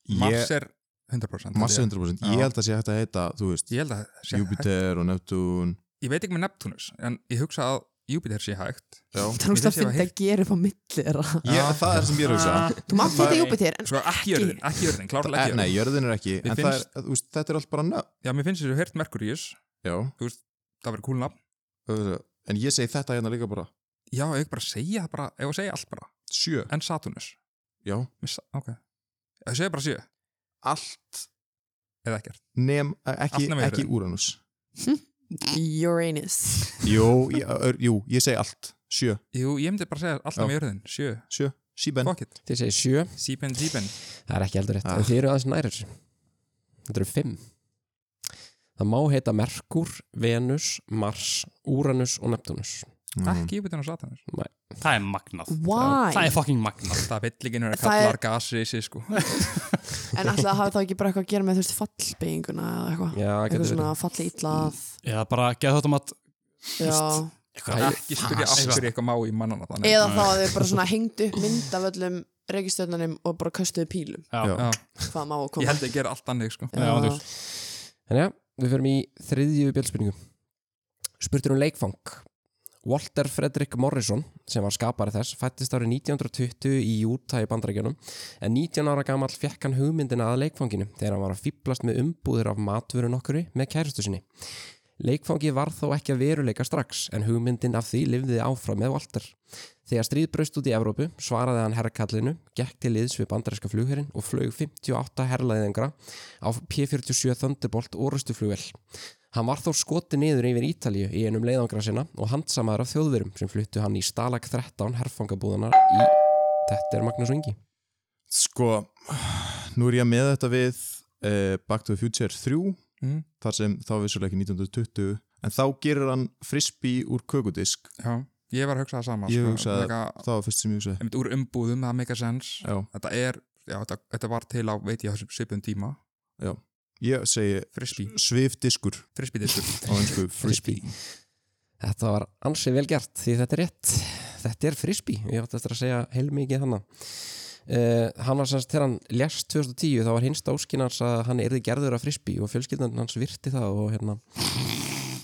E: Ég-
D: Mars er 100%
E: Mars er 100% Ég
D: Já.
E: held að sé hægt að heita, þú veist
D: ég held að sé,
E: Júpiter og Neptun
D: ég veit ekki með Neptunus en ég hugsa að Júpiter sé hægt
E: Já
C: Það er
D: Ég
C: úrst að
D: vissi ég var
C: finna að gera upp á milli þeirra
E: Ég, það er sem ég er að hugsa
C: Þú mátt þetta
E: Nei.
C: júpa þér en
D: sko, ekki jörðin, ekki jörðin, klárlega
E: Eh,
D: Ah, ekki
E: Nei, jörðin
D: jörðin
E: er ekki
D: Mér
E: En það er, þú veist, þetta er allt bara nöfn
D: já, mér finnst þessu hert Merkurius,
E: Já
D: það verður kúlnafn
E: þú veist, En ég segi þetta hérna líka bara
D: já, ég ekki bara segja það bara, ef að segja allt bara
E: Sjö
D: en Saturnus,
E: Já
D: Miss, ok ég segja bara sjö,
E: Allt
D: eða ekkert
E: Nefn, ekki,
D: Allt nema
E: ekki
D: jörðin.
E: Uranus
C: Uranus
E: Jú, ég, ör- jú, ég segi allt Sjö,
D: jú, ég myndi bara segja allt
E: Já.
D: með jörðin, sjö,
E: sjö, síben
D: fuck it
A: Þið segir sjö,
D: sípen, sípen,
A: það er ekki heldur rétt.
E: Ah.
A: En þið eru aðeins nærir. Þetta eru fimm. Það má heita Merkur, Venus, Mars, Uranus og Neptunus.
E: Mhm. Mm.
D: ekki Júpiter og Saturnus
B: Það er magnað Það
C: Why?
B: er fucking magnað
D: það vill ekki vera
C: Það
D: kallar
C: er-
D: gasrisi sko.
C: En alltaf að hafa þá ekki bara eitthvað að gera með þú veist fallbeiginguna eða eitthvað
A: Já,
C: Eitthvað
A: getur verið.
C: svona falli illa að
B: Eða bara geða þetta mat
C: Já
D: ekki spyrja af hverju eitthvað má í mannana þannig
C: Eða þá að þau bara svona hengdu upp mynd af öllum reikistjörnunum og bara köstuðu pílum
B: Já,
E: Já.
D: Já,
C: hvað má að
D: ég
C: koma
D: held að gera allt annað sko.
B: Já, þú veist.
A: En já, við förum í þriðju bjöldspurningu. Spurtur um leikfang. Walter Frederick Morrison, sem var skapari þess, fættist árið 1920 í Utah í bandarækjunum, en 19 ára gamall fekk hann hugmyndina að leikfanginu þegar hann var að fýblast með umbúðir af matvöru nokkuri með kærustu sinni. Leikfangi var þó ekki að veruleika strax, en hugmyndin af því lifði áfram með Walter. Þegar stríð braust út í Evrópu svaraði hann herrakallinu, gekk til liðs við bandaræska flugherrin og flög 58 herrlæðingra á P-47 Thunderbolt orustuflugvel. Hann var þó skoti niður yfir Ítalíu í einum leiðangra sinna og handsamaður af þjóðverum sem fluttu hann í Stalag 13 herfangabúðanar í... Þetta er Magnús Ungi.
E: Sko, nú er ég með þetta við uh, Back to the Future 3
D: Mm.
E: þar sem þá er vissulega ekki 1920 en þá gerir hann frisbee úr kökudisk
D: Já, ég var að hugsa það sama
E: Ég
D: sko.
E: hugsaði-
D: Mega-
E: það var fyrst sem ég hugsaði
D: einmitt úr umbúðum, það make a sense
E: já,
D: þetta er, já, þetta, þetta var til á veit ég á svipum tíma
E: Ég segi
D: Frisbee,
E: svifdiskur
D: frisbee diskur
E: á einsku frisbee
A: Þetta var ansið vel gert því þetta er rétt. Þetta er frisbee, ég átti eftir að segja heilmikið hann. Uh, hann var semst þegar hann lest 2010 þá var hinst áskinnans að hann erði gerður af frisbee og fjölskyldan hans virti það og hérna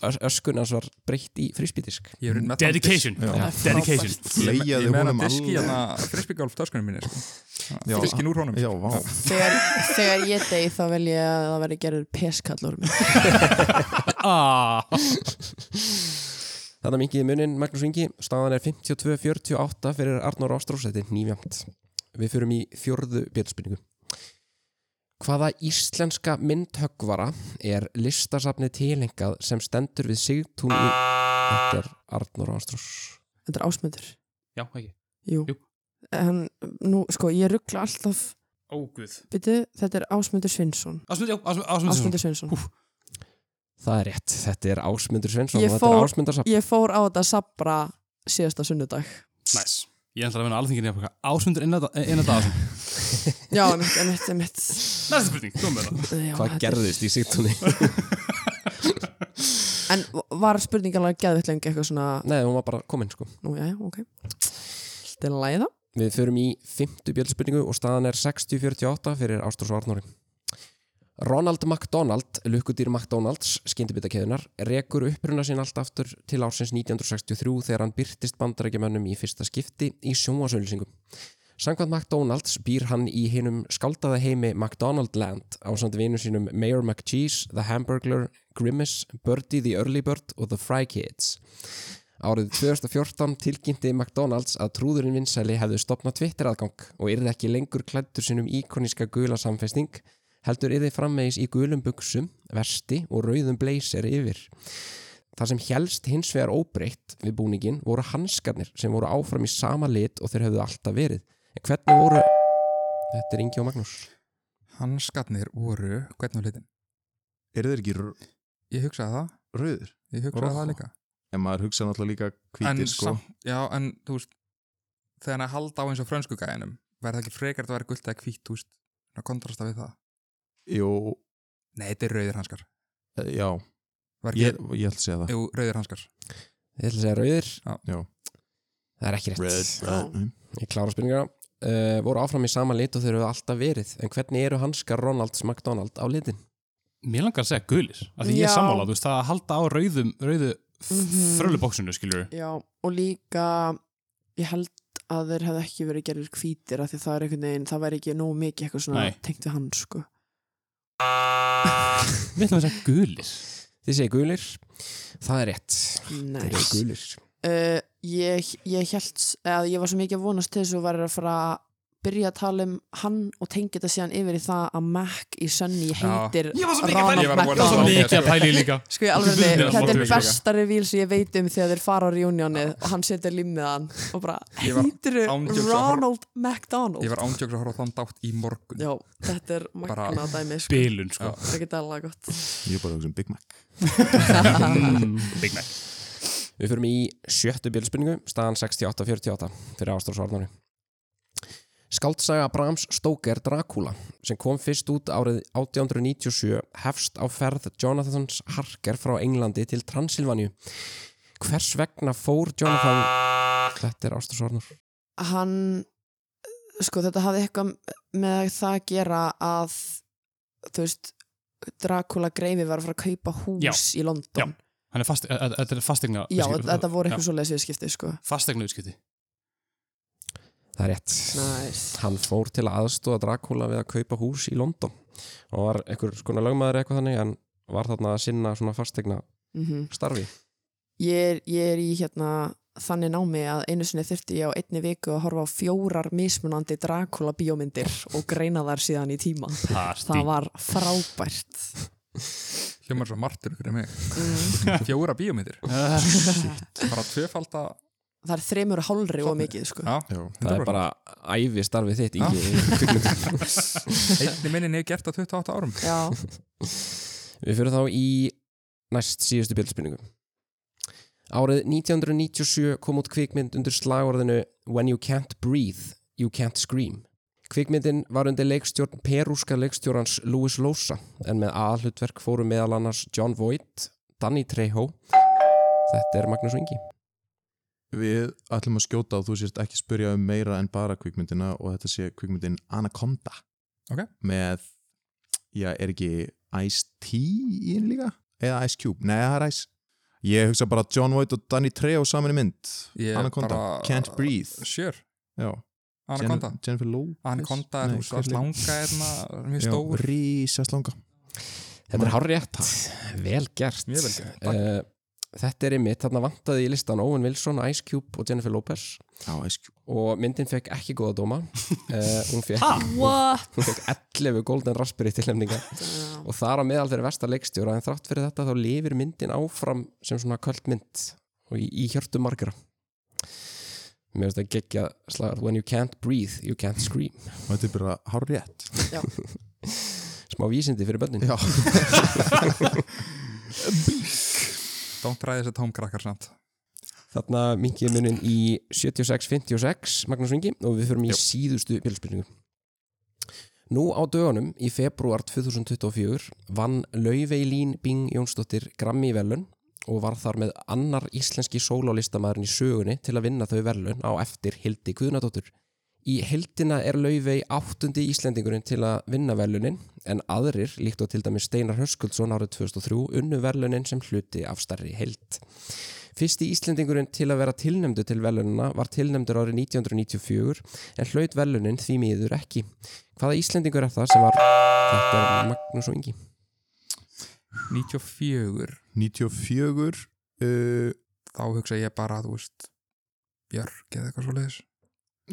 A: ös- öskun hans var breytt í frisbeedisk.
D: Ég er með
B: Dedication
E: Já.
C: Það er
B: Dedication
C: frábært.
E: Leigjaði honum
D: diski
E: alveg.
D: hérna frisbeegolf töskunum minni sko.
E: Já.
D: Fiskin úr honum
E: Já, vá
C: þegar, þegar ég degi þá vel ég að það verði gerður peskall úr mig
B: Ah.
A: Þannig að mingiði munin Magnús Ingi, staðan er 52-48 fyrir Arnór Ástrós, þetta er nýfjönd. Við fyrum í fjörðu bjöldspinningu. Hvaða íslenska myndhöggvara er listasafnið tilhengað sem stendur við Sigtún í... Þetta er Arnór Ástrós.
C: Þetta er ásmöndur
B: Já, ekki
C: Jú,
B: Jú.
C: En nú, sko, ég ruggla alltaf
B: Óguð
C: Býtu, þetta er Ásmundur Svinsson
B: Ásmund, já, Ásmund, Ásmund, Ásmund.
C: Ásmundur Svinsson
A: Það er rétt, þetta er Ásmundur Svensson
C: Ég
A: og þetta
C: fór-
A: er Ásmundarsafn.
C: Ég fór á þetta sabra síðasta sunnudag
B: Næs Ég ætla að vinna alþingin í eitthvað Ásmundur innat Ásmund
C: Já, emitt, emitt, emitt
B: Næsta spurning, kom með það
C: Já,
A: Hvað
C: þetta er-
A: gerðist í Sigtúni?
C: En var spurningalega geðvitt lengi eitthvað svona
A: Nei, hún var bara komin sko.
C: Nú, já, ok Þetta er læða
A: Við förum í fymtu bjöldspurningu og staðan er 60-48 fyrir Ástrós og Arnóri. Ronald McDonald, lukkudýr McDonalds, skyndibitakeðunar, rekur uppruna sín allt aftur til ársins 1963 þegar hann byrtist bandarækjumönnum í fyrsta skipti í sjónvasauðlýsingum. Samkvæmt McDonalds býr hann í hinum skáldaða heimi McDonaldland á samt vinum sínum Mayor McCheese, The Hamburglar, Grimace, Birdie the Early Bird og The Fry Kids. Árið 2014 tilkynnti McDonalds að trúðurinn vinsæli hefðu stopnað Twitter aðgang og yrði ekki lengur klættur sinum íkoniska gula samfesting, heldur yrði framvegis í gulum buksum, vesti og rauðum blazer yfir. Það sem helst hins vegar óbreytt við búningin voru hanskarnir sem voru áfram í sama lit og þeir hefðu alltaf verið. En hvernig voru... Þetta er Ingi og Magnús.
D: Hanskatnir voru, hvernig var litin?
E: Eru þeir ekki r-
D: Ég hugsaði það,
E: rauðir?
D: ég hugsaði
E: Rosa.
D: það líka
E: En maður hugsa náttúrulega líka hvítir sko
D: samt, já, en þú veist þegar hann er að halda á eins og frönsku gæðinum verður það ekki frekar að vera gult eða hvít, þú veist svona kontrasta við það
E: Jú,
D: Nei, þetta er rauðir hanskar
E: eh, já,
D: Var
E: ég,
D: ekki,
E: ég held að segja það
D: jú, rauðir hanskar
A: Ég ætla að segja rauðir.
E: Já.
A: Það er ekki rétt.
C: red.
E: Mm.
A: Ég klára spurninguna. Uh, voru áfram í sama lit og þeir hefðu alltaf verið. En hvernig eru hanskar Ronalds McDonald á litin?
B: Mér langar að segja gulis Af því ég
C: Já.
B: er sammála, þú veist, það að halda á rauðum Rauðu
C: Mhm.
B: frölubóksinu, skilur
C: Já, og líka ég held að þeir hefði ekki verið gerður hvítir af því það er einhvern veginn, það væri ekki nóg mikið eitthvað svona
B: Nei.
C: tengt við hann sko.
B: Við ætlum að segja gulis
A: Þið segir gulir, það er rétt Þeir eru
C: Nice.
A: gulir
C: Uh, ég, ég held að ég var svo mikið að vonast til þess og var að fara að byrja að tala um hann og tengja þetta síðan yfir í það að Mac í Sunny heitir
B: Ég var svo mikið að pæla-
D: Ég
C: Ronald
D: var að vonast
B: Svo
D: það.
C: McDonald
B: mikið að pæli líka
C: Sko ég
B: Ég
C: alveg
B: var
C: þetta
B: svo
C: er
B: mikið að-
C: besta revíl sem ég veit um þegar þeir fara á reunionið og hann setur limmið hann og bara
D: Ég var
C: heitir
D: ándjóks að horfa-
C: Ronald McDonald
D: Ég var ándjóks að horfa á þann dátt í morgun
C: Já, þetta er
D: Bara-
C: magna dæmi sko.
B: Bilun, sko
C: Það er ekki dæla gott
E: Ég er bara að hugsa um Big Mac
B: Mm, Big Mac
A: Við fyrum í sjöttu bjöldspurningu staðan 68-48 fyrir Ástrós Arnóri Skáldsaga Brahms Stoker Dracula sem kom fyrst út árið 1897 hefst á ferð Jonathans Harker frá Englandi til Transilvaníu Hvers vegna fór Jonathan Þetta er Ástrós Arnór
C: Hann, sko þetta hafði eitthvað með það að gera að þú veist Dracula Greifi var að fara að kaupa hús í London
B: Hann er fast, að- að- þetta er sko. fastegna
C: Já, þetta voru eitthvað svoleiðis viðskipti sko.
B: Fastegna útskipti
A: Það er rétt
C: nice.
A: hann fór til aðstóða Dracula við að kaupa hús í London og var einhver skona lögmaður eitthvað þannig en var þarna að sinna svona fastegna
C: mm
A: starfi
C: ég, er, ég er í hérna þannig námi að einu sinni þurfti ég á einni viku að horfa á fjórar mismunandi Dracula bíómyndir og greina þar síðan í tíma
B: Party
C: Það var frábært
D: Hljómar svo martur ykkur en mig Mhm.
C: mm.
D: Fjóra bíómyndir Bara tvöfalda
C: Það er þremur og hálfri og mikið sko.
D: Já,
E: Já.
A: það er
D: 100%.
A: bara æfi starfið þitt ekki,
D: Einni minnin hefur gert á 28 árum
C: Já,
A: við fyrir þá í næst síðustu bildspilningu árið 1997 kom út kvikmynd undir slagorðinu When you can't breathe, you can't scream Kvikmyndin var undir leikstjórn perúska leikstjórans Louis Losa en með aðhlutverk fóru meðal annars John Voight, Danny Trejo Þetta er Magnús Vingi
E: Við ætlum að skjóta og þú sért ekki spyrja um meira en bara kvikmyndina og þetta sé kvikmyndin Anaconda
D: Ok.
E: með, já, er ekki Ice-T í henni líka? Eða Ice Cube? Nei, það er Ice Ég hugsa bara John Voight og Danny Trejo saman í mynd
D: Ég
E: Anaconda,
D: bara-
E: Can't Breathe
D: Sure,
E: já.
D: Anaconda
E: Jen- Jennifer Lopez
D: Anaconda er
E: Nei,
D: hún svo
E: hvað
D: slanga hérna, mjög
E: Já,
D: stór
E: Rísa slanga
A: Þetta er hárétt, vel gert
D: Mjög vel gert, takk.
A: Eh, Þetta er einmitt, þarna vantaði í listan Owen Wilson, Ice Cube og Jennifer Lopez
E: Já, Ice Cube
A: og myndin fekk ekki góða dóma uh, hún, fekk,
C: What?
A: hún fekk 11 Golden Raspberry tilnefningar og þar á meðal fyrir versta leikstjóra en þrátt fyrir þetta þá lifir myndin áfram sem svona kvöldmynd og í, í hjörtu margra mér finnst að gegja slagar when you can't breathe, you can't scream
E: Og þetta er bara hár rétt
A: smá vísindi fyrir börnin
E: Já
D: Don't try this at home krakkar samt
A: þarna minkið munin í 76-56 Magnús Vingi og við förum í síðustu bílspilningu Nú á dögunum í februar 2024 vann Lauveilín Bing Jónsdóttir Grammy velun og var þar með annar íslenski sólálistamæðurinn í sögunni til að vinna þau velun á eftir Hildi Guðnadóttur. Í heldina er Laufey áttundi íslendingurinn til að vinna velunin en aðrir, líkt og til dæmis Steinar Höskuldsson árið 2003, unnu velunin sem hluti af starri held. Fyrsti Íslendingurinn til að vera tilnæmdu til velununa var tilnæmdur árið 1994 en hlaut velunin því miður ekki. Hvaða Íslendingur er það sem var... Þetta er Magnús og Ingi.
D: 94,
E: 94 uh,
D: þá hugsa ég bara þú veist, Björk eða eitthvað svo leiðis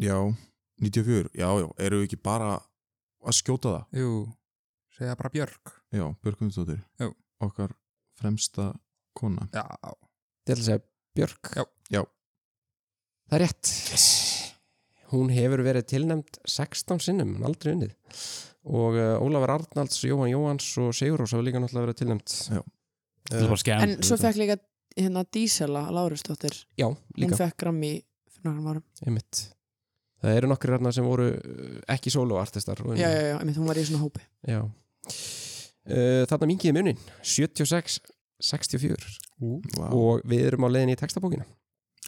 E: Já 94 Já, já Eru við ekki bara að skjóta það?
D: Jú, segja bara Björk
E: Já, Björgumstóttir
D: Já.
E: Okkar fremsta kona
D: Já,
A: Þetta er að segja Björk.
D: Já.
E: Já.
A: Það er rétt. Yes. Hún hefur verið tilnæmd 16 sinnum, en aldrei unnið. Og uh, Ólafur Arnalds, Jóhann Jóhans og Sigur Rós hafa líka náttúrulega verið Eh, tilnæmd.
B: Þetta er bara skemm
C: En svo fekk líka hérna Dísela Lárusdóttir,
A: Já,
C: hún
A: líka.
C: fekk Grammy fyrir nokkrum árum.
A: Einmitt. Það eru nokkri hérna sem voru uh, ekki soloartistar. og unnu.
C: Já, já, já, einmitt, hún var í svona hópi.
A: Já. Uh, þarna mingiði munin 76 64
E: Vá
A: og við erum á leiðinni í textabókina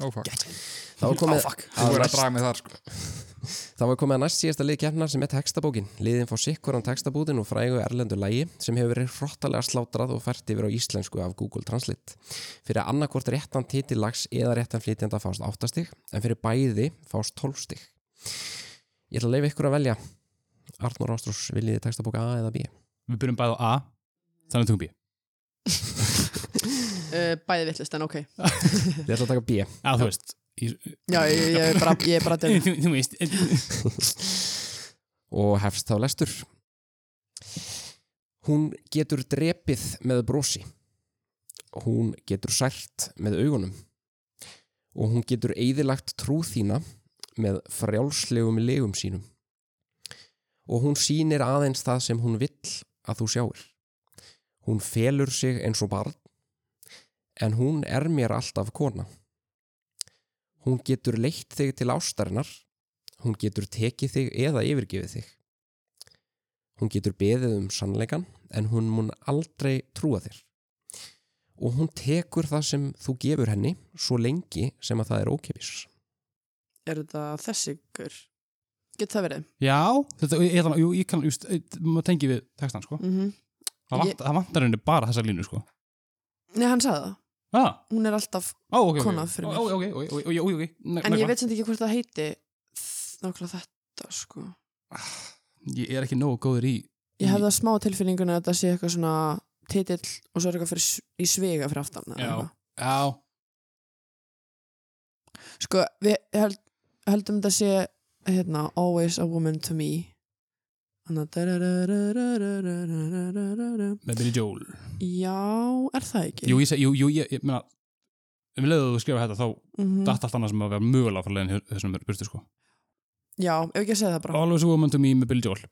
D: ófag
A: það var komið,
C: fuck.
A: að,
D: Þú er að
A: næst,
D: draga mig þar sko
A: það var komið að næst síðasta lið kemnar sem er textabókin liðin fór sikkur án textabútin og frægu erlendu lægi sem hefur verið hrottalega slátrað og fært yfir á íslensku af Google Translate fyrir annarkvort réttan titillags eða réttan flytjanda fást 8 stig en fyrir bæði fást 12 stig ég ætla að leifa ykkur að velja Arnur Ástrós, viljið þið textabóka A eða B?
B: Við byrjum bæði á A Þannig tökum B
C: Uh, bæði vittlist, en ok.
A: Ég ætla að taka B
B: Já, þú veist Ég-
C: Já, ég, ég, er bara, ég er bara til.
B: Þú þú veist e,
A: og hefst þá lestur. Hún getur drepið með brosi. Hún getur sært með augunum. Og hún getur eigðilagt trú þína með frjálslegum legum sínum. Og hún sýnir aðeins það sem hún vill að þú sjáir. Hún felur sig eins og barn, en hún er mér alltaf kona. Hún getur leitt þig til ástarinnar Hún getur tekið þig eða yfirgefið þig. Hún getur beðið um sannleikan en hún mun aldrei trúa þér. Og hún tekur það sem þú gefur henni svo lengi sem að það er ókipis.
C: Er þetta þessi ykkur? Getur það verið?
B: Já, þetta, ég, ég, jú, ég kann just, e, Maður tengi við textan, sko
C: Mm
B: Það vant-
C: Ég-
B: það vantar henni bara þessa línu, sko Ah.
C: Nei, hann sagði það.
B: Já,
C: Hún er alltaf,
B: ó, ok, ok, ok.
C: Kona fyrir mér.
B: Ó, ok, ok, ok, ok, ok, ok
C: en ég veit sem ekki hvort það heiti þ- nákvæmlega þetta, sko.
B: Ég er ekki nógu góður í
C: Ég hefði að smá tilfinninguna að þetta sé eitthvað svona titill og svo er eitthvað fyrir, s- í svega fyrir aftan. eða
B: Já.
C: eitthvað.
B: Já,
C: Sko, við held, heldum þetta sé hérna, Always a Woman to Me Þannig að da-da-da-da-da-da-da-da-da-da-da.
B: með Billy Joel
C: Já, er það ekki?
B: Jú, ég segi, jú, jú, ég, ég meina Um leiðu þú skrifa þetta, þá
C: Mhm.
B: datt allt annað sem að vera mögulega frá leiðin þessum er burtu, sko
C: Já, ef ekki að segja það bara
B: Always a woman to me með Billy Joel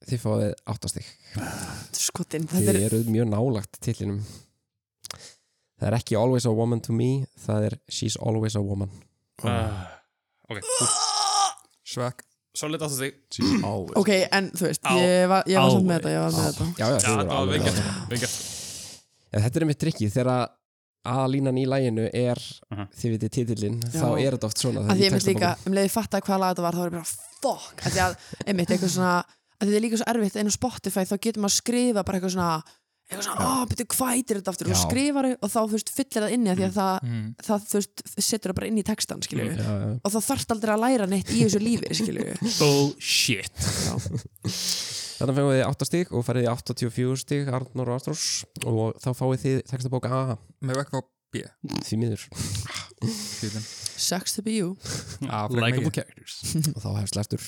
A: Þið fáið áttastig.
C: Skotin, þetta
A: Þið
C: er
A: eruð mjög nálagt tillinum. Það er ekki always a woman to me,
C: Ah.
A: það er she's always a woman.
B: uh,
D: Svekk
B: Ah. Solid átt að þig
E: Always.
C: Ok, en þú veist,
B: Á-
C: ég var, ég var samt með
B: always.
C: þetta, ég var með þetta.
A: Já, já, þú
B: Já,
A: voru
B: það var
A: alveg-
B: veikert Veikert
A: En þetta er einmitt trikkið þegar að aðlínan í læginu er,
B: Mhm.
A: þið vitið titillinn,
C: Já.
A: þá er þetta oft svona.
C: að
A: í
C: því ég mynd líka,
A: textabókum.
C: um leiði fatta hvaða lag þetta var þá er ég bara fuck að því að, einmitt, eitthvað svona að því það er líka svo erfitt einu Spotify þá getur maður að skrifa bara eitthvað svona eitthvað svona, ah, betur hvað heitir þetta aftur
B: Já.
C: og skrifar þau og þá, þú veist, fyllir það inni að því að það,
D: Mm.
C: það þú veist, setur það bara inn í textan, skilju
A: Já, já.
C: og þá þarft aldrei að læra neitt í þessu lífi, skilju
B: Bullshit
A: Þannig fengum við 8 stík og færið í 84 stíg Arnur og Arnús og þá fáið þið textabók A
D: Með ekki á B
A: því miður
D: tíðin.
C: Sucks to be you
D: frekar
B: Likeable
D: mikið.
B: characters
A: og þá hefst lestur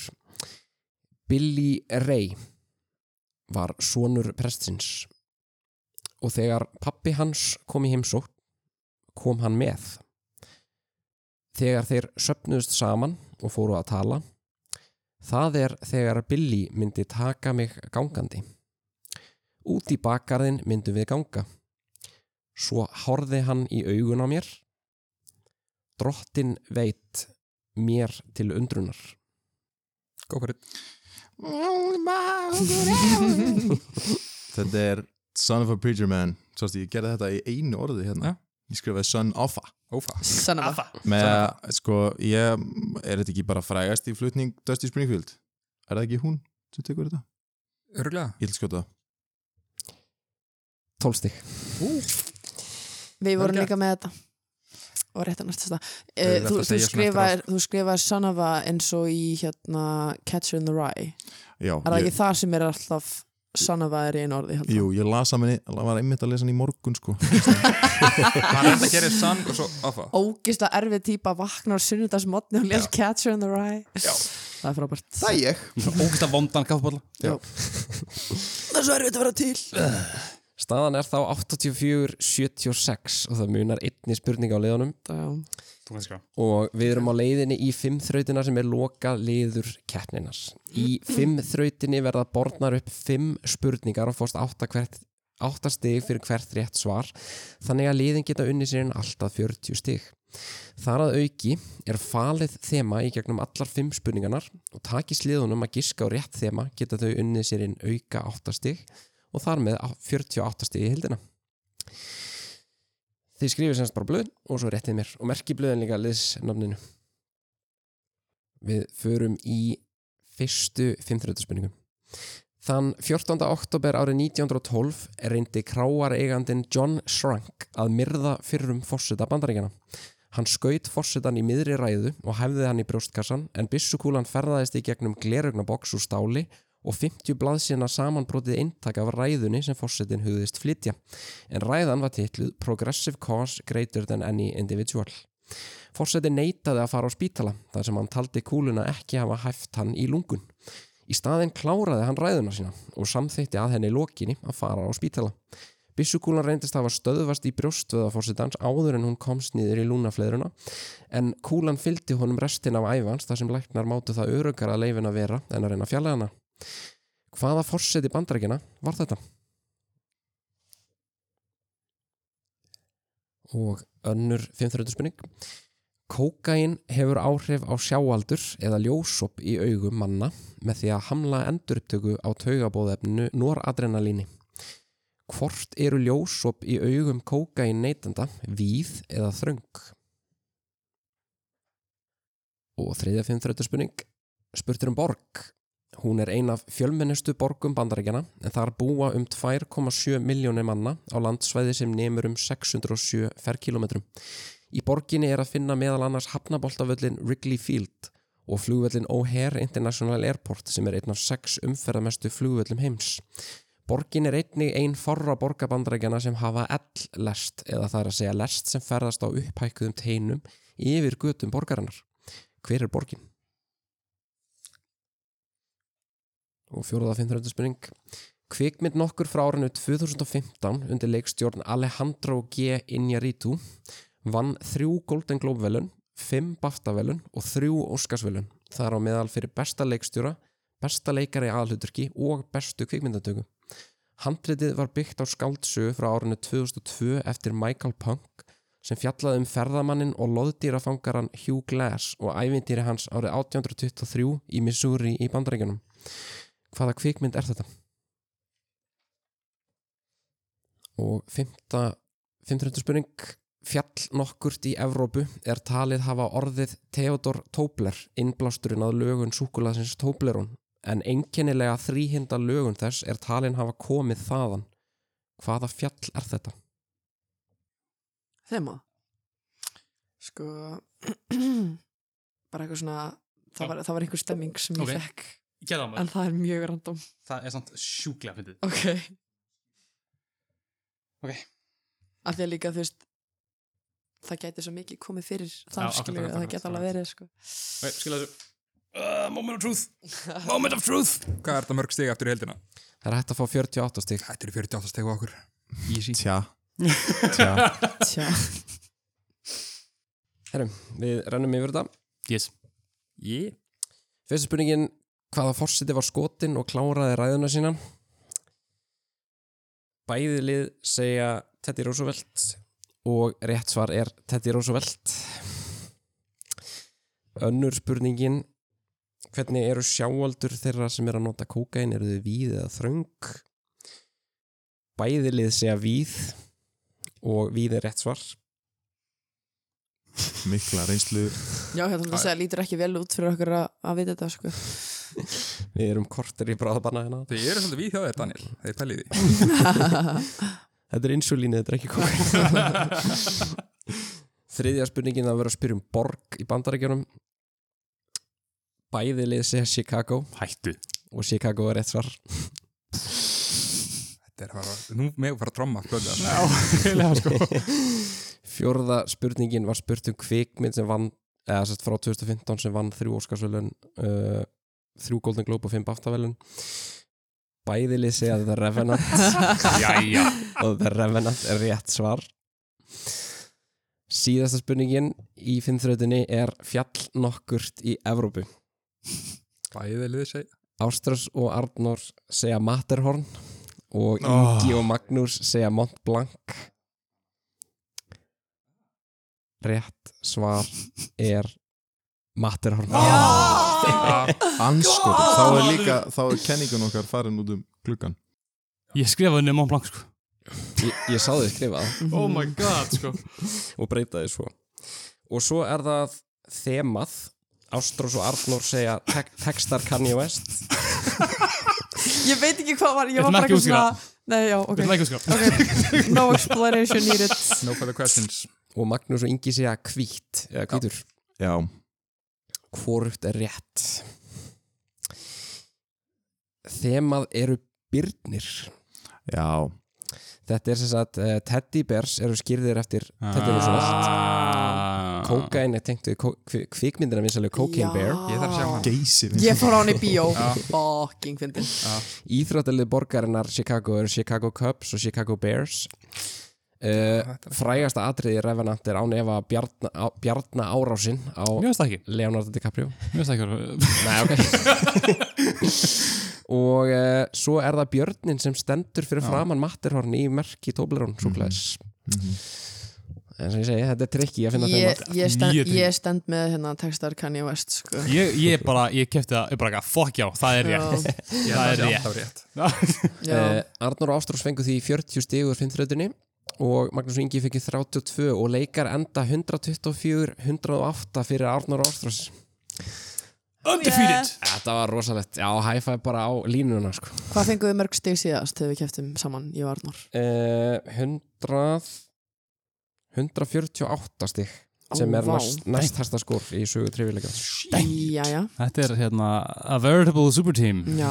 A: Billy Ray var sonur prestsins og þegar pappi hans kom í heimsótt kom hann með þegar þeir söpnuðust saman og fóru að tala það er þegar Billy myndi taka mig gangandi út í bakgarðin myndum við ganga svo horði hann í augun á mér drottin veit mér til undrunar
D: Go for it
E: Þetta er Son of a Preacher Man Sástu, ég gerði þetta í einu orði hérna
D: Já.
E: Ég skrifaði Son of a
D: Ófa
C: Sanna það
E: Með, sko, ég Er þetta ekki bara frægast í flutning Dusty Springfield? Er það ekki hún sem tekur þetta?
D: Örgulega
E: Ég vil skjóta
A: tólstig
C: Við vorum
D: Vel
C: líka með þetta og rétt að næsta stað
D: Auðvelt
C: Eh,
D: að
C: Þú, þú
D: segja svona eftir á,
C: skrifaðir þú skrifaðir Sanava eins og í hérna Catcher in the Rye
E: Já,
C: Er það
E: ég,
C: ekki það sem er alltaf sannavað er í einu orði? held ég?
E: jú, ég las að minni var einmitt að lesa hann í morgun, sko
D: Hann er að gera sann og svo Ófa
C: Ógist að erfið típa vaknar sunnudagsmotni og les Catcher in the Rye Já. Það er frábært Það,
E: ég
B: Ógæsta vondan kaffballa
C: er svo erfitt að vera til
A: staðan er þá 84-76 og það munar einni spurning á leiðunum
C: Já.
B: Þú kannski hvað
A: og við erum á leiðinni í fimm þrautina sem er loka leiður keppninas í fimm þrautinni verða borðnar upp fimm spurningar og fórst átta, hvert, átta stig fyrir hvert rétt svar þannig að leiðin geta unni sér en alltaf 40 stig þar að auki er falið þema í gegnum allar fimm spurningarnar og taki sliðunum að giska á rétt þema geta þau unni sér en auka átta stig og þar með á- 48 stig í hildina Þið skrifið semst bara blöðin og svo réttið mér og merkið blöðin líka liðsnafninu. Við förum í fyrstu 530 spurningum. Þann 14. oktober árið 1912 reyndi kráareigandin John Schrank að myrða fyrrum fórseta bandaríkjana. Hann skaut fórsetan í miðri ræðu og hæfði hann í brjóstkassan en byssukúlan ferðaðist í gegnum glerugnaboks úr stáli og 50 blaðsina samanbrotið eintak af ræðunni sem fórsetin hugðist flytja en ræðan var titluð Progressive Cause Greater Than Any Individual. Forseti neitaði að fara á spítala þar sem hann taldi kúluna ekki hafa hæft hann í lungun. Í staðinn kláraði hann ræðuna sína og samþýtti að henni lokinni að fara á spítala. Bissukúlan reyndist að hafa stöðvast í brjóstvöða fórsetans áður en hún komst niður í lúnafleðruna en kúlan fylgdi honum restin af æfans þar sem læknar mátu það öruggar að leifin að vera en að reyna að fjalla hana. Hvaða forseti bandarækina var þetta? og önnur 530 spurning Kókain hefur áhrif á sjáaldur eða ljósop í augum manna með því að hamla endurupptöku á taugabóðefninu noradrenalíni. Hvort eru ljósop í augum kókain neytanda, víð eða þröng? Og þriðja 530 spurning Spurtur um borg Hún er ein af fjölmennustu borgum bandaríkjana en þar búa um 2,7 miljónir manna á landsvæði sem nemur um 607 ferkilometrum. Í borginni er að finna meðal annars hafnaboltavöllin Wrigley Field og flugvöllin O'Hare International Airport sem er einn af sex umferðamestu flugvöllum heims. Borgin er einnig ein forra borgabandarækjana sem hafa L-lest eða það er að segja lest sem ferðast á upphækkuðum teinum yfir götum borgarinnar. Hver er borgin? Og fjóruða að finnur spurning. Kvikmynd nokkur frá árinu 2015 undir leikstjórn Alejandro G. Iñárritu vann þrjú Golden Globe velun, fimm BAFTA velun og þrjú Oscars velun. Það er á meðal fyrir besta leikstjóra, besta leikari í aðhluturki og bestu kvikmyndatöku. Handritið var byggt á skáldsögu frá árinu 2002 eftir Michael Punk sem fjallaði um ferðamannin og loðdýrafangaran Hugh Glass og ævintýri hans árið 1823 í Missouri í bandarækjunum. Hvaða kvikmynd er þetta? Og fimmta, fimmtröndu spurning fjall nokkurt í Evrópu er talið hafa orðið Theodor Tobler innblásturinn að lögun súkulaðsins Toblerón en einkennilega þríhinda lögun þess er talin hafa komið þaðan hvaða fjall er þetta?
C: Þema Sko bara eitthvað svona það var, það var einhver stemming sem ég
B: Ok.
C: fekk
B: Gæða maður,
C: en það er mjög random
B: það er samt sjúklega fyndið
C: Ok
B: Ok.
C: Af því að líka þú veist það gæti svo mikið komið fyrir
B: Já,
C: þar
B: akkurat,
C: skilur við að það
B: akkurat,
C: gæti alveg verið sko
B: Ok, skilja þessu uh, Moment of truth Moment of truth
D: Hvað er þetta mörg stig aftur í heldina?
A: Það er hægt að fá 48 stík
D: Þetta eru 48 steg á okkur
B: Easy
E: Tja Tja
C: Tja
A: Herrum, við rennum yfir þetta
B: Yes
D: yeah.
A: Fyrsta spurningin, hvaða forseti var skotin og kláraði ræðuna sína? Bæði lið segja Teddy Roosevelt og rétt svar er Teddy Roosevelt. Önnur spurningin, hvernig eru sjáaldur þeirra sem eru að nota kókain, eru þau víð eða þröng? Bæði lið segja víð og víð er rétt svar.
E: Mikla reynslu
C: Já, hérna það segja lítur ekki vel út fyrir okkur að, að vita þetta sko
A: Við erum kortir í bráðabanna hérna.
D: Þið eru svolítið við hjá þér Daniel Þeir pælið því
A: Þetta er insulínið, þetta er ekki kókain Þriðja spurningin að vera að spyrja um borg í bandarækjunum Bæði lið segja Chicago
B: Hættu
A: og Chicago er rétt svar
D: Þetta er að fara Nú meðum fara að tromma flöðu
B: Já, heila sko
A: Fjórða spurningin var spurt um kvikmynd sem vann eða sérst frá 2015 sem vann þrjú Óskarsvölun uh, þrjú Golden Globe og fimm Baftavelun Bæði lið segja The Revenant
B: Jæja
A: og The Revenant er rétt svar Síðasta spurningin í fimmþrautinni er fjall nokkurt í Evrópu
D: Bæðið liðið segja
A: Ástrós og Arnór segja Matterhorn og Ingi og Magnús segja Mont Blanc Rétt svar er Matterhorn
E: Anskot Þá er líka, þá er kenningun okkar farin út um gluggan
B: Ég skrifaði nefnum á blank sko
A: Ég, ég sá þau skrifa það
B: Oh my god sko
A: og breyta þau svo og svo er það þemað Ástrós og Arnór segja tek textar Kanye West
C: Ég veit ekki hvað var, ég
B: Þetta er
C: var bara
B: ekki
C: eitthvað svona Nei, já, ok,
B: Þetta er ekki sko
C: okay. No explanation needed
D: No further questions
A: og Magnús og Ingi segja hvít eða hvítur
E: Já
A: hvort er rétt Þemað eru byrnir
E: Já
A: Þetta er sem sagt uh, Teddy Bears eru skýrðir eftir Teddy Roosevelt
B: Ah.
A: Kókain er tengt við kó- kvi- kvikmyndina vinsalega Cocaine
C: Já.
A: Bear
D: Ég þarf að sjá hann
E: Geysir
C: Ég fór á hann í bíó Fucking fyndin
A: Íþróttalið borgarinnar Chicago eru Chicago Cubs og Chicago Bears uh, Frægasta atriði í Revenant er án efa Bjarna, á- Bjarna árásinn á
B: Mér veist það ekki
A: Leonardo DiCaprio
B: Mér veist það ekki
A: Nei, ok Og uh, svo er það björnin sem stendur fyrir framann Matterhorn í merki Toblerón súklaðis En sem ég segi, þetta er trikki að finna
C: ég,
A: þeim
C: ég, stend,
B: Mjög
C: ég stend með hérna textar Kanye West sko.
B: Ég, ég bara, ég kefti það, ég bara ekki, fuck já, það er rétt Það er rétt
D: Það er rétt
A: að
C: Já,
A: uh, Arnur Ástrós fengu því 40 stigur 5.30 og Magnús Ingi fengi 32 og leikar enda 124 108 fyrir Arnur Ástrós
B: Undefeated
A: Þetta var rosalegt, já, hæfæði bara á línuna sko.
C: Hvað fenguðu mörg stig síðast þegar við keftum saman í Arnór?
A: uh, 100 148 stig sem
C: Ó,
A: er
C: vá.
A: næst, næst hæsta skór í sögu trivilega
C: Jæja,
B: Þetta er hérna a veritable super team
C: já,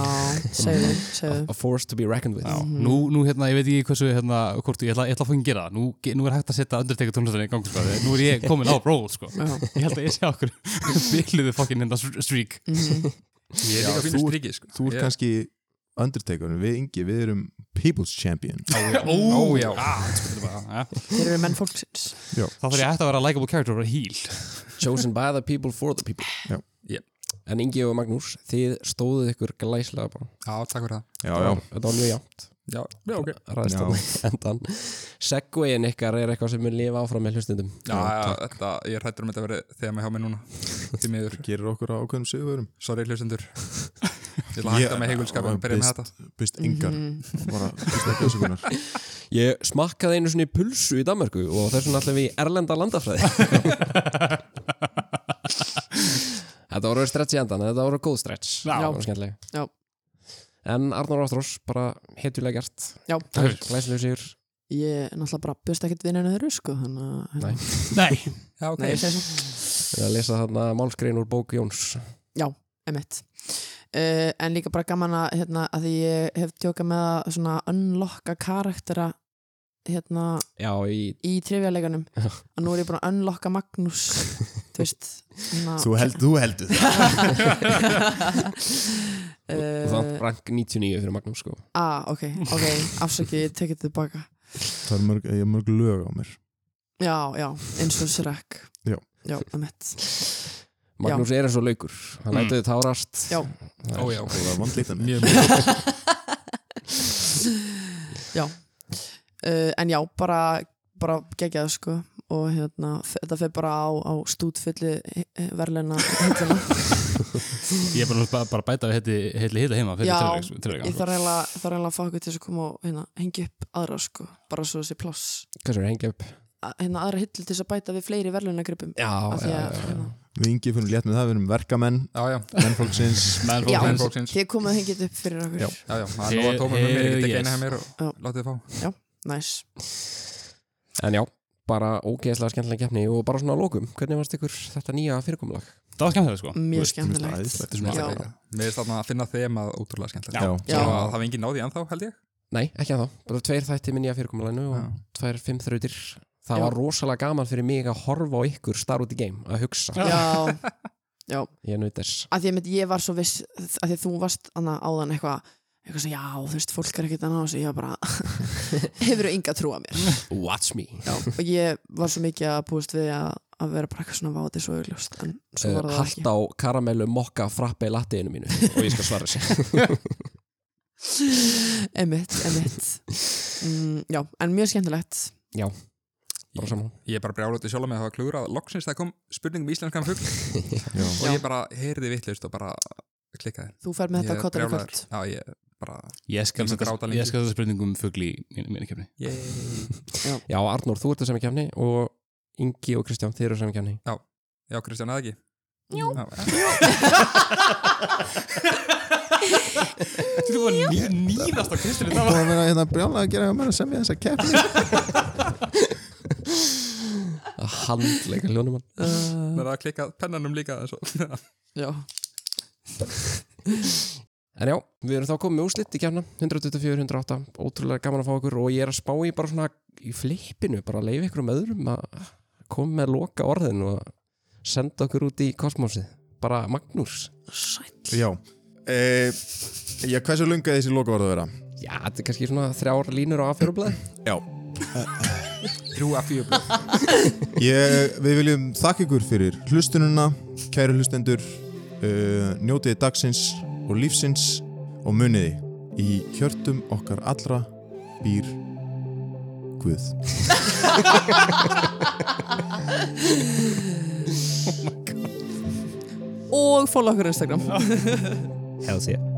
C: segðu, segðu
A: A force to be reckoned with
B: Nú, nú hérna, ég veit ekki hversu hérna, hvort, ég ætla, ég ætla að fangin gera það nú, ge- nú er hægt að setja Undertaker tónlistarinn í gang sko. Þegar Nú er ég komin á roll sko.
C: Já.
B: Ég held að ég sé okkur Billuðu fokkin hérna str- streak
C: Mhm.
D: Ég er líka
E: Já,
D: fínur
E: þú-
D: strikið sko
E: Þú ert
D: Ég-
E: kannski Undertaker Við Ingi, við erum People's Champion
D: Ó, já.
B: ah, sko, þetta er bara, ja.
C: Þeir eru menn fólksins
B: Þá þarf ég hægt að vera a likeable character og vera heal
A: Chosen by the people for the people
E: Já.
D: Yep.
A: en Ingi og Magnús, þið stóðuð ykkur glæslega bara
D: Já, takk fyrir það
E: já, já,
A: þetta var mjög jafnt
D: Já, já ok
A: ræðist
E: Já.
A: þannig endan segwayin ykkar er eitthvað sem mun lifa áfram með hlustundum
D: Já, já, þetta, ég er hrættur um þetta að vera þegar maður hjá mig núna Því miður,
E: gerir okkur ákveðum sigurum
D: sorry hlustendur Ég ætla að hætta með heigulskapin og byrja með þetta
E: Bist
C: Mhm.
E: engar, bara bist ekki ásökunar
A: ég smakkaði einu svona pulsu í Danmarku og þess vegna allir við í erlenda landafræði þetta voru stretch í endan en þetta voru góð stretch
B: Já.
A: Það var skemmtileg.
C: Já.
A: en Arnór Ástrós bara hetulega gert
C: Já,
A: glæslegur sigur
C: ég náttúrulega bara bjóst ekkert vinninu þeirru sko þannig að
A: Nei.
B: Nei
D: Já, ok
C: Nei, ég segi svo
A: Við að lesa þarna málskrein úr bók Jóns
C: Emmett uh, En líka bara gaman að, hérna, að því ég hef tjókað með að svona unlocka karaktera hérna
A: Já, í
C: í trivjaleganum að nú er ég búin að unlocka Magnús þú veist hérna,
E: Þú held, þú heldur það
A: og það
C: uh,
A: rank 99 fyrir Magnús sko
C: ah, ok, ok, afsakið ég tekið þetta tilbaka
E: Það er mörg, ég er mörg lög á mér
C: já, já, eins og Shrek
E: Já.
C: já, emitt
A: Magnús er eins og laukur, hann
B: Mm.
A: mm. ætlaði tárast
C: Já.
A: Það er-
D: Ó, já, ok
E: Það er vandlítan
D: Mjög mjög
C: já uh, en já, bara, bara gegjað sko og hérna, f- þetta fer bara á, á eh, stútfylli verleina hérna.
B: Ég er bara, bara, bara að bæta við heiti, heiti hita heima fyrir
C: Já,
B: tilrögg- tilrögg,
C: ég
B: sko.
C: þarf eiginlega þarf eiginlega að fá okkur til þess að koma og hérna, hengja upp aðra sko, bara svo þessi pláss
A: Hvað sem er hengja upp?
C: að- hérna, aðra hillu til þess að bæta við fleiri verleunagripum
A: Já,
C: Af því
A: já,
C: að,
A: já,
C: hérna,
E: Við yngi finnum létt með það, við erum verkamenn
D: Já, já,
E: Mennfólksins
B: Menn fólk
C: Já.
D: menn
B: finnst-
D: fólksins Já,
C: þið komið að hengja þetta upp fyrir okkur
E: Já.
D: já, það er nóg að tóma með mér, ég get ekki eina hér mér
C: Já.
D: og látið þið fá
C: næs
A: já En já, bara ógeðslega skemmtilega keppni og bara svona að lókum, hvernig varst ykkur þetta nýja fyrirkomulag?
B: Það var skemmtilega sko
C: mjög
E: mér finnst
C: skemmtilegt
E: það
B: æðislegt.
C: Já.
D: Mér er þarna að finna þema ótrúlega skemmtilegt
E: Já,
C: Já.
D: Og það hafði engin náði ennþá, held ég
A: Nei, ekki að þá, bara tveir þætti með nýja fyrirkomulaginu og
D: Já.
A: tveir fimm þrautir Það
C: Já.
A: var rosalega gaman fyrir mig að horfa á ykkur star út í game, að hugsa
C: já, já
A: Ég naut þess
C: að því að ég var svo viss að því að þú varst annað áðan eitthvað eitthvað sem já, þú veist, fólk er ekkert að ná þessu ég var bara, hefur þú ynga trú að mér
A: Watch me
C: já, og ég var svo mikið að búist við að, að vera bara eitthvað svona váti svo augljóst en svo var
A: Eh,
C: það
A: Hart á karamellu mokka frappe latteinu mínu og ég skal svara þessu
C: ekki emitt, emitt mm, já, en mjög skemmtilegt
A: Bara saman
D: Ég er bara brjálótið sjálf með að hafa klúrað Loksins það kom spurning um íslenskan fugg
E: já,
D: Og ég bara heyrði vittlust og bara klikkaði
C: þú fer með
D: Ég
C: þetta
D: er
C: kottar í
D: brjálaður.
C: kvöld
D: Já, ég bara
B: Ég skal
D: Ég mun
B: setja
D: gráta lengi.
B: ég skal setja spurningum um fugl í minni, minni kemni
D: Yay.
A: Já, Arnór, þú ert að sami kemni og Ingi og Kristján, þið eru sami kemni
D: Já, Kristján, eða ekki? Já,
B: Þetta var ný, nýðast á Kristinu
E: Það var að vera hérna brjálega að gera eitthvað meira að semja þessa keppni
A: að handleika hljónumann
C: uh,
D: Það er að klikka pennanum líka eins og
C: já,
A: En já, við erum þá komið með úslitt í kemna 124, 108, ótrúlega gaman að fá okkur og ég er að spá í bara svona í flippinu bara að leifa ykkur um öðrum að koma með loka orðin og senda okkur út í kosmosið bara Magnús
C: sæll
E: Já e, Já, hversu lunga þessi loka var að vera?
A: Já, þetta er kannski svona þrjár línur á afhjörublaði
E: Já
D: þrjú að fjögur blöð.
E: ég, Við viljum þakka ykkur fyrir hlustununa Kæru hlustendur uh, Njótiði dagsins og lífsins Og muniði Í hjörtum okkar allra býr Guð
C: og fóla okkur á Instagram
A: Hefðu sér